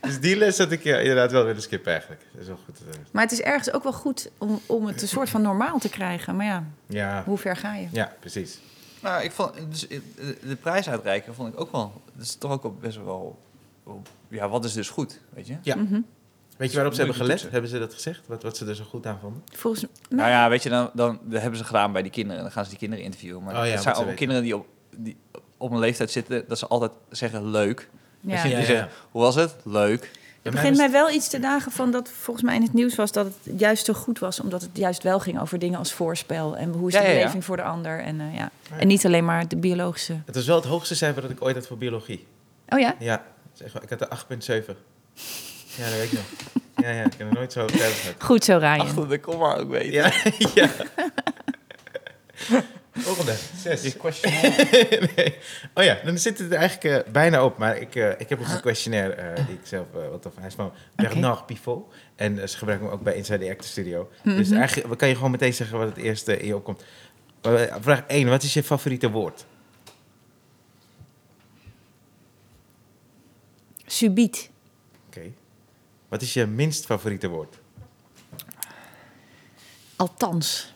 Speaker 1: Dus die les had ik ja, inderdaad wel willen skippen eigenlijk. Dat is wel goed. eh,
Speaker 3: Maar het is ergens ook wel goed om, om het een soort van normaal te krijgen. Maar ja,
Speaker 1: Ja,
Speaker 3: hoe ver ga je?
Speaker 1: ja precies.
Speaker 2: Nou, ik vond dus, eh, de prijs uitreiken vond ik ook wel. Dat is toch ook wel best wel. Ja, wat is dus goed, weet je?
Speaker 1: Weet je waarop ze hebben
Speaker 2: Moeilijke
Speaker 1: gelet?
Speaker 2: toetsen.
Speaker 1: Hebben ze dat gezegd? Wat, wat ze er zo goed aan vonden?
Speaker 3: Volgens
Speaker 2: Nou ja, weet je, dan, dan dat hebben ze gedaan bij die kinderen. Dan gaan ze die kinderen interviewen. Maar
Speaker 1: Oh ja,
Speaker 2: het
Speaker 1: wat
Speaker 2: zijn
Speaker 1: ze
Speaker 2: allemaal kinderen die op, die op een leeftijd zitten dat ze altijd zeggen leuk.
Speaker 3: ja.
Speaker 2: Die
Speaker 1: Ja, ja.
Speaker 2: zeggen, hoe was het? Leuk.
Speaker 1: Bij
Speaker 3: Het
Speaker 1: mij
Speaker 3: begint
Speaker 1: was-
Speaker 3: mij wel iets te dagen van dat volgens mij in het nieuws was dat het juist zo goed was. Omdat het juist wel ging over dingen als voorspel. En hoe is
Speaker 2: Ja,
Speaker 3: de
Speaker 2: ja, ja.
Speaker 3: beleving voor de ander. En, eh, ja.
Speaker 1: ja.
Speaker 3: en niet alleen maar de biologische.
Speaker 1: Het was wel het hoogste cijfer dat ik ooit had voor biologie.
Speaker 3: Oh ja?
Speaker 1: Ja, zeg maar, ik had er 8,7. Ja, dat weet ik nog. Ja, ja, ik heb er nooit zo over gehad.
Speaker 3: Goed zo, Ryan.
Speaker 2: Achter de komma ook weten.
Speaker 1: Ja, ja. *laughs* Volgende, zes. *laughs* nee. Oh ja, dan zit het er eigenlijk eh, bijna op. Maar ik, eh, ik heb dus een questionnaire eh, die ik zelf... eh wat of, hij is van Bernard Pivot. En eh, ze gebruiken hem ook bij Inside the Actor Studio. Dus eigenlijk kan je gewoon meteen zeggen wat het eerste in je opkomt. Maar, eh, Vraag 1, wat is je favoriete woord?
Speaker 3: Subiet.
Speaker 1: Oké. Wat is je minst favoriete woord?
Speaker 3: Althans.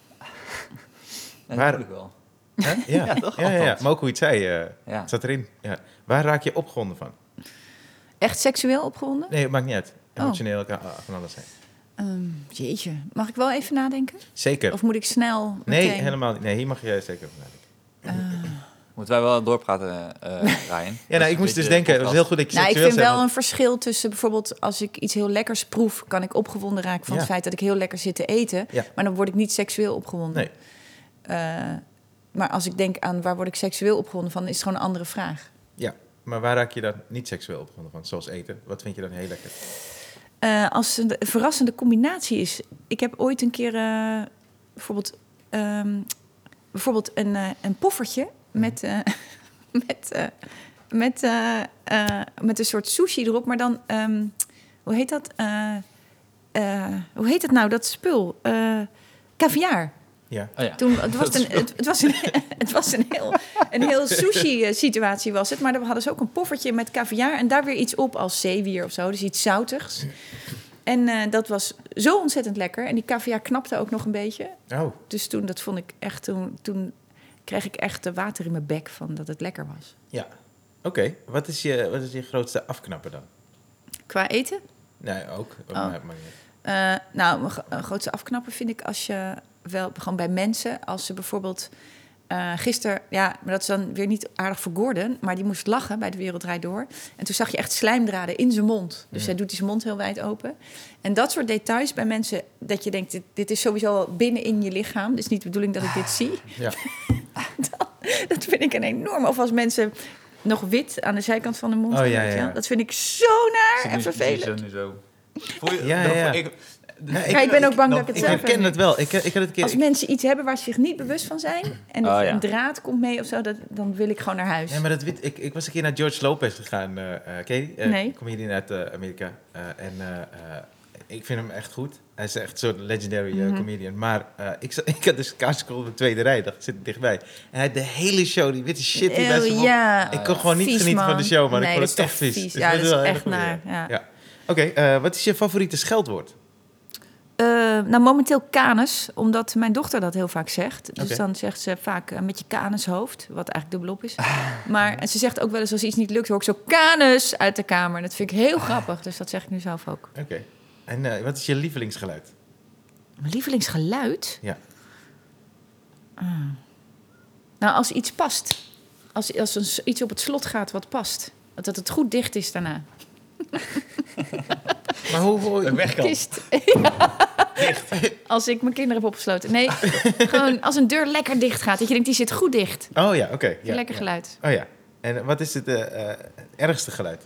Speaker 2: Ja,
Speaker 1: Waar-
Speaker 2: dat voel ik wel.
Speaker 3: *laughs*
Speaker 1: Hè? Ja.
Speaker 2: Ja, toch?
Speaker 1: ja, ja, ja.
Speaker 2: Althans.
Speaker 1: maar ook hoe je het zei, eh,
Speaker 2: Ja.
Speaker 1: het zat erin. Ja. Waar raak je opgewonden van?
Speaker 3: Echt seksueel opgewonden?
Speaker 1: Nee, het maakt niet uit.
Speaker 3: Oh.
Speaker 1: Emotioneel kan ah, van alles zijn.
Speaker 3: Ehm, jeetje. Mag ik wel even nadenken?
Speaker 1: Zeker.
Speaker 3: Of moet ik snel
Speaker 1: nee,
Speaker 3: meteen?
Speaker 1: helemaal niet. Nee, hier mag je zeker van nadenken.
Speaker 2: Moeten wij wel doorpraten, *laughs* eh Ryan?
Speaker 1: Ja, nou, ik moest dus denken, het was heel goed dat je
Speaker 3: Nou, ik
Speaker 1: seksueel
Speaker 3: vind
Speaker 1: zei,
Speaker 3: wel
Speaker 1: want-
Speaker 3: een verschil tussen bijvoorbeeld als ik iets heel lekkers proef, kan ik opgewonden raken van
Speaker 1: Ja.
Speaker 3: het feit dat ik heel lekker zit te eten.
Speaker 1: Ja.
Speaker 3: Maar dan word ik niet seksueel opgewonden.
Speaker 1: Nee.
Speaker 3: Eh, maar als ik denk aan waar word ik seksueel opgewonden van, is het gewoon een andere vraag.
Speaker 1: Ja, maar waar raak je dan niet seksueel opgewonden van? Zoals eten. Wat vind je dan heel lekker?
Speaker 3: Eh, als het een verrassende combinatie is. Ik heb ooit een keer eh, bijvoorbeeld, ehm, bijvoorbeeld een, eh, een poffertje met, eh, *laughs* met, eh, met, eh, eh, met een soort sushi erop, maar dan, ehm, hoe heet dat? Eh, eh, hoe heet dat nou, dat spul? Eh caviar.
Speaker 1: Ja.
Speaker 2: Oh, ja.
Speaker 3: Toen, het, was een, het, het was een, *laughs* het was een heel, een heel sushi-situatie, was het. Maar dan hadden ze ook een poffertje met caviar en daar weer iets op als zeewier of zo. Dus iets zoutigs. En eh, dat was zo ontzettend lekker. En die caviar knapte ook nog een beetje.
Speaker 1: Oh,
Speaker 3: Dus toen, dat vond ik echt, toen, toen kreeg ik echt eh, water in mijn bek van dat het lekker was.
Speaker 1: ja. Oké. Wat, is je- wat is je grootste afknapper dan?
Speaker 3: Qua eten?
Speaker 1: Nee, ook.
Speaker 3: Oh.
Speaker 1: Maar, maar, niet.
Speaker 3: Eh, nou, mijn gro- eh, grootste afknapper vind ik als je wel gewoon bij mensen, als ze bijvoorbeeld eh gisteren, ja, maar dat is dan weer niet aardig voor Gordon, maar die moest lachen bij de Wereld Draait Door. En toen zag je echt slijmdraden in zijn mond. Dus
Speaker 1: Ja.
Speaker 3: hij doet die zijn mond heel wijd open. En dat soort details bij mensen, dat je denkt, dit, dit is sowieso al binnen in je lichaam. Het is niet de bedoeling dat ik dit zie.
Speaker 1: Ja.
Speaker 3: *laughs* dat, dat vind ik een enorm. Of als mensen nog wit aan de zijkant van hun mond.
Speaker 1: Oh,
Speaker 3: gaan,
Speaker 1: ja,
Speaker 3: weet je
Speaker 1: ja.
Speaker 3: wel. Dat vind ik zo naar en vervelend.
Speaker 2: Nu zo. Voel je,
Speaker 1: Ja, ja, ja.
Speaker 2: Ik,
Speaker 1: ik-
Speaker 3: Maar ik ben ook bang dat ik het
Speaker 1: Ik
Speaker 3: zelf
Speaker 1: herken het wel. Ik, ik had het een keer...
Speaker 3: Als
Speaker 1: ik-
Speaker 3: mensen iets hebben waar ze zich niet bewust van zijn en
Speaker 2: Oh,
Speaker 3: dat
Speaker 2: ja.
Speaker 3: een draad komt mee of zo, dat, dan wil ik gewoon naar huis.
Speaker 1: Nee, maar dat weet, ik, ik was een keer naar George Lopez gegaan. eh eh, ken je die? Eh,
Speaker 3: Nee.
Speaker 1: Comedian uit eh, Amerika. Eh, en eh, eh, ik vind hem echt goed. Hij is echt een soort legendary eh,
Speaker 3: Mhm.
Speaker 1: comedian. Maar eh, ik, zat- *laughs* ik had dus kaartskool op de tweede rij. Dat zit dichtbij. En hij had de hele show, die witte shit die bij zijn
Speaker 3: Oh,
Speaker 1: mond-
Speaker 3: ja.
Speaker 1: Ik kon gewoon niet
Speaker 3: Vies,
Speaker 1: genieten van de
Speaker 3: man.
Speaker 1: show, maar
Speaker 3: Nee,
Speaker 1: ik vond
Speaker 3: dat
Speaker 1: het
Speaker 3: is
Speaker 1: echt
Speaker 3: toch
Speaker 1: vies.
Speaker 3: vies.
Speaker 1: Dus
Speaker 3: Ja, dat
Speaker 1: wel
Speaker 3: is
Speaker 1: een
Speaker 3: echt
Speaker 1: goeie.
Speaker 3: naar, ja.
Speaker 1: Ja. Oké, eh, wat is je favoriete scheldwoord?
Speaker 3: Eh, nou, momenteel kanus, omdat mijn dochter dat heel vaak zegt. Dus
Speaker 1: Oké.
Speaker 3: dan zegt ze vaak eh, met je kanushoofd, wat eigenlijk dubbelop is.
Speaker 1: Ah.
Speaker 3: Maar en ze zegt ook wel eens als iets niet lukt, hoor ik zo kanus uit de kamer. Dat vind ik
Speaker 1: Ah.
Speaker 3: heel grappig, dus dat zeg ik nu zelf ook.
Speaker 1: Oké. En eh, wat is je lievelingsgeluid?
Speaker 3: Mijn lievelingsgeluid?
Speaker 1: Ja.
Speaker 3: Ah. Nou, als iets past. Als, als een s- iets op het slot gaat wat past. Dat dat het goed dicht is daarna.
Speaker 1: Maar hoe hoor je...
Speaker 2: weg kan.
Speaker 3: Het is
Speaker 1: *laughs*
Speaker 3: t- Als ik mijn kinderen heb opgesloten. Nee, gewoon als een deur lekker dicht gaat. Dat je denkt, die zit goed dicht.
Speaker 1: Oh ja, oké. ja,
Speaker 3: lekker
Speaker 1: ja.
Speaker 3: geluid.
Speaker 1: Oh ja. En wat is het eh, eh, ergste geluid?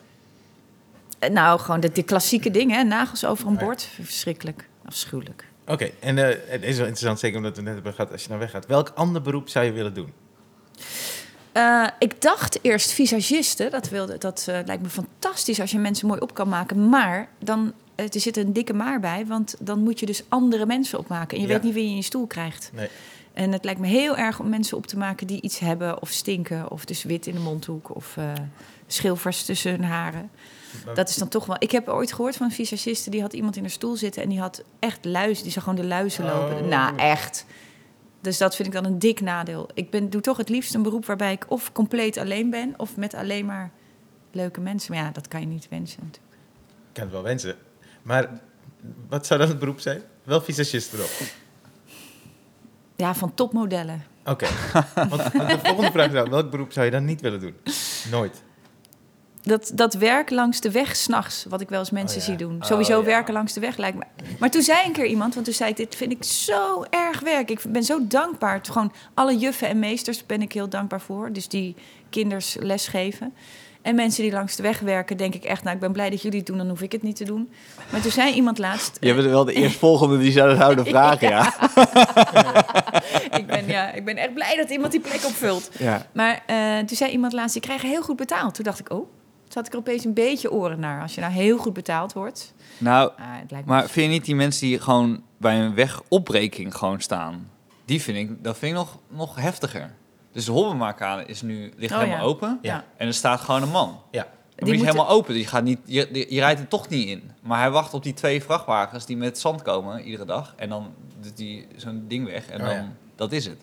Speaker 3: Eh, Nou, gewoon de, de klassieke dingen. Hè. Nagels over een
Speaker 1: Oh ja.
Speaker 3: bord. Verschrikkelijk. Afschuwelijk.
Speaker 1: Oké, en eh, het is wel interessant, zeker omdat we net hebben gehad, als je nou weggaat. Welk ander beroep zou je willen doen?
Speaker 3: Eh, ik dacht eerst visagisten. Dat, wilde, dat eh, lijkt me fantastisch als je mensen mooi op kan maken. Maar dan, eh, er zit een dikke maar bij. Want dan moet je dus andere mensen opmaken. En je
Speaker 1: Ja.
Speaker 3: weet niet wie je in je stoel krijgt.
Speaker 1: Nee.
Speaker 3: En het lijkt me heel erg om mensen op te maken die iets hebben. Of stinken. Of dus wit in de mondhoek. Of eh, schilfers tussen hun haren.
Speaker 1: Maar-
Speaker 3: Dat is dan toch wel... Ik heb ooit gehoord van een visagiste. Die had iemand in haar stoel zitten. En die had echt luizen. Die zag gewoon de luizen lopen.
Speaker 1: Oh.
Speaker 3: Nou, echt. Dus dat vind ik dan een dik nadeel. Ik ben, doe toch het liefst een beroep waarbij ik of compleet alleen ben... of met alleen maar leuke mensen. Maar ja, dat kan je niet wensen natuurlijk.
Speaker 1: Ik kan het wel wensen. Maar wat zou dan het beroep zijn? Wel visagist erop.
Speaker 3: Ja, van topmodellen.
Speaker 1: Oké.
Speaker 2: *laughs*
Speaker 1: Want de volgende vraag zou, welk beroep zou je dan niet willen doen? Nooit.
Speaker 3: Dat, dat werk langs de weg s'nachts, wat ik wel eens mensen
Speaker 1: Oh ja.
Speaker 3: zie doen.
Speaker 2: Oh
Speaker 3: Sowieso
Speaker 2: ja.
Speaker 3: werken langs de weg lijkt me... Maar toen zei een keer iemand, want toen zei ik... dit vind ik zo erg werk. Ik ben zo dankbaar. Het- Gewoon alle juffen en meesters ben ik heel dankbaar voor. Dus die kinders lesgeven. En mensen die langs de weg werken, denk ik echt... nou, ik ben blij dat jullie het doen, dan hoef ik het niet te doen. Maar toen zei iemand laatst...
Speaker 2: Je bent wel de eerstvolgende die zou *laughs* zouden vragen, ja.
Speaker 3: *laughs* ik, ben, ja, ik ben echt blij dat iemand die plek opvult.
Speaker 2: ja.
Speaker 3: Maar eh, toen zei iemand laatst, die krijgen heel goed betaald. Toen dacht ik, oh, toen had ik er opeens een beetje oren naar. Als je nou heel goed betaald wordt.
Speaker 2: Nou,
Speaker 3: Ah, het lijkt me
Speaker 2: maar vind je niet die mensen die gewoon bij een wegopbreking gewoon staan? Die vind ik, dat vind ik nog, nog heftiger. Dus de Hobbemarkade is nu, ligt
Speaker 3: Oh,
Speaker 2: helemaal
Speaker 3: ja.
Speaker 2: open.
Speaker 1: Ja.
Speaker 2: En er staat gewoon een man.
Speaker 1: Ja.
Speaker 2: Die,
Speaker 3: Die
Speaker 2: is
Speaker 3: moeten-
Speaker 2: helemaal open, dus je, gaat niet, je, je- je rijdt er toch niet in. Maar hij wacht op die twee vrachtwagens die met zand komen iedere dag. En dan doet hij zo'n ding weg en
Speaker 1: Oh,
Speaker 2: dan,
Speaker 1: ja.
Speaker 2: dat is het.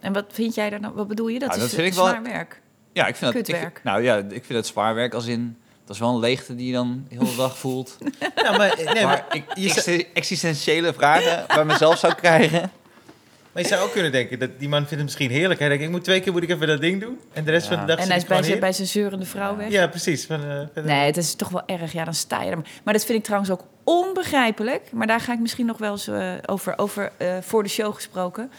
Speaker 3: En wat vind jij daar dan? Wat bedoel je? Dat
Speaker 2: Nou,
Speaker 3: is
Speaker 2: dat vind ik wel-
Speaker 3: zwaar werk.
Speaker 2: Ja, ik vind dat, ik,
Speaker 3: Kutwerk.
Speaker 2: vind- nou ja, ik vind dat zwaar werk als in... Dat is wel een leegte die je dan heel de hele dag
Speaker 3: *laughs*
Speaker 2: voelt.
Speaker 1: Nou, maar, eh, nee, maar,
Speaker 2: maar ik, exi- existentiële vragen *laughs* bij mezelf zou krijgen.
Speaker 1: maar je zou ook kunnen denken, dat die man vindt het misschien heerlijk. Hij denkt, ik moet twee keer moet ik even dat ding doen. En de rest
Speaker 2: Ja.
Speaker 1: van de dag
Speaker 3: En
Speaker 1: zit
Speaker 3: hij
Speaker 1: ik
Speaker 3: is bij
Speaker 1: gewoon
Speaker 3: zijn, bij zijn zeurende vrouw
Speaker 2: Ja.
Speaker 3: weg.
Speaker 1: hier. Ja, precies. Van, eh, verder-
Speaker 3: Nee, het is toch wel erg. Ja, dan sta je er. maar. Maar dat vind ik trouwens ook onbegrijpelijk. Maar daar ga ik misschien nog wel eens eh, over, over eh, voor de show gesproken.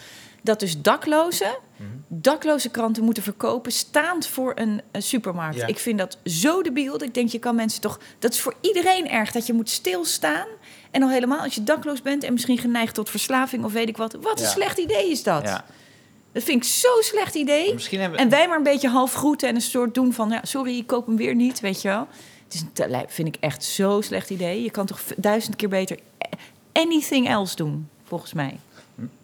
Speaker 3: Dat dus daklozen,
Speaker 1: Mhm.
Speaker 3: dakloze kranten moeten verkopen staand voor een, een supermarkt.
Speaker 1: Ja.
Speaker 3: Ik vind dat zo debiel. dat Ik denk, je kan mensen toch... Dat is voor iedereen erg, dat je moet stilstaan. En al helemaal als je dakloos bent en misschien geneigd tot verslaving of weet ik wat. Wat een
Speaker 2: Ja.
Speaker 3: slecht idee is dat.
Speaker 2: Ja.
Speaker 3: Dat vind ik zo'n slecht idee.
Speaker 2: Misschien hebben
Speaker 3: En wij maar een beetje half groeten en een soort doen van... Ja, sorry, ik koop hem weer niet, weet je wel. Het is, een te lijp, vind ik echt zo'n slecht idee. Je kan toch v- duizend keer beter a- anything else doen, volgens mij.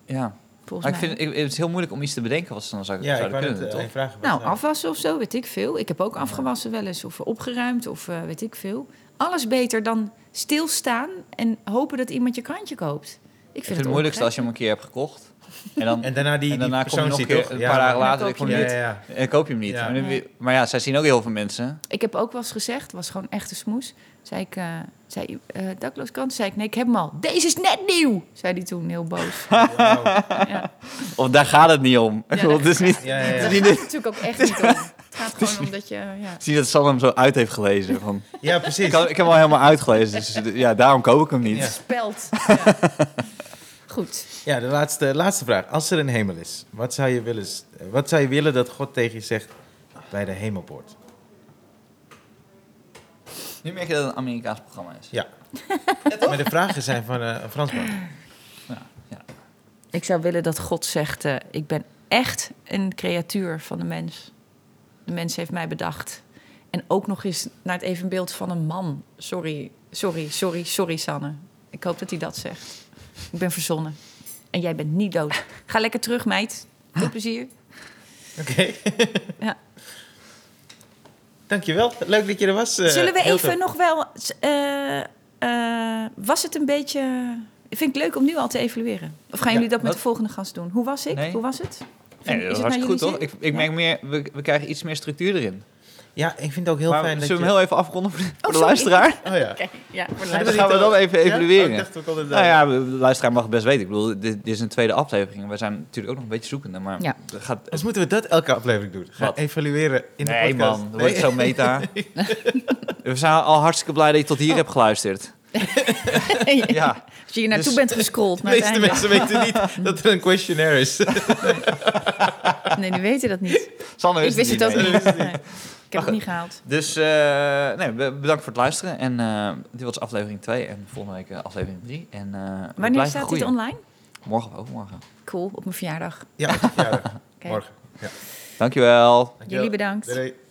Speaker 2: Ja,
Speaker 3: Volgens
Speaker 2: maar ik
Speaker 3: mij.
Speaker 2: vind ik- het is heel moeilijk om iets te bedenken wat ze dan zou,
Speaker 1: Ja, ik
Speaker 2: zouden
Speaker 1: wou
Speaker 2: kunnen,
Speaker 1: net
Speaker 2: toch?
Speaker 1: eh, vragen. wat
Speaker 3: Nou,
Speaker 1: nou-
Speaker 3: afwassen of zo, weet ik veel. Ik heb ook afgewassen wel eens, of opgeruimd, of eh, weet ik veel. Alles beter dan stilstaan en hopen dat iemand je krantje koopt. Ik
Speaker 2: ik
Speaker 3: vind
Speaker 2: vind het moeilijkste als je hem een keer hebt *laughs* gekocht. En dan,
Speaker 1: En daarna die,
Speaker 2: en daarna
Speaker 1: die
Speaker 2: kom je
Speaker 1: persoon
Speaker 2: nog een
Speaker 1: ziet,
Speaker 2: keer,
Speaker 1: toch?
Speaker 2: een
Speaker 1: Ja,
Speaker 2: paar dagen
Speaker 1: maar-
Speaker 2: later,
Speaker 3: Dan
Speaker 2: ik
Speaker 3: koop
Speaker 2: kom
Speaker 3: je
Speaker 2: je
Speaker 1: Ja,
Speaker 2: niet.
Speaker 1: ja, ja.
Speaker 2: En koop je hem niet.
Speaker 1: Ja.
Speaker 2: Maar, dan
Speaker 3: Nee.
Speaker 2: weer- maar ja, zij zien ook heel veel mensen.
Speaker 3: Ik heb ook wel eens gezegd, was gewoon echt een smoes. Zei ik, eh zei, eh dakloos krant, zei ik, nee, ik heb hem al. Deze is net nieuw, zei hij toen, heel boos.
Speaker 1: Wauw.
Speaker 3: ja.
Speaker 2: *laughs* Of daar gaat het niet om. Ik bedoel, het is niet,
Speaker 1: Ja, ja,
Speaker 3: Daar
Speaker 1: ja.
Speaker 2: *laughs*
Speaker 3: gaat
Speaker 2: Zie
Speaker 3: het
Speaker 2: je dit?
Speaker 3: natuurlijk ook echt niet om. Het
Speaker 1: *laughs*
Speaker 3: gaat gewoon om dat je... Ja.
Speaker 2: zie dat Sam hem zo uit heeft gelezen. *laughs* Van,
Speaker 1: ja,
Speaker 2: ik,
Speaker 1: precies.
Speaker 2: had- ik heb hem al helemaal uitgelezen, dus d- ja, daarom koop ik hem niet.
Speaker 1: Ja. *laughs*
Speaker 3: Speld. Ja. Goed.
Speaker 1: Ja, de laatste, laatste vraag. Als er een hemel is, wat zou, je willen, s- eh, wat zou je willen dat God tegen je zegt bij de hemelpoort?
Speaker 2: Nu merk je dat het een Amerikaans programma is.
Speaker 1: Ja. maar de vragen zijn van eh, een Fransman.
Speaker 3: Ik zou willen dat God zegt... eh, ik ben echt een creatuur van de mens. De mens heeft mij bedacht. En ook nog eens naar het evenbeeld van een man. Sorry, sorry, sorry, sorry, Sanne. Ik hoop dat hij dat zegt. Ik ben verzonnen. En jij bent niet dood. Ga lekker terug, meid. Veel plezier.
Speaker 1: Oké. *laughs*
Speaker 3: Ja.
Speaker 1: Dankjewel. Leuk dat je er was. eh,
Speaker 3: Zullen we
Speaker 1: Hilton.
Speaker 3: even nog wel. eh, eh, was het een beetje. Ik vind het leuk om nu al te evalueren. Of gaan
Speaker 1: Ja,
Speaker 3: jullie dat met
Speaker 2: wat-
Speaker 3: de volgende gast doen? Hoe was ik?
Speaker 2: Nee.
Speaker 3: Hoe was het?
Speaker 2: Nee, dat
Speaker 3: Vind- is
Speaker 2: is
Speaker 3: het naar
Speaker 2: hartstikke
Speaker 3: jullie
Speaker 2: goed, toch?
Speaker 3: zin?
Speaker 2: Ik, ik merk meer, we, we krijgen iets meer structuur erin.
Speaker 1: Ja, ik vind het ook heel
Speaker 2: maar
Speaker 1: fijn dat
Speaker 2: zullen we
Speaker 1: je...
Speaker 2: hem heel even afronden voor de, voor de
Speaker 3: sorry.
Speaker 2: luisteraar?
Speaker 1: Oh ja.
Speaker 3: Oké, ja, voor de
Speaker 1: Ja,
Speaker 2: En
Speaker 1: dat
Speaker 2: dan
Speaker 1: is
Speaker 3: luisteraar.
Speaker 2: gaan we
Speaker 1: niet
Speaker 2: dan
Speaker 1: al-
Speaker 2: even
Speaker 1: Ja?
Speaker 2: evalueren.
Speaker 1: Oh, ik dacht ook al dat-
Speaker 2: Nou ja, de luisteraar mag het best weten. Ik bedoel, dit, dit is een tweede aflevering. We zijn natuurlijk ook nog een beetje zoekende, maar
Speaker 3: Ja.
Speaker 2: dat gaat...
Speaker 1: Dus moeten we dat elke aflevering doen? Gaan
Speaker 2: Wat?
Speaker 1: evalueren in
Speaker 2: nee
Speaker 1: de podcast?
Speaker 2: man, dat wordt zo *laughs* meta. we zijn al hartstikke blij dat je tot hier
Speaker 3: Oh.
Speaker 2: hebt
Speaker 3: *laughs*
Speaker 2: geluisterd. Ja,
Speaker 3: Als je hier naartoe
Speaker 1: Dus-
Speaker 3: bent gescrolld.
Speaker 1: *laughs* De
Speaker 2: *laughs*
Speaker 3: naar
Speaker 1: meeste
Speaker 3: het einde.
Speaker 1: mensen weten niet dat er een questionnaire
Speaker 3: *laughs*
Speaker 1: is.
Speaker 3: Nee, die weten dat niet.
Speaker 2: Sanne
Speaker 3: Ik
Speaker 2: wist
Speaker 3: wist het ook
Speaker 2: nee.
Speaker 3: niet. Nee. Ik heb het niet gehaald.
Speaker 2: Dus eh, nee, be- bedankt voor het luisteren. En eh, dit was aflevering 2 en volgende week eh, aflevering 3. En, eh, we
Speaker 3: Wanneer
Speaker 2: blijven
Speaker 3: staat dit
Speaker 2: groeien.
Speaker 3: online?
Speaker 2: Morgen of overmorgen.
Speaker 3: Cool, op mijn verjaardag.
Speaker 1: ja, ja,
Speaker 3: Oké.
Speaker 1: morgen.
Speaker 2: Dankjewel.
Speaker 1: Dankjewel.
Speaker 3: Jullie bedankt.
Speaker 1: Doei, doei.